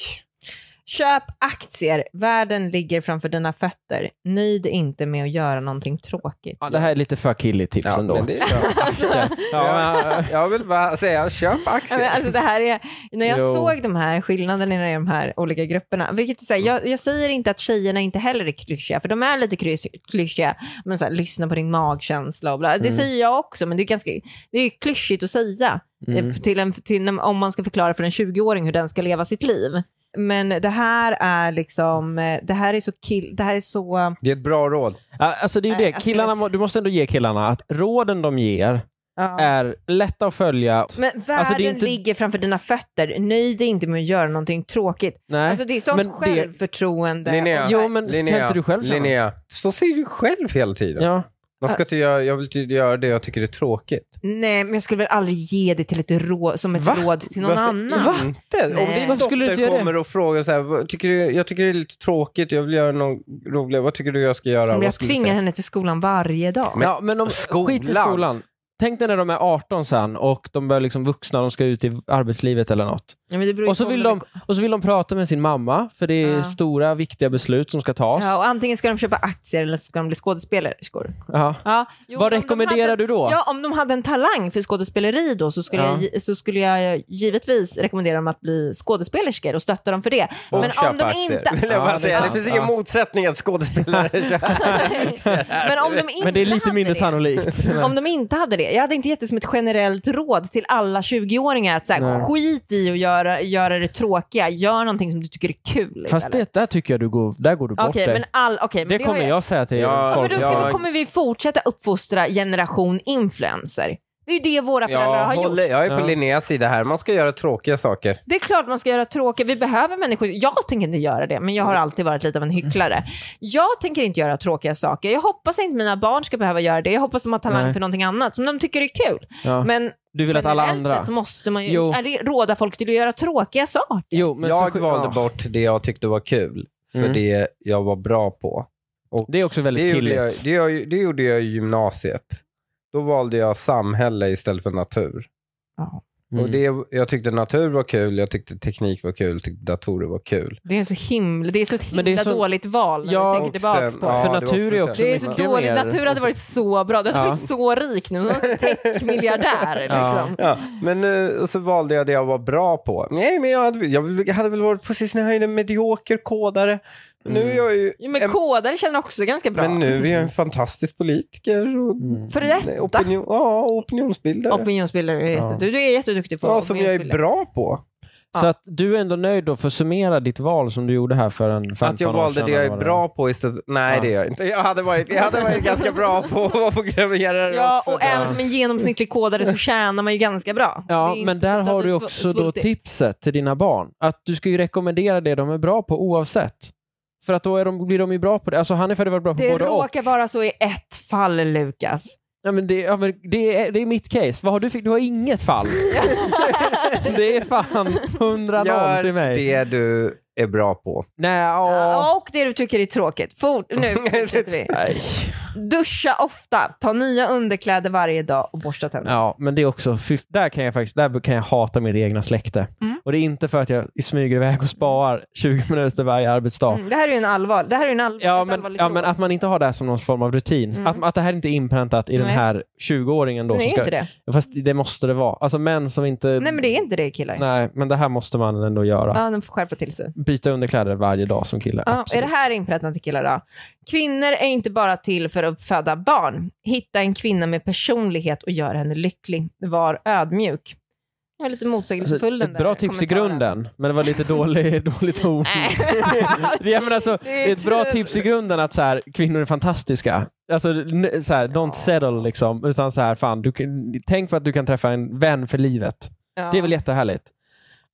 [SPEAKER 3] Köp aktier. Världen ligger framför dina fötter. Nöj dig inte med att göra någonting tråkigt.
[SPEAKER 2] ja, det här är lite för killigt tips
[SPEAKER 1] Ja,
[SPEAKER 2] ändå.
[SPEAKER 1] men det är bra.
[SPEAKER 2] Aktier. ja, men,
[SPEAKER 1] Jag vill bara säga, köp
[SPEAKER 3] Ja, men
[SPEAKER 1] aktier.
[SPEAKER 3] Alltså det här är, när jag
[SPEAKER 2] Jo.
[SPEAKER 3] såg de här skillnaderna i de här olika grupperna, vilket är så här,
[SPEAKER 2] Mm.
[SPEAKER 3] jag, jag säger inte att tjejerna inte heller är klyschiga, för de är lite krys- klyschiga, men så här, lyssna på din magkänsla och bla. Det
[SPEAKER 2] Mm.
[SPEAKER 3] säger jag också, men det är, ganska, det är ju klyschigt att säga
[SPEAKER 2] mm.
[SPEAKER 3] eh, till en, till, en- om man ska förklara för en 20-åring hur den ska leva sitt liv. Men det här är liksom, eh, det här är så kill, det här är så...
[SPEAKER 1] Det är ett bra råd.
[SPEAKER 2] Ja, Alltså det är ju
[SPEAKER 3] Nej,
[SPEAKER 2] det.
[SPEAKER 3] alltså,
[SPEAKER 2] Killarna,
[SPEAKER 3] jag vet-
[SPEAKER 2] må- du måste ändå ge killarna att råden de ger är lätta att följa.
[SPEAKER 3] Men världen
[SPEAKER 2] Alltså, det är inte-
[SPEAKER 3] ligger framför dina fötter. Nöj dig inte med att göra någonting tråkigt.
[SPEAKER 2] Nej.
[SPEAKER 3] Alltså det är sånt
[SPEAKER 2] men det-
[SPEAKER 3] självförtroende.
[SPEAKER 1] Linnea.
[SPEAKER 3] Och så här-
[SPEAKER 2] jo men kan inte du själv känna?
[SPEAKER 1] Linnea, så säger du själv hela tiden.
[SPEAKER 2] Ja.
[SPEAKER 1] Man ska inte göra, jag vill inte göra det jag tycker är tråkigt.
[SPEAKER 3] Nej, men jag skulle väl aldrig ge det till ett rå, som ett
[SPEAKER 2] Va?
[SPEAKER 3] råd till någon annan.
[SPEAKER 1] Varför inte? Om
[SPEAKER 3] Nej.
[SPEAKER 1] din
[SPEAKER 2] Varför skulle du
[SPEAKER 1] dotter
[SPEAKER 2] inte göra det?
[SPEAKER 1] kommer och frågar så här, "Vad tycker du, jag tycker det är lite tråkigt, jag vill göra något roligt, vad tycker du jag ska göra?
[SPEAKER 3] Om
[SPEAKER 1] Vad
[SPEAKER 3] jag
[SPEAKER 1] skulle du
[SPEAKER 3] tvingar
[SPEAKER 1] säga?"
[SPEAKER 3] henne till skolan varje dag.
[SPEAKER 1] Men-
[SPEAKER 2] ja, men om,
[SPEAKER 1] skolan.
[SPEAKER 2] skit i skolan. Tänk dig när de är 18 sen och de börjar liksom vuxna och de ska ut i arbetslivet eller något.
[SPEAKER 3] Ja, men det beror ju
[SPEAKER 2] Och så,
[SPEAKER 3] på
[SPEAKER 2] vill
[SPEAKER 3] om
[SPEAKER 2] de, och så vill de prata med sin mamma, för det är
[SPEAKER 3] Ja.
[SPEAKER 2] stora viktiga beslut som ska tas.
[SPEAKER 3] Ja,
[SPEAKER 2] Ja,
[SPEAKER 3] och antingen ska de köpa aktier eller så ska de bli skådespelerskor. Ja. Jo,
[SPEAKER 2] Vad
[SPEAKER 3] men om de
[SPEAKER 2] rekommenderar
[SPEAKER 3] hade-
[SPEAKER 2] du då?
[SPEAKER 3] Ja, om de hade en talang för skådespeleri då så skulle,
[SPEAKER 2] Ja.
[SPEAKER 3] jag, så skulle jag givetvis rekommendera dem att bli skådespelerskor och stötta dem för det.
[SPEAKER 1] Och
[SPEAKER 3] men
[SPEAKER 1] köpa
[SPEAKER 3] om de
[SPEAKER 1] aktier.
[SPEAKER 3] inte...
[SPEAKER 1] Vill jag bara
[SPEAKER 2] Ja, det är
[SPEAKER 1] säga, det
[SPEAKER 2] sant.
[SPEAKER 1] finns ingen
[SPEAKER 2] Ja.
[SPEAKER 1] motsättning att skådespelare köper.
[SPEAKER 3] men om de inte
[SPEAKER 2] Men det är lite
[SPEAKER 3] hade
[SPEAKER 2] mindre
[SPEAKER 3] det,
[SPEAKER 2] sannolikt.
[SPEAKER 3] Om de inte hade det. Jag hade inte gett det som ett generellt råd till alla 20-åringar att så här,
[SPEAKER 2] Nej.
[SPEAKER 3] skit i att göra, göra det tråkiga. Gör någonting som du tycker är kul
[SPEAKER 2] Fast det där tycker jag du går, där går du bort
[SPEAKER 3] Okej,
[SPEAKER 2] dig.
[SPEAKER 3] men all, okej, men
[SPEAKER 2] det
[SPEAKER 3] det har
[SPEAKER 2] kommer jag säga till
[SPEAKER 1] Ja,
[SPEAKER 2] folk.
[SPEAKER 3] Men då ska
[SPEAKER 1] Ja.
[SPEAKER 3] vi, kommer vi fortsätta uppfostra generation influencer. Det är ju det våra föräldrar
[SPEAKER 1] Jag,
[SPEAKER 3] har gjort.
[SPEAKER 1] håller, jag är på
[SPEAKER 2] Ja.
[SPEAKER 1] Linneas sida här. Man ska göra tråkiga saker.
[SPEAKER 3] Det är klart man ska göra tråkiga, vi behöver människor. Jag tänker inte göra det, men jag har alltid varit lite av en hycklare. Jag tänker inte göra tråkiga saker. Jag hoppas inte mina barn ska behöva göra det. Jag hoppas de har talang
[SPEAKER 2] Nej.
[SPEAKER 3] för någonting annat som de tycker är kul.
[SPEAKER 2] Ja.
[SPEAKER 3] Men
[SPEAKER 2] Du vill att alla
[SPEAKER 3] generellt
[SPEAKER 2] andra...
[SPEAKER 3] sett så måste man ju
[SPEAKER 2] Jo.
[SPEAKER 3] eller råda folk till att göra tråkiga saker.
[SPEAKER 2] Jo, men
[SPEAKER 1] jag
[SPEAKER 2] så,
[SPEAKER 1] valde
[SPEAKER 2] ja.
[SPEAKER 1] bort det jag tyckte var kul för
[SPEAKER 2] Mm.
[SPEAKER 1] det jag var bra på.
[SPEAKER 2] Det är också
[SPEAKER 1] Det
[SPEAKER 2] väldigt
[SPEAKER 1] gjorde, jag,
[SPEAKER 2] pilligt.
[SPEAKER 1] det, jag, det gjorde jag i gymnasiet. Då valde jag samhälle istället för natur.
[SPEAKER 2] Mm.
[SPEAKER 1] Och det, jag tyckte natur var kul, jag tyckte teknik var kul, jag tyckte datorer var kul.
[SPEAKER 3] Det är så himla, det är så ett himla
[SPEAKER 2] Men det är så-
[SPEAKER 3] dåligt val när
[SPEAKER 2] Ja,
[SPEAKER 3] du
[SPEAKER 1] och
[SPEAKER 3] tänker tillbaka
[SPEAKER 1] sen-
[SPEAKER 3] på
[SPEAKER 1] ja,
[SPEAKER 2] För
[SPEAKER 3] det.
[SPEAKER 1] det var
[SPEAKER 2] natur är
[SPEAKER 1] fruktansvärt.
[SPEAKER 2] också
[SPEAKER 3] Det är så
[SPEAKER 2] mycket
[SPEAKER 3] dåligt.
[SPEAKER 2] mer-
[SPEAKER 3] Natur hade varit så bra. Du hade
[SPEAKER 2] Ja.
[SPEAKER 3] varit så rik nu. Du hade varit Techmiljardär
[SPEAKER 2] Ja.
[SPEAKER 3] liksom.
[SPEAKER 1] Ja, men eh, och så valde jag det jag var bra på. Nej, men jag hade, jag hade väl varit på sin höjd en medioker kodare. Men Nu är jag ju...
[SPEAKER 3] Jo, Men
[SPEAKER 1] en-
[SPEAKER 3] kodare känner också ganska bra.
[SPEAKER 1] men nu är jag en fantastisk politiker och
[SPEAKER 3] För detta.
[SPEAKER 1] opinion, ja, opinionsbildare.
[SPEAKER 3] Opinionsbildare är jätte... du, du är jätteduktig på
[SPEAKER 1] ja, som jag är
[SPEAKER 3] opinionsbildare.
[SPEAKER 1] bra på.
[SPEAKER 2] Så att du är ändå nöjd då för att summera ditt val som du gjorde här för en 15
[SPEAKER 1] Att jag
[SPEAKER 2] år
[SPEAKER 1] valde
[SPEAKER 2] sedan,
[SPEAKER 1] det jag
[SPEAKER 2] eller
[SPEAKER 1] är
[SPEAKER 2] vad det
[SPEAKER 1] bra på istället. Nej,
[SPEAKER 2] Ja.
[SPEAKER 1] det är jag inte. Jag hade varit, jag hade varit ganska bra på att vara programmerare
[SPEAKER 3] Ja,
[SPEAKER 1] också.
[SPEAKER 3] och även som en genomsnittlig kodare så tjänar man ju ganska bra.
[SPEAKER 2] Ja,
[SPEAKER 3] Det är
[SPEAKER 2] men
[SPEAKER 3] inte
[SPEAKER 2] där
[SPEAKER 3] så att
[SPEAKER 2] har
[SPEAKER 3] du
[SPEAKER 2] du
[SPEAKER 3] svu-
[SPEAKER 2] också då
[SPEAKER 3] svultit.
[SPEAKER 2] tipset till dina barn. Att du ska ju rekommendera det de är bra på oavsett. För att då är de, blir de ju bra på det. Alltså Hanif hade varit bra på
[SPEAKER 3] Det
[SPEAKER 2] både och.
[SPEAKER 3] råkar vara så i ett fall, Lukas.
[SPEAKER 2] Ja, men det, ja, men det, är, det är mitt case. Vad har du, för- du har inget fall. det är fan 100-0 till
[SPEAKER 1] Gör
[SPEAKER 2] mig.
[SPEAKER 1] det du är bra på.
[SPEAKER 2] Nej, ja.
[SPEAKER 3] Ja, Och det du tycker är tråkigt. Fort, nu fortsätter vi.
[SPEAKER 2] Nej.
[SPEAKER 3] Duscha ofta, ta nya underkläder varje dag och borsta tänderna.
[SPEAKER 2] Ja, men det är också, fy- där kan jag faktiskt, där kan jag hata mitt egna släkte.
[SPEAKER 3] Mm.
[SPEAKER 2] Och det är inte för att jag smyger iväg och sparar 20 minuter varje arbetsdag.
[SPEAKER 3] Mm, det här är ju en allvar, det här är ju en allvar,
[SPEAKER 2] Ja
[SPEAKER 3] ett
[SPEAKER 2] men,
[SPEAKER 3] allvarligt
[SPEAKER 2] ja,
[SPEAKER 3] råd.
[SPEAKER 2] men att man inte har det här som någon form av rutin. Att, att det här inte är inpräntat i den
[SPEAKER 3] Mm. Nej.
[SPEAKER 2] här 20-åringen då.
[SPEAKER 3] Nej,
[SPEAKER 2] som
[SPEAKER 3] det är inte
[SPEAKER 2] Fast det måste det vara. Alltså män som inte...
[SPEAKER 3] Nej, men det är inte det killar.
[SPEAKER 2] Nej, men det här måste man ändå göra.
[SPEAKER 3] Ja, de får skärpa till sig.
[SPEAKER 2] Byta underkläder varje dag som kille.
[SPEAKER 3] Ja, är
[SPEAKER 2] absolut.
[SPEAKER 3] det här inpräntat i killar då? Kvinnor är inte bara till för att föda barn. Hitta en kvinna med personlighet och gör henne lycklig. Var ödmjuk. Jag är lite
[SPEAKER 2] Alltså,
[SPEAKER 3] motsägelsefull den
[SPEAKER 2] ett
[SPEAKER 3] där
[SPEAKER 2] bra tips i
[SPEAKER 3] kommentaren.
[SPEAKER 2] grunden, men det var lite dålig, dålig ton.
[SPEAKER 3] Nej.
[SPEAKER 2] Ja, men alltså,
[SPEAKER 3] Det är
[SPEAKER 2] ett bra
[SPEAKER 3] tur.
[SPEAKER 2] tips i grunden att så här, kvinnor är fantastiska. Alltså, n- så här, don't settle liksom. Utan så här, fan, du, kan- tänk på att du kan träffa en vän för livet. Det är väl jättehärligt.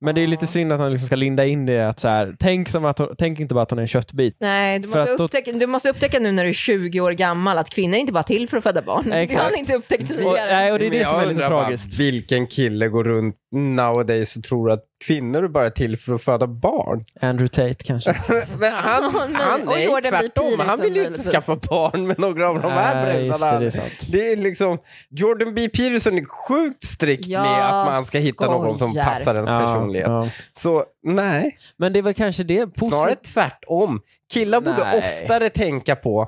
[SPEAKER 2] Men det är lite
[SPEAKER 3] Ja.
[SPEAKER 2] synd att han liksom ska linda in det att så här, tänk, som att hon, tänk inte bara att hon är en köttbit.
[SPEAKER 3] Nej, du
[SPEAKER 2] För
[SPEAKER 3] måste,
[SPEAKER 2] att då-
[SPEAKER 3] upptäcka, du måste upptäcka nu när du är 20 år gammal att kvinnor är inte bara till för att föda barn. Det har
[SPEAKER 2] Exakt.
[SPEAKER 3] ni inte upptäckt
[SPEAKER 2] Och,
[SPEAKER 3] tidigare.
[SPEAKER 2] nej, och det är
[SPEAKER 1] Men
[SPEAKER 2] det
[SPEAKER 1] jag
[SPEAKER 2] som är lite
[SPEAKER 1] undrar bara,
[SPEAKER 2] tragiskt.
[SPEAKER 1] Vilken kille går runt nowadays och tror att kvinnor är bara till för att föda barn?
[SPEAKER 2] Andrew Tate kanske.
[SPEAKER 1] Men han,
[SPEAKER 3] Ja, men-
[SPEAKER 1] han
[SPEAKER 3] och
[SPEAKER 1] är ju
[SPEAKER 3] Jordan B.
[SPEAKER 1] tvärtom. Han vill ju inte
[SPEAKER 3] Peterson,
[SPEAKER 1] skaffa barn med några av de här
[SPEAKER 2] Nej, just det,
[SPEAKER 1] brudarna.
[SPEAKER 2] det är sant.
[SPEAKER 1] Det är liksom, Jordan B. Peterson är sjukt strikt
[SPEAKER 3] Jag
[SPEAKER 1] med att man ska hitta någon som
[SPEAKER 3] skojar.
[SPEAKER 1] passar ens
[SPEAKER 2] Ja,
[SPEAKER 1] personlighet.
[SPEAKER 2] ja.
[SPEAKER 1] Så nej,
[SPEAKER 2] Men det är väl kanske det posit-
[SPEAKER 1] snarare tvärtom. Killar borde
[SPEAKER 2] Nej.
[SPEAKER 1] oftare tänka på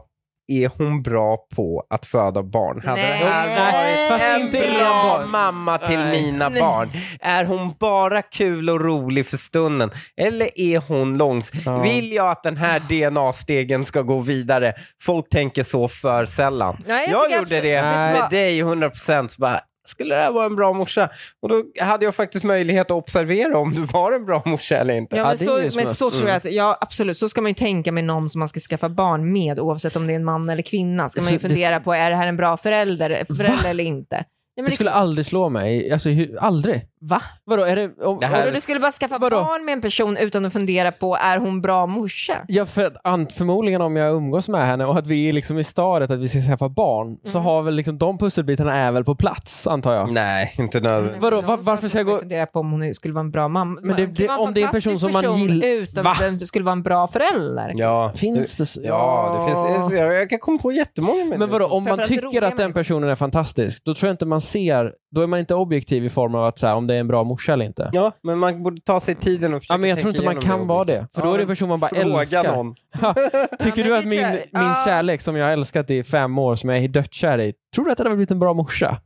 [SPEAKER 1] är hon bra på att föda barn? Hade
[SPEAKER 3] Nej.
[SPEAKER 1] det här
[SPEAKER 2] Nej,
[SPEAKER 1] varit
[SPEAKER 2] fast
[SPEAKER 1] en
[SPEAKER 2] inte
[SPEAKER 1] bra
[SPEAKER 2] enbart.
[SPEAKER 1] mamma till
[SPEAKER 2] Nej.
[SPEAKER 1] mina barn? Är hon bara kul och rolig för stunden? Eller är hon långs...
[SPEAKER 2] Ja.
[SPEAKER 1] Vill jag att den här DNA-stegen ska gå vidare? Folk tänker så för sällan.
[SPEAKER 3] Nej, jag
[SPEAKER 1] jag
[SPEAKER 3] tycker
[SPEAKER 1] gjorde
[SPEAKER 3] absolut-
[SPEAKER 1] det
[SPEAKER 2] Vet du
[SPEAKER 1] med
[SPEAKER 3] vad?
[SPEAKER 1] dig 100% så bara, skulle det här vara en bra morsa? Och då hade jag faktiskt möjlighet att observera om du var en bra morsa eller inte.
[SPEAKER 3] Ja,
[SPEAKER 2] Ja,
[SPEAKER 3] men,
[SPEAKER 2] det är ju
[SPEAKER 3] så, men
[SPEAKER 2] smuts. Mm.
[SPEAKER 3] så tror jag att, ja absolut, så ska man ju tänka med någon som man ska skaffa barn med oavsett om det är en man eller kvinna. Ska man ju
[SPEAKER 2] Så det-
[SPEAKER 3] fundera på, är det här en bra förälder, förälder eller inte? Nej, men
[SPEAKER 2] Det
[SPEAKER 3] det-
[SPEAKER 2] skulle aldrig slå mig. Alltså, hur, aldrig.
[SPEAKER 3] Va?
[SPEAKER 2] Vadå, är det... Om,
[SPEAKER 1] Det här-
[SPEAKER 3] Och du skulle bara skaffa
[SPEAKER 2] Vadå?
[SPEAKER 3] barn med en person utan att fundera på, är hon bra morsa?
[SPEAKER 2] Ja, för att, an- förmodligen om jag umgås med henne och att vi är liksom i stadiet att vi ska skaffa barn så har väl liksom de pusselbitarna är väl på plats antar jag.
[SPEAKER 1] Nej, inte nödvändigt.
[SPEAKER 2] Vadå,
[SPEAKER 3] Men
[SPEAKER 2] va-
[SPEAKER 3] någon som
[SPEAKER 2] varför ska jag
[SPEAKER 3] man
[SPEAKER 2] gå-
[SPEAKER 3] fundera på om hon skulle vara en bra mamma.
[SPEAKER 2] Men det-
[SPEAKER 3] Hon kan
[SPEAKER 2] det-
[SPEAKER 3] vara
[SPEAKER 2] om det är en person
[SPEAKER 3] fantastisk
[SPEAKER 2] som man
[SPEAKER 3] person
[SPEAKER 2] gill-
[SPEAKER 3] Utan
[SPEAKER 2] Va?
[SPEAKER 3] att den skulle vara en bra förälder.
[SPEAKER 1] Ja,
[SPEAKER 2] Finns det så?
[SPEAKER 1] Ja, det finns, jag, jag kan komma på jättemånga människor.
[SPEAKER 2] Men vadå, om man
[SPEAKER 3] Framförallt
[SPEAKER 2] tycker
[SPEAKER 3] roliga
[SPEAKER 2] att den
[SPEAKER 3] människor.
[SPEAKER 2] personen är fantastisk, då tror jag inte man ser, då är man inte objektiv i form av att så här, om det är en bra morsa eller inte.
[SPEAKER 1] Ja, men man borde ta sig tiden och försöka
[SPEAKER 2] Ja, men jag tror
[SPEAKER 1] tänka
[SPEAKER 2] inte man
[SPEAKER 1] igenom
[SPEAKER 2] kan vara det,
[SPEAKER 1] ordentligt.
[SPEAKER 2] för då är det
[SPEAKER 1] Ja,
[SPEAKER 2] en person man bara
[SPEAKER 1] Fråga
[SPEAKER 2] älskar.
[SPEAKER 1] någon.
[SPEAKER 2] Ja, tycker
[SPEAKER 3] men
[SPEAKER 2] du
[SPEAKER 3] det
[SPEAKER 2] att
[SPEAKER 3] tror
[SPEAKER 2] min,
[SPEAKER 3] jag-
[SPEAKER 2] min
[SPEAKER 3] ja.
[SPEAKER 2] kärlek som jag har älskat i fem år, som jag är dödskär i, tror du att det hade blivit en bra morsa?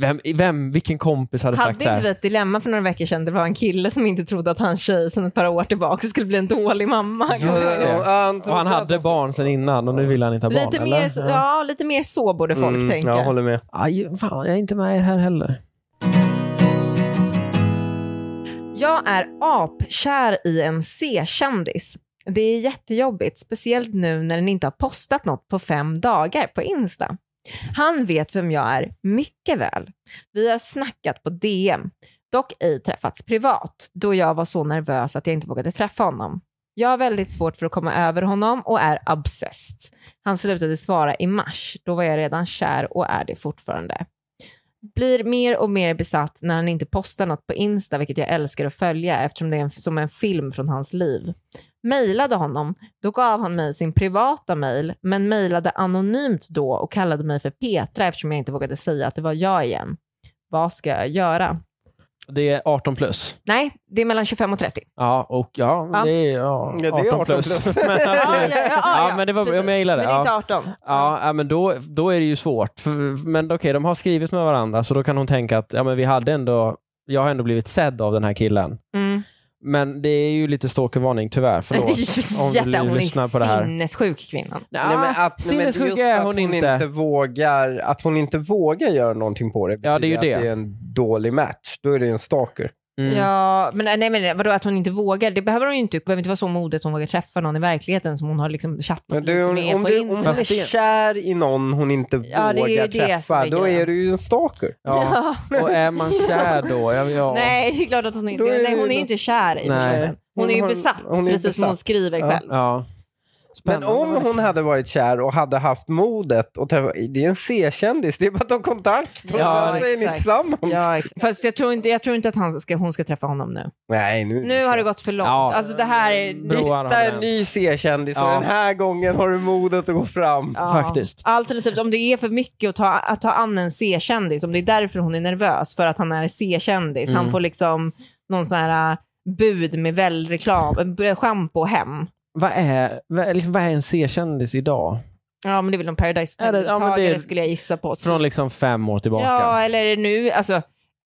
[SPEAKER 2] Vem, vem vilken kompis hade,
[SPEAKER 3] Hade
[SPEAKER 2] sagt så
[SPEAKER 3] inte vi
[SPEAKER 2] här?
[SPEAKER 3] ett dilemma för några veckor sedan? Det var en kille som inte trodde att hans tjej sedan ett par år tillbaka skulle bli en dålig mamma.
[SPEAKER 1] Ja, Alltså, han,
[SPEAKER 2] Och han hade barn sedan innan och nu vill han inte ha barn,
[SPEAKER 3] Lite
[SPEAKER 2] eller?
[SPEAKER 3] mer, så- ja, lite mer så borde folk
[SPEAKER 1] Mm,
[SPEAKER 3] tänka.
[SPEAKER 1] Jag håller med.
[SPEAKER 2] Aj, fan, jag är inte med er här heller.
[SPEAKER 3] Jag är apkär i en C-kändis. Det är jättejobbigt, speciellt nu när den inte har postat något på fem dagar på Insta. Han vet vem jag är mycket väl. Vi har snackat på DM, dock ej träffats privat då jag var så nervös att jag inte vågade träffa honom. Jag har väldigt svårt för att komma över honom och är obsessed. Han slutade svara i mars. Då var jag redan kär och är det fortfarande. Blir mer och mer besatt när han inte postar något på Insta, vilket jag älskar att följa eftersom det är en, som en film från hans liv. Mailade honom, då gav han mig sin privata mail, men mailade anonymt då och kallade mig för Petra eftersom jag inte vågade säga att det var jag igen. Vad ska jag göra?
[SPEAKER 2] Det är 18 plus.
[SPEAKER 3] Nej, det är mellan 25 och 30.
[SPEAKER 2] Ja, och ja,
[SPEAKER 3] Ja.
[SPEAKER 2] det är, ja,
[SPEAKER 1] Ja, det är
[SPEAKER 2] 18 plus.
[SPEAKER 1] 18 plus.
[SPEAKER 2] men,
[SPEAKER 3] Ja,
[SPEAKER 2] ja,
[SPEAKER 3] ja, ja, ja,
[SPEAKER 2] Ja, men det var-
[SPEAKER 3] precis.
[SPEAKER 2] jag gillar det,
[SPEAKER 3] Men det är
[SPEAKER 2] ja.
[SPEAKER 3] inte 18.
[SPEAKER 2] ja, men då, då är det ju svårt. För- Men okej, de har skrivit med varandra så då kan hon tänka att ja, men vi hade ändå, jag har ändå blivit sedd av den här killen.
[SPEAKER 3] Mm.
[SPEAKER 2] Men det är ju lite stalkervarning tyvärr.
[SPEAKER 3] Det
[SPEAKER 2] Förlåt.
[SPEAKER 3] är
[SPEAKER 2] om
[SPEAKER 3] ju
[SPEAKER 2] du
[SPEAKER 3] jätte... Hon
[SPEAKER 2] lyssnar
[SPEAKER 3] är
[SPEAKER 2] på det här.
[SPEAKER 3] sinnessjuk kvinnan.
[SPEAKER 1] Nej, men att, nej, men just
[SPEAKER 2] sinnessjuk är
[SPEAKER 1] att
[SPEAKER 2] hon inte.
[SPEAKER 1] vågar, att hon inte vågar göra någonting på det
[SPEAKER 2] Ja, det är ju
[SPEAKER 1] betyder att
[SPEAKER 2] det.
[SPEAKER 1] det är en dålig match. Då är det ju en stalker.
[SPEAKER 2] Mm.
[SPEAKER 3] Ja, men nej, men vadå att hon inte vågar? Det behöver hon ju inte. Det behöver inte vara så modigt att hon vågar träffa någon i verkligheten som hon har liksom
[SPEAKER 1] Men
[SPEAKER 3] chattat
[SPEAKER 1] du,
[SPEAKER 3] lite
[SPEAKER 1] om,
[SPEAKER 3] med
[SPEAKER 1] om,
[SPEAKER 3] på
[SPEAKER 1] du, om hon
[SPEAKER 3] Insta.
[SPEAKER 2] Fast
[SPEAKER 1] är
[SPEAKER 2] det-
[SPEAKER 1] kär i någon hon inte
[SPEAKER 3] Ja, det är ju
[SPEAKER 1] vågar
[SPEAKER 3] det som är
[SPEAKER 1] träffa, då
[SPEAKER 3] grejen.
[SPEAKER 1] är du ju en stalker.
[SPEAKER 2] Ja. Och är man kär då? Ja, ja.
[SPEAKER 3] Nej, det är klart att hon inte
[SPEAKER 1] Då är
[SPEAKER 3] är. Nej,
[SPEAKER 1] det-
[SPEAKER 3] hon är ju inte kär i
[SPEAKER 2] Nej.
[SPEAKER 3] personen. Hon är ju
[SPEAKER 1] har-
[SPEAKER 3] besatt,
[SPEAKER 1] hon är
[SPEAKER 3] precis som hon
[SPEAKER 1] besatt.
[SPEAKER 3] skriver
[SPEAKER 1] Ja.
[SPEAKER 3] själv.
[SPEAKER 2] Ja.
[SPEAKER 1] Men
[SPEAKER 2] Spännande
[SPEAKER 1] om
[SPEAKER 2] verkligen.
[SPEAKER 1] hon hade varit kär och hade haft modet och träffa, det är en C-kändis, det är bara att de kontakt och
[SPEAKER 2] Ja,
[SPEAKER 1] sen så är ni
[SPEAKER 3] exakt.
[SPEAKER 1] tillsammans.
[SPEAKER 3] Ja, exakt. Fast jag tror inte, jag tror inte att han ska, hon ska träffa honom nu.
[SPEAKER 1] Nej, nu,
[SPEAKER 3] Nu har det gått för långt.
[SPEAKER 2] Ja.
[SPEAKER 3] Alltså det här är...
[SPEAKER 2] Bro. Broar har
[SPEAKER 1] Hitta en
[SPEAKER 2] vänt.
[SPEAKER 1] ny C-kändis och
[SPEAKER 2] Ja.
[SPEAKER 1] den här gången har du modet att gå fram.
[SPEAKER 3] Ja.
[SPEAKER 2] Faktiskt.
[SPEAKER 3] Alternativt om det är för mycket att ta, att ta an en C-kändis, om det är därför hon är nervös, för att han är C-kändis. Han
[SPEAKER 2] Mm.
[SPEAKER 3] får liksom någon sån här äh, bud med välreklam, äh, schampo hem.
[SPEAKER 2] Vad är, vad, är- liksom, vad är en C-kändis idag?
[SPEAKER 3] Ja, men det är väl någon Paradise
[SPEAKER 2] Är det- ja, men
[SPEAKER 3] Hotel-deltagare
[SPEAKER 2] det är-
[SPEAKER 3] skulle jag gissa på.
[SPEAKER 2] Från liksom fem år tillbaka.
[SPEAKER 3] Ja, eller är det nu, alltså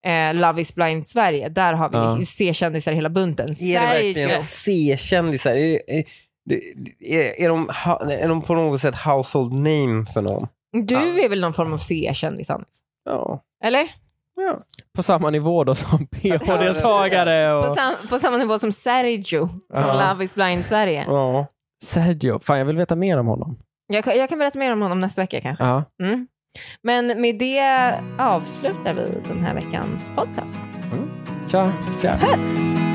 [SPEAKER 3] eh, Love is blind Sverige, där har vi
[SPEAKER 2] Ja.
[SPEAKER 3] C-kändisar hela bunten.
[SPEAKER 1] Är det verkligen C-kändisar? Är, är, är, är, de, ha- är de på något sätt household name för någon?
[SPEAKER 3] Du är väl någon form av C-kändis, Hanif?
[SPEAKER 1] Ja.
[SPEAKER 3] Eller?
[SPEAKER 1] ja.
[SPEAKER 2] På samma nivå då som PH-deltagare
[SPEAKER 3] På,
[SPEAKER 2] och
[SPEAKER 3] sam på samma nivå som Sergio från
[SPEAKER 2] Ja.
[SPEAKER 3] Love is blind Sverige.
[SPEAKER 1] ja.
[SPEAKER 2] Sergio. Fan, jag vill veta mer om honom.
[SPEAKER 3] Jag, kan- jag kan berätta mer om honom nästa vecka kanske.
[SPEAKER 2] Ja.
[SPEAKER 3] Mm. Men med det avslutar vi den här veckans podcast.
[SPEAKER 2] Tja.
[SPEAKER 1] ja.
[SPEAKER 3] Puss!